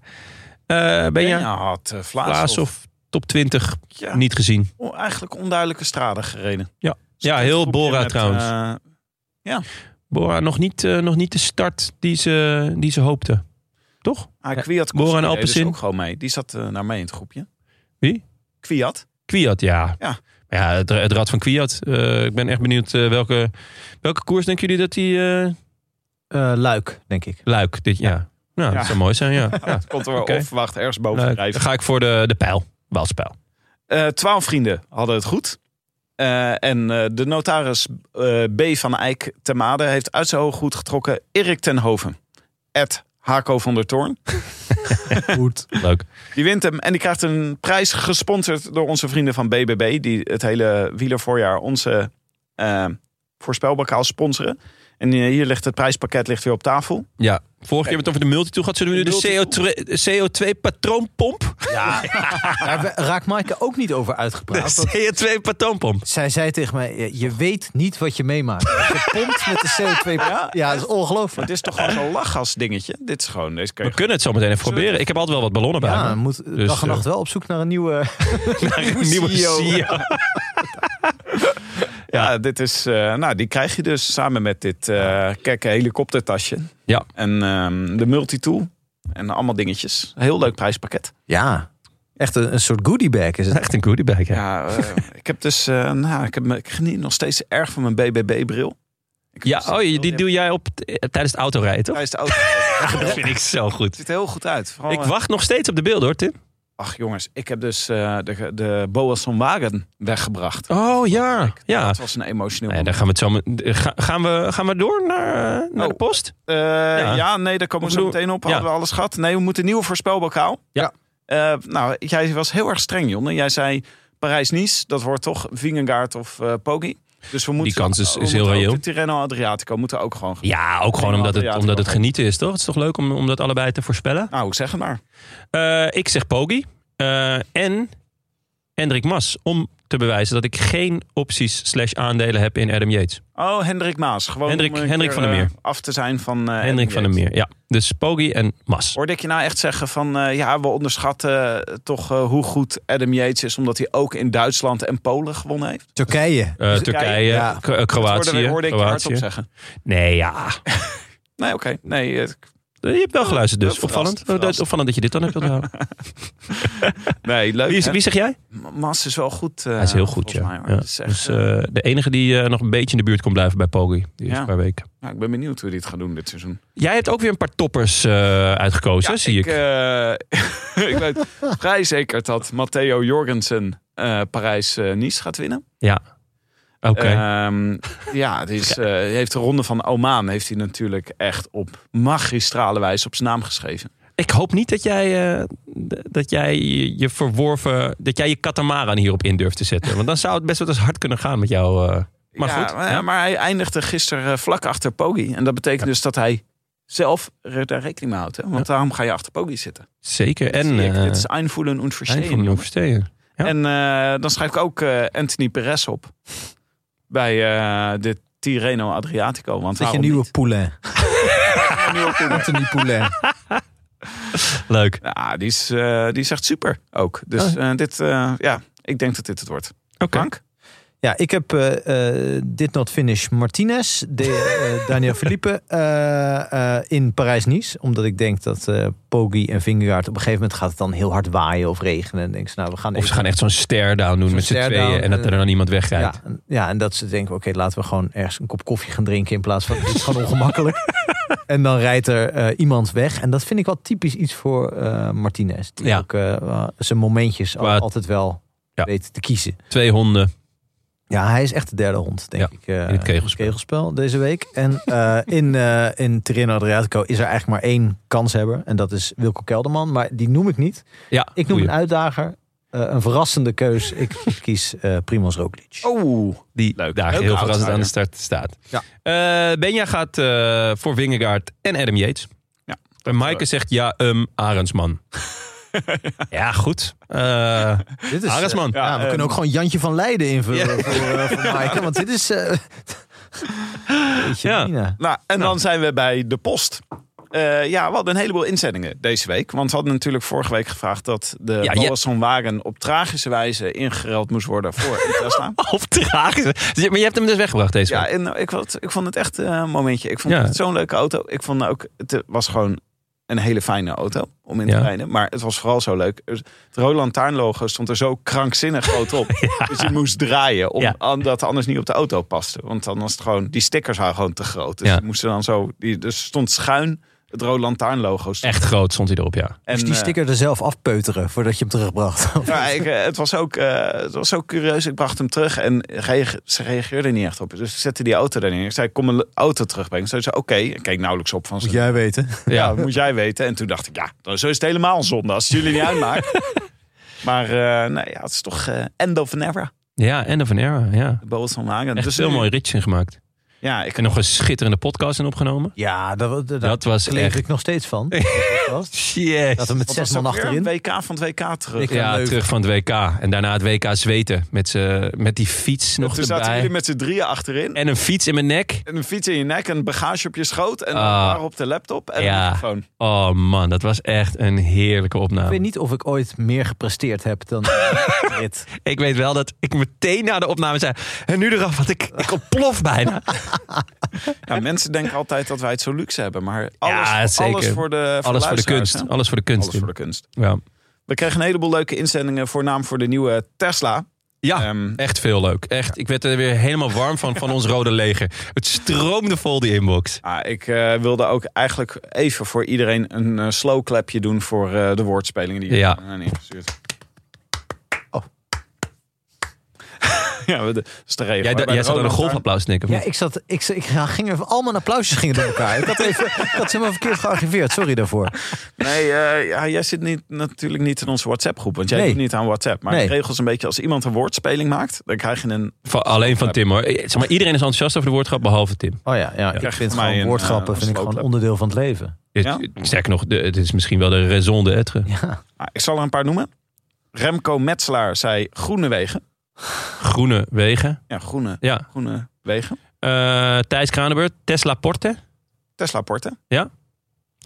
Eh, ben je
Benja had eh Vlaas
Klaas
of
of top 20
ja,
niet gezien?
on- eigenlijk onduidelijke straden gereden.
Ja.
Dus
Ja,
dat
heel
groepje
Bora
met,
trouwens.
eh,
Bora nog niet, eh, nog niet de start die ze, die ze hoopte. Toch?
Ah, Kwiat
Bora en
Koster, die
Alpecin.
deed dus ook gewoon mee. Die zat eh, naar mij in het groepje.
Wie?
Kwiat.
Kwiat, ja.
Ja.
Maar ja, het, het rad van Kwiat. Eh, ik ben echt benieuwd eh, welke, welke koers denken jullie dat die eh,
Eh, luik, denk ik.
luik dit jaar? Nou,
Ja.
dat zou mooi zijn, ja. ja.
Komt er wel
Oké.
onverwacht ergens boven
Luik. Dan
drijven.
ga ik voor de, de pijl. Walspijl.
Eh, Twaalf vrienden hadden het goed. Eh, en eh, de notaris eh, B. van Eyck Temade heeft uit zijn hoog goed getrokken Erik ten Hoven. Ed Hako van der Toorn.
Goed.
Leuk.
Die wint hem en die krijgt een prijs gesponsord door onze vrienden van BBB. Die het hele wielervoorjaar onze eh voorspelbokaal sponsoren. En eh, hier ligt het prijspakket ligt weer op tafel.
Ja, vorige keer hebben we het over de multitool gehad. Zullen we nu
De
de CO2-patroonpomp?
Daar we- raakt Maaike ook niet over uitgepraat. want
CO2-patroonpomp.
Zij zei tegen mij, je- je weet niet wat je meemaakt. Je pompt met de CO2. Ja, dat is
Het
ongelooflijk.
is toch gewoon zo'n lachgas dingetje. Dit is gewoon... Deze kun je
We kunnen het zo meteen even proberen. Ik heb altijd wel wat ballonnen bij
Ja,
me.
we moeten
Dus,
dag en
eh,
nacht wel op zoek naar een nieuwe... E
Een nieuwe E
CEO.
CEO.
Ja, dit is. eh, nou, die krijg je dus samen met dit eh kekke helikoptertasje.
Ja.
En ehm, de multitool. En allemaal dingetjes. Heel leuk prijspakket.
Ja, echt een, een soort goodiebag is het.
Echt een goodiebag, ja.
Ja, eh, ik heb dus. eh, nou, ik, heb, me- ik geniet nog steeds erg van mijn BBB-bril. Ik
Ja,
heb-
oh, je- die doe jij op t- eh, tijdens het autorijden, toch? Ah,
Hij is de auto. Ja,
Dat
het
vind ik zo goed.
ziet er heel goed uit. Vooral,
Ik
eh,
wacht nog steeds op de beelden, hoor, Tim.
Ach jongens, ik heb dus eh, de, de Boas van Wagen weggebracht.
Oh, ja. Ja.
Het was een emotioneel
Nou ja, dan gaan we het zo... met- eh, ga- Gaan we, gaan we door naar, eh, naar de
Oh.
post?
Eh,
Ja.
ja. nee, daar komen we zo
Bedoel-
meteen op.
Ja.
Hadden we alles gehad. Nee, we moeten een nieuwe voorspelbokaal.
Ja.
Eh, nou, jij was heel erg streng, Jonne. Jij zei Parijs-Nice, dat wordt toch Vingegaard of eh Poggi. Dus we moeten,
kans is-
we
is heel
moeten ook
reëel.
De Tirreno Adriatico moeten ook gewoon...
Ja, ook gewoon
Ja,
omdat het,
ja,
omdat het
toch.
genieten is, toch? Het is toch leuk om, om dat allebei te voorspellen?
Nou, ik zeg het maar.
Eh, ik zeg Pogi. Eh, en Hendrik Mas. Om te bewijzen dat ik geen opties slash aandelen heb in Adam Yates.
Oh, Hendrik Maas. Gewoon
Hendrik-
om een
Hendrik van der
eh,
Meer.
af te zijn van... eh,
Hendrik van der Meer, ja. Dus Pogi en Mas.
Hoorde ik je nou echt zeggen van... eh, ja, we onderschatten eh, toch eh, hoe goed Adam Yates is... omdat hij ook in Duitsland en Polen gewonnen heeft?
Turkije.
Eh, Turkije,
Ja.
K- eh,
Dat hoorde,
Kroatië.
hoorde ik je hardop
Kroatië.
zeggen.
Nee, ja.
Nee, oké. Nee, eh,
Je hebt wel geluisterd dus.
verrast,
opvallend.
verrast.
Dat is Opvallend dat je dit dan hebt onthouden.
nee leuk.
Wie, is-
hè?
wie zeg jij?
M- Mas is wel goed. eh,
Hij is heel goed,
volgens
ja.
mij, hoor.
Ja.
Het is echt,
Dus,
eh,
eh, de enige die eh, nog een beetje in de buurt kon blijven bij Pogi. Die is
Ja.
paar weken.
nou, ik ben benieuwd hoe hij dit gaat doen dit seizoen.
Jij hebt ook weer een paar toppers eh, uitgekozen, zie ik.
eh, ik weet vrij zeker dat Matteo Jorgensen eh, Parijs-Nice gaat winnen.
ja. Oké.
Ehm, ja, het is, eh, hij heeft de ronde van Oman heeft hij natuurlijk echt op magistrale wijze op zijn naam geschreven.
Ik hoop niet dat jij, eh, d- dat jij je- je verworven. dat jij je katamaran hierop in durft te zetten. Want dan zou het best wel eens hard kunnen gaan met jou. eh. Maar
ja,
goed.
Maar,
ja.
maar hij eindigde gisteren eh, vlak achter Poggi. En dat betekent dus dat hij zelf er- daar rekening mee houdt. Hè? Want daarom ga je achter Poggi zitten.
Zeker. En.
Zie ik,
eh,
dit is einvoelen en
eind van
verstehen.
de oversteken. Ja.
En eh, dan schrijf ik ook eh, Anthony Perez op. Bij eh, de Tirreno Adriatico. Want
Dat je
waarom
nieuwe
niet?
Poulain. Anthony Poulain.
Leuk.
Ja, die is, eh, die is echt super ook. Dus eh, dit, eh, ja, ik denk dat dit het wordt.
Oké.
Frank?
Ja, ik heb eh eh, Did Not Finish Martinez, de, eh, Daniel Felipe eh, eh, in Parijs-Nice. Omdat ik denk dat eh Poggi en Vingegaard op een gegeven moment gaat het dan heel hard waaien of regenen. En dan denk ze, nou, we gaan
Of ze
even-
gaan echt zo'n stare-down doen
Zo'n
met z'n
stare-down,
tweeën. En dat er
eh,
dan iemand wegrijdt.
ja, en- ja, en dat ze denken, oké, laten we gewoon ergens een kop koffie gaan drinken in plaats van dit is gewoon ongemakkelijk. En dan rijdt er eh, iemand weg. En dat vind ik wel typisch iets voor eh, Martinez. Die
Ja.
ook eh, zijn momentjes al-
Qua-
altijd wel
Ja.
weet te kiezen.
Twee honden.
Ja, hij is echt de derde hond, denk
Ja,
ik. eh,
in het kegelspel.
deze week. En eh, in, eh in Tirreno Adriatico is er eigenlijk maar één kanshebber. En dat is Wilco Kelderman. Maar die noem ik niet.
Ja,
Ik noem
goeie.
een uitdager. eh, een verrassende keus. Ik kies eh Primoz Roglic.
Oh,
die
Leuk.
daar
Leuke
heel verrassend
outsider.
aan de start staat.
Ja.
Eh, Benja gaat eh, voor Wingegaard en Adam Yates.
Ja.
En Maaike zegt ja, ehm Arendsman. ja. goed. Eh,
Dit is,
Arendsman.
eh, ja, we
Ja,
kunnen
eh,
ook gewoon Jantje van Leiden invullen
Ja.
voor, eh, voor Maaike. Want dit is... eh Jeetje,
Ja.
Mina.
nou, en dan zijn we bij de post. Eh, ja, we hadden een heleboel inzendingen deze week. Want we hadden natuurlijk vorige week gevraagd dat de
Ja,
ja,
je-
Wagen op tragische wijze ingeruild moest worden voor een Tesla.
Of tragisch. Maar je hebt hem dus weggebracht deze
eh, Ja,
week.
en nou, ik, vond, ik vond het echt eh, een momentje. Ik vond
Ja.
het zo'n leuke auto. Ik vond ook, het eh, was gewoon een hele fijne auto om in te
Ja.
rijden. Maar het was vooral zo leuk. Het Roland Taarn logo stond er zo krankzinnig groot op. Dus je moest draaien, om,
Ja.
omdat het anders niet op de auto paste. Want dan was het gewoon, die stickers waren gewoon te groot. Dus
Ja.
die moesten dan zo, die, dus stond schuin het Roland Taarn logo. stond.
Echt dus groot stond hij erop, ja.
En,
Moest die
eh,
sticker er zelf afpeuteren voordat je hem terugbracht.
ja, ik, eh, het, was ook, eh, het was ook curieus. Ik bracht hem terug en reage- ze reageerde niet echt op. Dus ik zette die auto daarin. Ik zei, kom een auto terugbrengen. Ze zei, oké. Ik keek nauwelijks op van ze.
Moet jij weten.
Ja,
Ja,
dat moet jij weten. En toen dacht ik, ja, dan- zo is het helemaal een zonde als het jullie niet uitmaakt. maar eh, nee, ja, het is toch eh, end of an era.
ja End of an Era. Ja.
De Boas van Wagen.
Echt heel
nu-
mooi ritje in gemaakt.
Dus, Ja, ik
En nog een schitterende podcast in opgenomen.
Ja, daar, daar, daar
Dat was
kleef
echt-
ik nog steeds van. Dat was- Dat
Yes.
we met zes
wat was
man
ook weer?
achterin.
Een WK van het WK terug.
Ik-
Ja,
Leuven.
terug van het WK. En daarna het WK zweten. Met, z'n- met die fiets nog
toen zaten
erbij.
jullie met z'n drieën achterin.
En een fiets in mijn nek.
En een fiets in je nek, een bagage op je schoot. En
Ah.
daarop de laptop en
Ja.
een microfoon.
Oh man, dat was echt een heerlijke opname.
Ik weet niet of ik ooit meer gepresteerd heb dan dit.
wel dat ik meteen na de opname zei... En nu eraf, want ik, ik ontplof bijna.
Ja, mensen denken altijd dat wij het zo luxe hebben. Maar alles,
Ja, zeker.
alles voor de, voor
Alles voor de
luisteraars,
kunst.
hè?
Alles voor de kunst.
Alles voor de kunst.
Ja.
We kregen een heleboel leuke inzendingen, voornaam voor de nieuwe Tesla.
Ja,
Ehm,
echt veel leuk. Echt, ik werd er weer helemaal warm van, van ons rode leger. Het stroomde vol die inbox.
Ah, ik eh, wilde ook eigenlijk even voor iedereen een eh, slow clapje doen voor eh, de woordspelingen die je
Ja.
aan ingestuurd. Oh. ja, we- dat is de regel.
Jij,
hè,
jij
bij de
zat aan een
Roland Lantaarn.
golfapplaus te
Ja, ik zat, ik, ik ja, ging even, al mijn applausjes gingen door elkaar. Ik had, even, ik had ze helemaal verkeerd gearchiveerd, sorry daarvoor.
Nee, eh, ja, jij zit niet, natuurlijk niet in onze WhatsApp-groep, want jij
Nee.
doet niet aan WhatsApp. Maar
Nee.
de regel is een beetje, als iemand een woordspeling maakt, dan krijg je een...
Van, alleen van Tim hoor. Zeg maar, iedereen is enthousiast over de woordgrap, behalve Tim.
Oh ja, ja, ik
krijg
vind
van mij
gewoon
een,
woordgrappen
eh,
vind ik
slow
gewoon
clap.
onderdeel van het leven.
Het-
Ja?
Sterker nog, de, het is misschien wel de raison d'être.
Ja,
Ah, ik zal er een paar noemen. Remco Metselaar zei groene wegen.
Groene wegen.
Ja, groene,
Ja.
groene wegen.
Eh, Thijs Kranenburg, Tesla Porte.
Tesla Porte.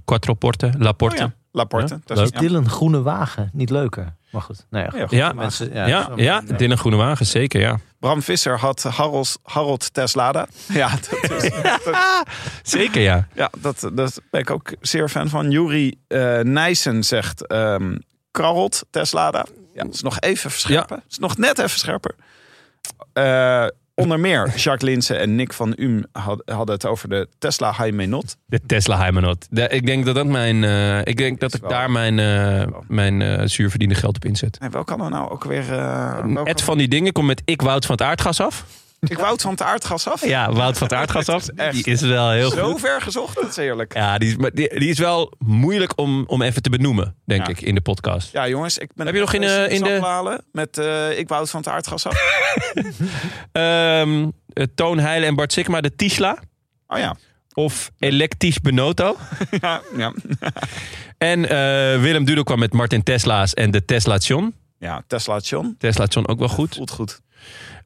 Quattro Porte, La
Oh
Porte.
ja, Laporte.
Ja,
Tesla-
leuk.
ja.
Dylan Groene Wagen, niet leuker. Maar goed, nou ja, goed.
Ja,
Ja.
goed.
Mensen,
ja.
ja,
Ja,
zo-
ja,
nee.
Dylan Groene Wagen, zeker ja.
Bram Visser had Harold, Harold Teslada. Ja, dat, is, dat-
Zeker ja.
ja dat, dat ben ik ook zeer fan van. Juri eh Nijssen zegt ehm Karelt Teslada. Ja, dat is nog even scherper. is nog net even scherper. Eh, onder meer Jacques Linsen en Nick van Um had- hadden het over de Tesla Hymenot.
De Tesla Hymenot. De- ik denk dat dat mijn, eh, ik denk dat
Is
ik
wel-
daar mijn, eh,
wel.
mijn eh, zuurverdiende geld op inzet.
Nee, welke hadden we nou ook weer? eh, welke-
Ed van die dingen komt met ik Wout van het aardgas af.
Ik woud van het aardgas af.
Ja, Wout van het aardgas af. Die is wel heel
Zo
goed.
ver gezocht, dat is eerlijk.
Ja, die is, maar die, die is wel moeilijk om, om even te benoemen, denk
Ja.
ik, in de podcast.
Ja, jongens, ik ben
Heb je nog in, eh, in de-
Zandmalen met eh, ik woud van het aardgas af.
Ehm, eh, Toon Heijlen en Bart Sikma, de Tisla.
Oh ja.
Of elektrisch Benoto.
Ja, ja.
En eh, Willem Dudel kwam met Martin Tesla's en de Teslation.
ja Tesla John.
Teslation ook wel goed.
Voelt goed.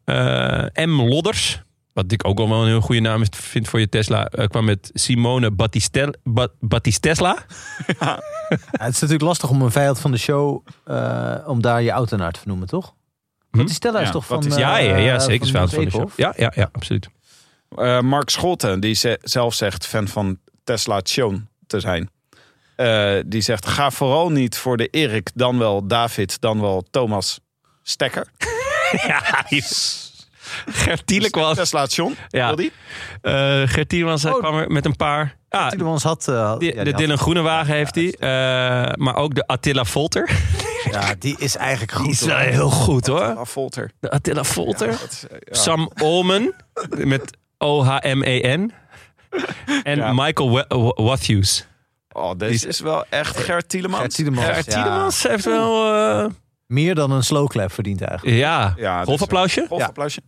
Eh, M. Lodders, wat ik ook al wel een heel goede naam vind voor je Tesla, eh, kwam met Simone Battistel, Ba- Battistesla.
Ja, het is natuurlijk lastig om een vijand van de show, eh, om daar je auto naar te vernoemen, toch?
Hm?
Die Stella is
Ja,
toch van...
wat is-
ja, ja,
eh,
ja, zeker. Is fout
Hans
van de show.
Eekhoff?
Ja, ja, ja, absoluut.
Eh, Mark Scholten, die ze- zelf zegt fan van Tesla John te zijn. Eh, die zegt, ga vooral niet voor de Erik, dan wel David, dan wel Thomas Stekker.
Ja, Gert Tielek was.
Dus Tesla John,
Ja.
wil die?
eh, Gert Tielmans eh,
Oh.
kwam er met een paar. Ah,
Tiedemans had... eh, had-
die-
ja, die
de
had-
Dylan Groenewagen heeft hij. eh, maar ook de Attila Volter.
Ja, die is eigenlijk goed.
Die is wel
hoor.
heel goed hoor.
Ah, Volter.
De Attila Volter.
Dat is, eh, ja.
Sam Olmen met O-H-M-E-N. E En
Ja.
Michael Wa- Wa- Watthews.
Oh, deze is wel echt Gert Tielemans.
Gert Tiedemans,
Gert-
ja.
Tiedemans heeft wel... eh,
Meer dan een slow clap verdient eigenlijk.
ja,
Ja, dus, eh, dit is
golfapplausje.
Golf, applausje.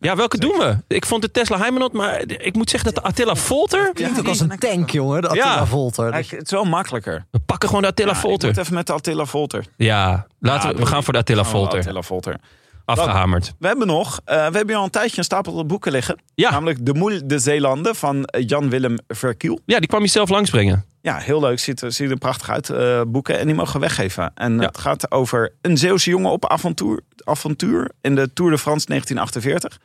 Ja, welke doen we? Ik vond de Tesla Heimenot, maar ik moet zeggen dat de Attila Volter...
Klinkt ook als een tank, jongen, de Attila
Ja.
Volter. Dus
Kijk, het is wel makkelijker.
We pakken gewoon de Attila
Ja, ik
Volter.
moet even met de Attila Volter.
Ja, laten
Ja,
we, we gaan voor de Attila
Oh,
Volter.
Attila Volter.
Afgehamerd.
We hebben nog, eh, we hebben hier al een tijdje een stapel boeken liggen.
Ja.
Namelijk De Moel de Zeelanden van eh, Jan-Willem Verkiel.
Ja, die kwam je zelf langsbrengen.
Ja, heel leuk. Ziet, er- ziet er prachtig uit. eh, boeken en die mogen we weggeven. En
Ja.
het gaat over een Zeeuwse jongen op avontuur, avontuur in de Tour de France 1948.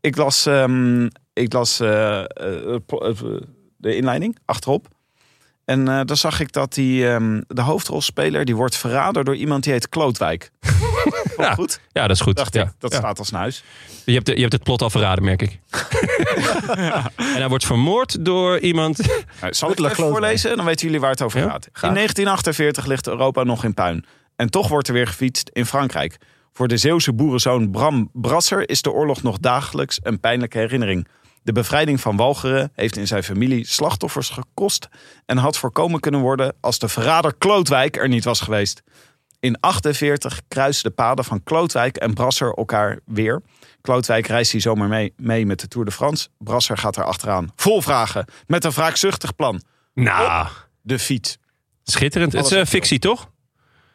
Ik las, ehm, ik las eh, eh, po- eh, de inleiding achterop. En eh, daar zag ik dat die, ehm, de hoofdrolspeler die wordt verraden door iemand die heet Klootwijk. Vond ik Goed,
Ja, dat is goed.
dacht
ja.
ik. Dat
Ja.
staat als huis.
Je, hebt, de- je hebt het plot al verraden, merk ik. En hij wordt vermoord door iemand.
Nou, zal ik het
Butler
even
Klootwijk.
voorlezen? Dan weten jullie waar het over
Ja,
gaat. In 1948 ligt Europa nog in puin. En toch wordt er weer gefietst in Frankrijk. Voor de Zeeuwse boerenzoon Bram Brasser is de oorlog nog dagelijks een pijnlijke herinnering. De bevrijding van Walcheren heeft in zijn familie slachtoffers gekost... en had voorkomen kunnen worden als de verrader Klootwijk er niet was geweest. In 48 kruisen de paden van Klootwijk en Brasser elkaar weer. Klootwijk reist hier zomaar mee, mee met de Tour de France. Brasser gaat er achteraan. Vol vragen. Met een wraakzuchtig plan. Oh.
Nou,
De fiets.
schitterend. Het is eh, fictie, toch?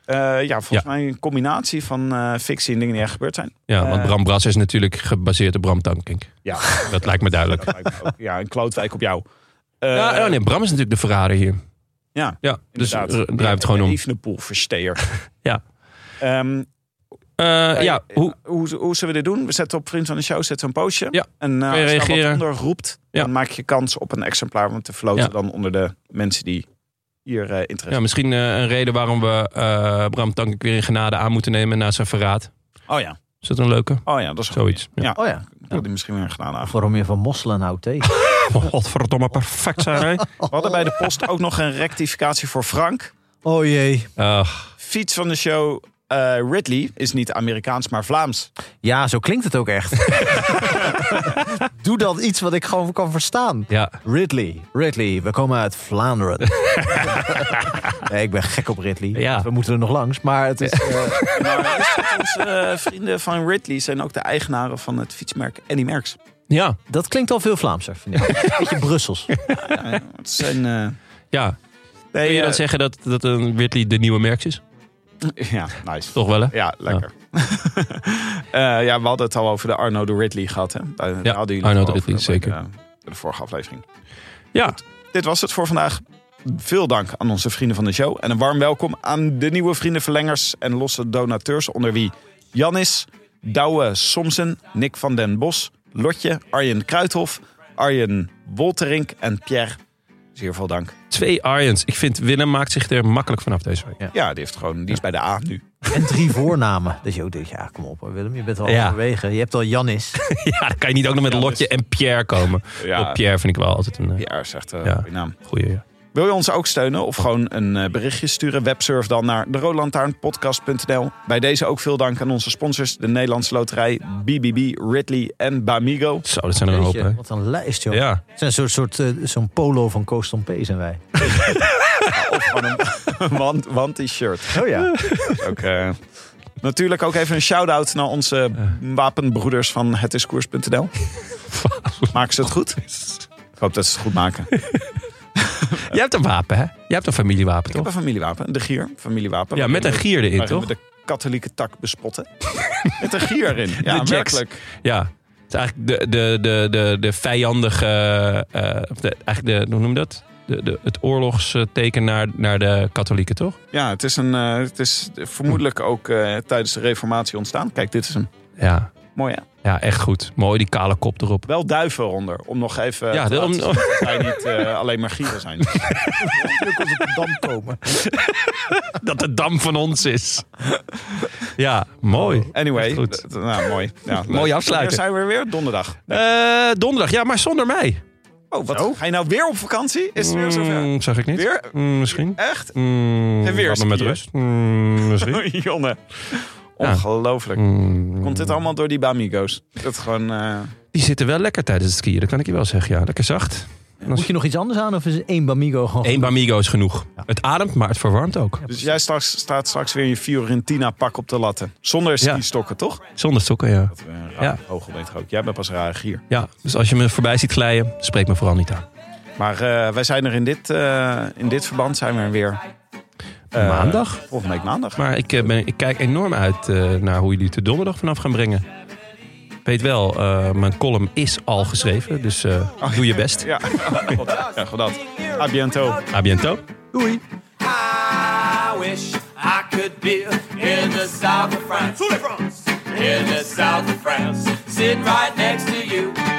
Eh, ja, volgens
Ja.
mij een combinatie van eh, fictie en dingen die echt gebeurd zijn.
Ja, want
Eh.
Bram Brass is natuurlijk gebaseerd op Bram Tankink.
Ja,
Dat lijkt me duidelijk.
dat lijkt me ook. ja een Klootwijk op jou. Eh,
ja, oh nee, Bram is natuurlijk de verrader hier.
ja,
Ja, dus r-
inderdaad.
draai het gewoon om.
Evenepoel, versteer.
Ja.
Ehm,
Eh, ja,
eh,
hoe,
hoe, hoe zullen we dit doen? We zetten op Vriend van de Show zetten we een postje.
Ja.
En eh,
Kun je
als je wat
reageren?
onder roept,
Ja.
dan maak je kans op een exemplaar. Want te floten
Ja.
dan onder de mensen die hier eh, interesse.
Ja, misschien eh, een reden waarom we eh Bram Tankink weer in genade aan moeten nemen na zijn verraad.
Oh ja.
Is dat een leuke?
Oh ja, dat is goed.
Zoiets. Ja.
Ja,
Oh ja,
ik had die misschien weer gedaan.
of
Af.
waarom je van mosselen houdt tegen.
Godverdomme, perfect zijn wij.
We hadden bij de post ook nog een rectificatie voor Frank.
Oh jee.
Ach,
Fiets van de show eh, Ridley is niet Amerikaans, maar Vlaams.
Ja, zo klinkt het ook echt. Doe dan iets wat ik gewoon kan verstaan.
ja.
Ridley, Ridley, we komen uit Vlaanderen. nee, ik ben gek op Ridley.
Ja.
We moeten er nog langs, maar het is... eh,
Maar Nou, is dat onze eh, vrienden van Ridley zijn ook de eigenaren van het fietsmerk Annie Merks.
Ja,
dat klinkt al veel Vlaamser, vind ik. Beetje Brussels.
Het zijn... eh
ja. Kun
nee,
je dan
eh,
zeggen dat, dat een Whitley de nieuwe merks is?
Ja, nice.
Toch wel, hè?
Ja, lekker. Ja. ja, we hadden het al over de Arno de Ridley gehad. Hè? Daar, daar hadden jullie
Arno
het
de
al over
Ridley,
bij De, bij de vorige aflevering.
Ja.
Dit was het voor vandaag. Veel dank aan onze vrienden van de show. En een warm welkom aan de nieuwe vrienden verlengers en losse donateurs. Onder wie Janis, Douwe Somsen, Nick van den Bos, Lotje, Arjen Kruithof, Arjen Wolterink en Pierre. Zeer veel dank.
Twee Arjens. Ik vind Willem maakt zich er makkelijk vanaf deze week.
Ja, die, heeft gewoon, die is bij de A nu.
En drie voornamen. Dus je ook denkt, ja, kom op hoor, Willem, je bent al
Ja.
halverwege. Je hebt al Janis.
Ja, dan kan je niet ook nog met Lotje en Pierre komen.
Ja.
Oh, Pierre vind ik wel altijd een eh,
Pierre zegt eh
Ja.
goeie naam.
goeie. ja.
Wil je ons ook steunen of gewoon een eh, berichtje sturen? Websurf dan naar deroodlantaarnpodcast.nl. Bij deze ook veel dank aan onze sponsors. De Nederlandse Loterij, BBB, Ridley en Bamigo.
Zo, dat zijn er een hoop, hè?
Jeetje, Wat een lijst, joh.
Ja.
Het zijn zo'n soort, eh, zo'n polo van Koos Tom P. zijn wij.
Of gewoon een want, want die shirt.
Oh ja.
Ook, eh, natuurlijk ook even een shout-out naar onze
Eh.
wapenbroeders van hetiskoers.nl. Maken ze het goed? Ik hoop dat ze het goed maken. Ik
Jij hebt een wapen, hè? Jij hebt een familiewapen,
heb
toch?
een familiewapen, de gier, familiewapen.
Ja, met een gier erin,
Waarin we
toch?
de katholieke tak bespotten. met een gier erin. Ja,
jacks.
werkelijk.
Ja. Het is eigenlijk de, de, de, de, de vijandige... eh, of de, eigenlijk de, hoe noem je dat? De, de, het oorlogsteken naar, naar de katholieken, toch?
Ja, het is, een, eh, het is vermoedelijk ook eh, tijdens de reformatie ontstaan. Kijk, dit is hem.
Ja.
Mooi hè?
Ja, echt goed. Mooi, die kale kop erop.
Wel duiven eronder, om nog even
Ja,
te
de-
laten
om-
zien dat wij niet eh, alleen maar gieren zijn.
Dan komen.
Dat de dam van ons is. Ja, mooi.
Anyway,
Goed.
d- d- nou, mooi. Ja, leuk.
Mooi afsluiten.
Wanneer zijn we weer? Donderdag.
Eh, donderdag, ja, maar zonder mij.
Oh, wat? Ga je nou weer op vakantie? Is het weer zover?
Mm, zag ik niet.
Weer?
Mm, misschien.
Echt?
Mm,
En weer
laat me met
skiën.
rust. Mm, misschien.
Jonne. Ongelooflijk.
Mm.
Komt dit allemaal door die Bamigo's? Dat gewoon... eh,
Die zitten wel lekker tijdens het skiën, dat kan ik je wel zeggen. Ja, lekker zacht.
Moet je nog iets anders aan of is één Bamigo gewoon...
Eén Bamigo is genoeg. Het ademt, maar het verwarmt ook.
Dus jij straks, staat straks weer in je Fiorentina-pak op de latten. Zonder
Ja.
ski-stokken, toch?
Zonder sokken, ja.
Dat we een
Ja.
raar hoogel ook. Jij bent pas een rare gier.
ja. Dus als je me voorbij ziet glijden, spreek me vooral niet aan.
Maar eh, wij zijn er in dit, eh, in dit verband zijn we er weer. eh,
Maandag?
Volgende week maandag.
Maar ik, eh, ben, ik kijk enorm uit eh, naar hoe jullie het de donderdag vanaf gaan brengen. Weet wel, eh, mijn column is al geschreven, dus eh, doe je best.
Ja, god, ja, god dat. A bientôt.
A bientôt.
I wish I could be in the south of France. In the south of France, sitting right next to you.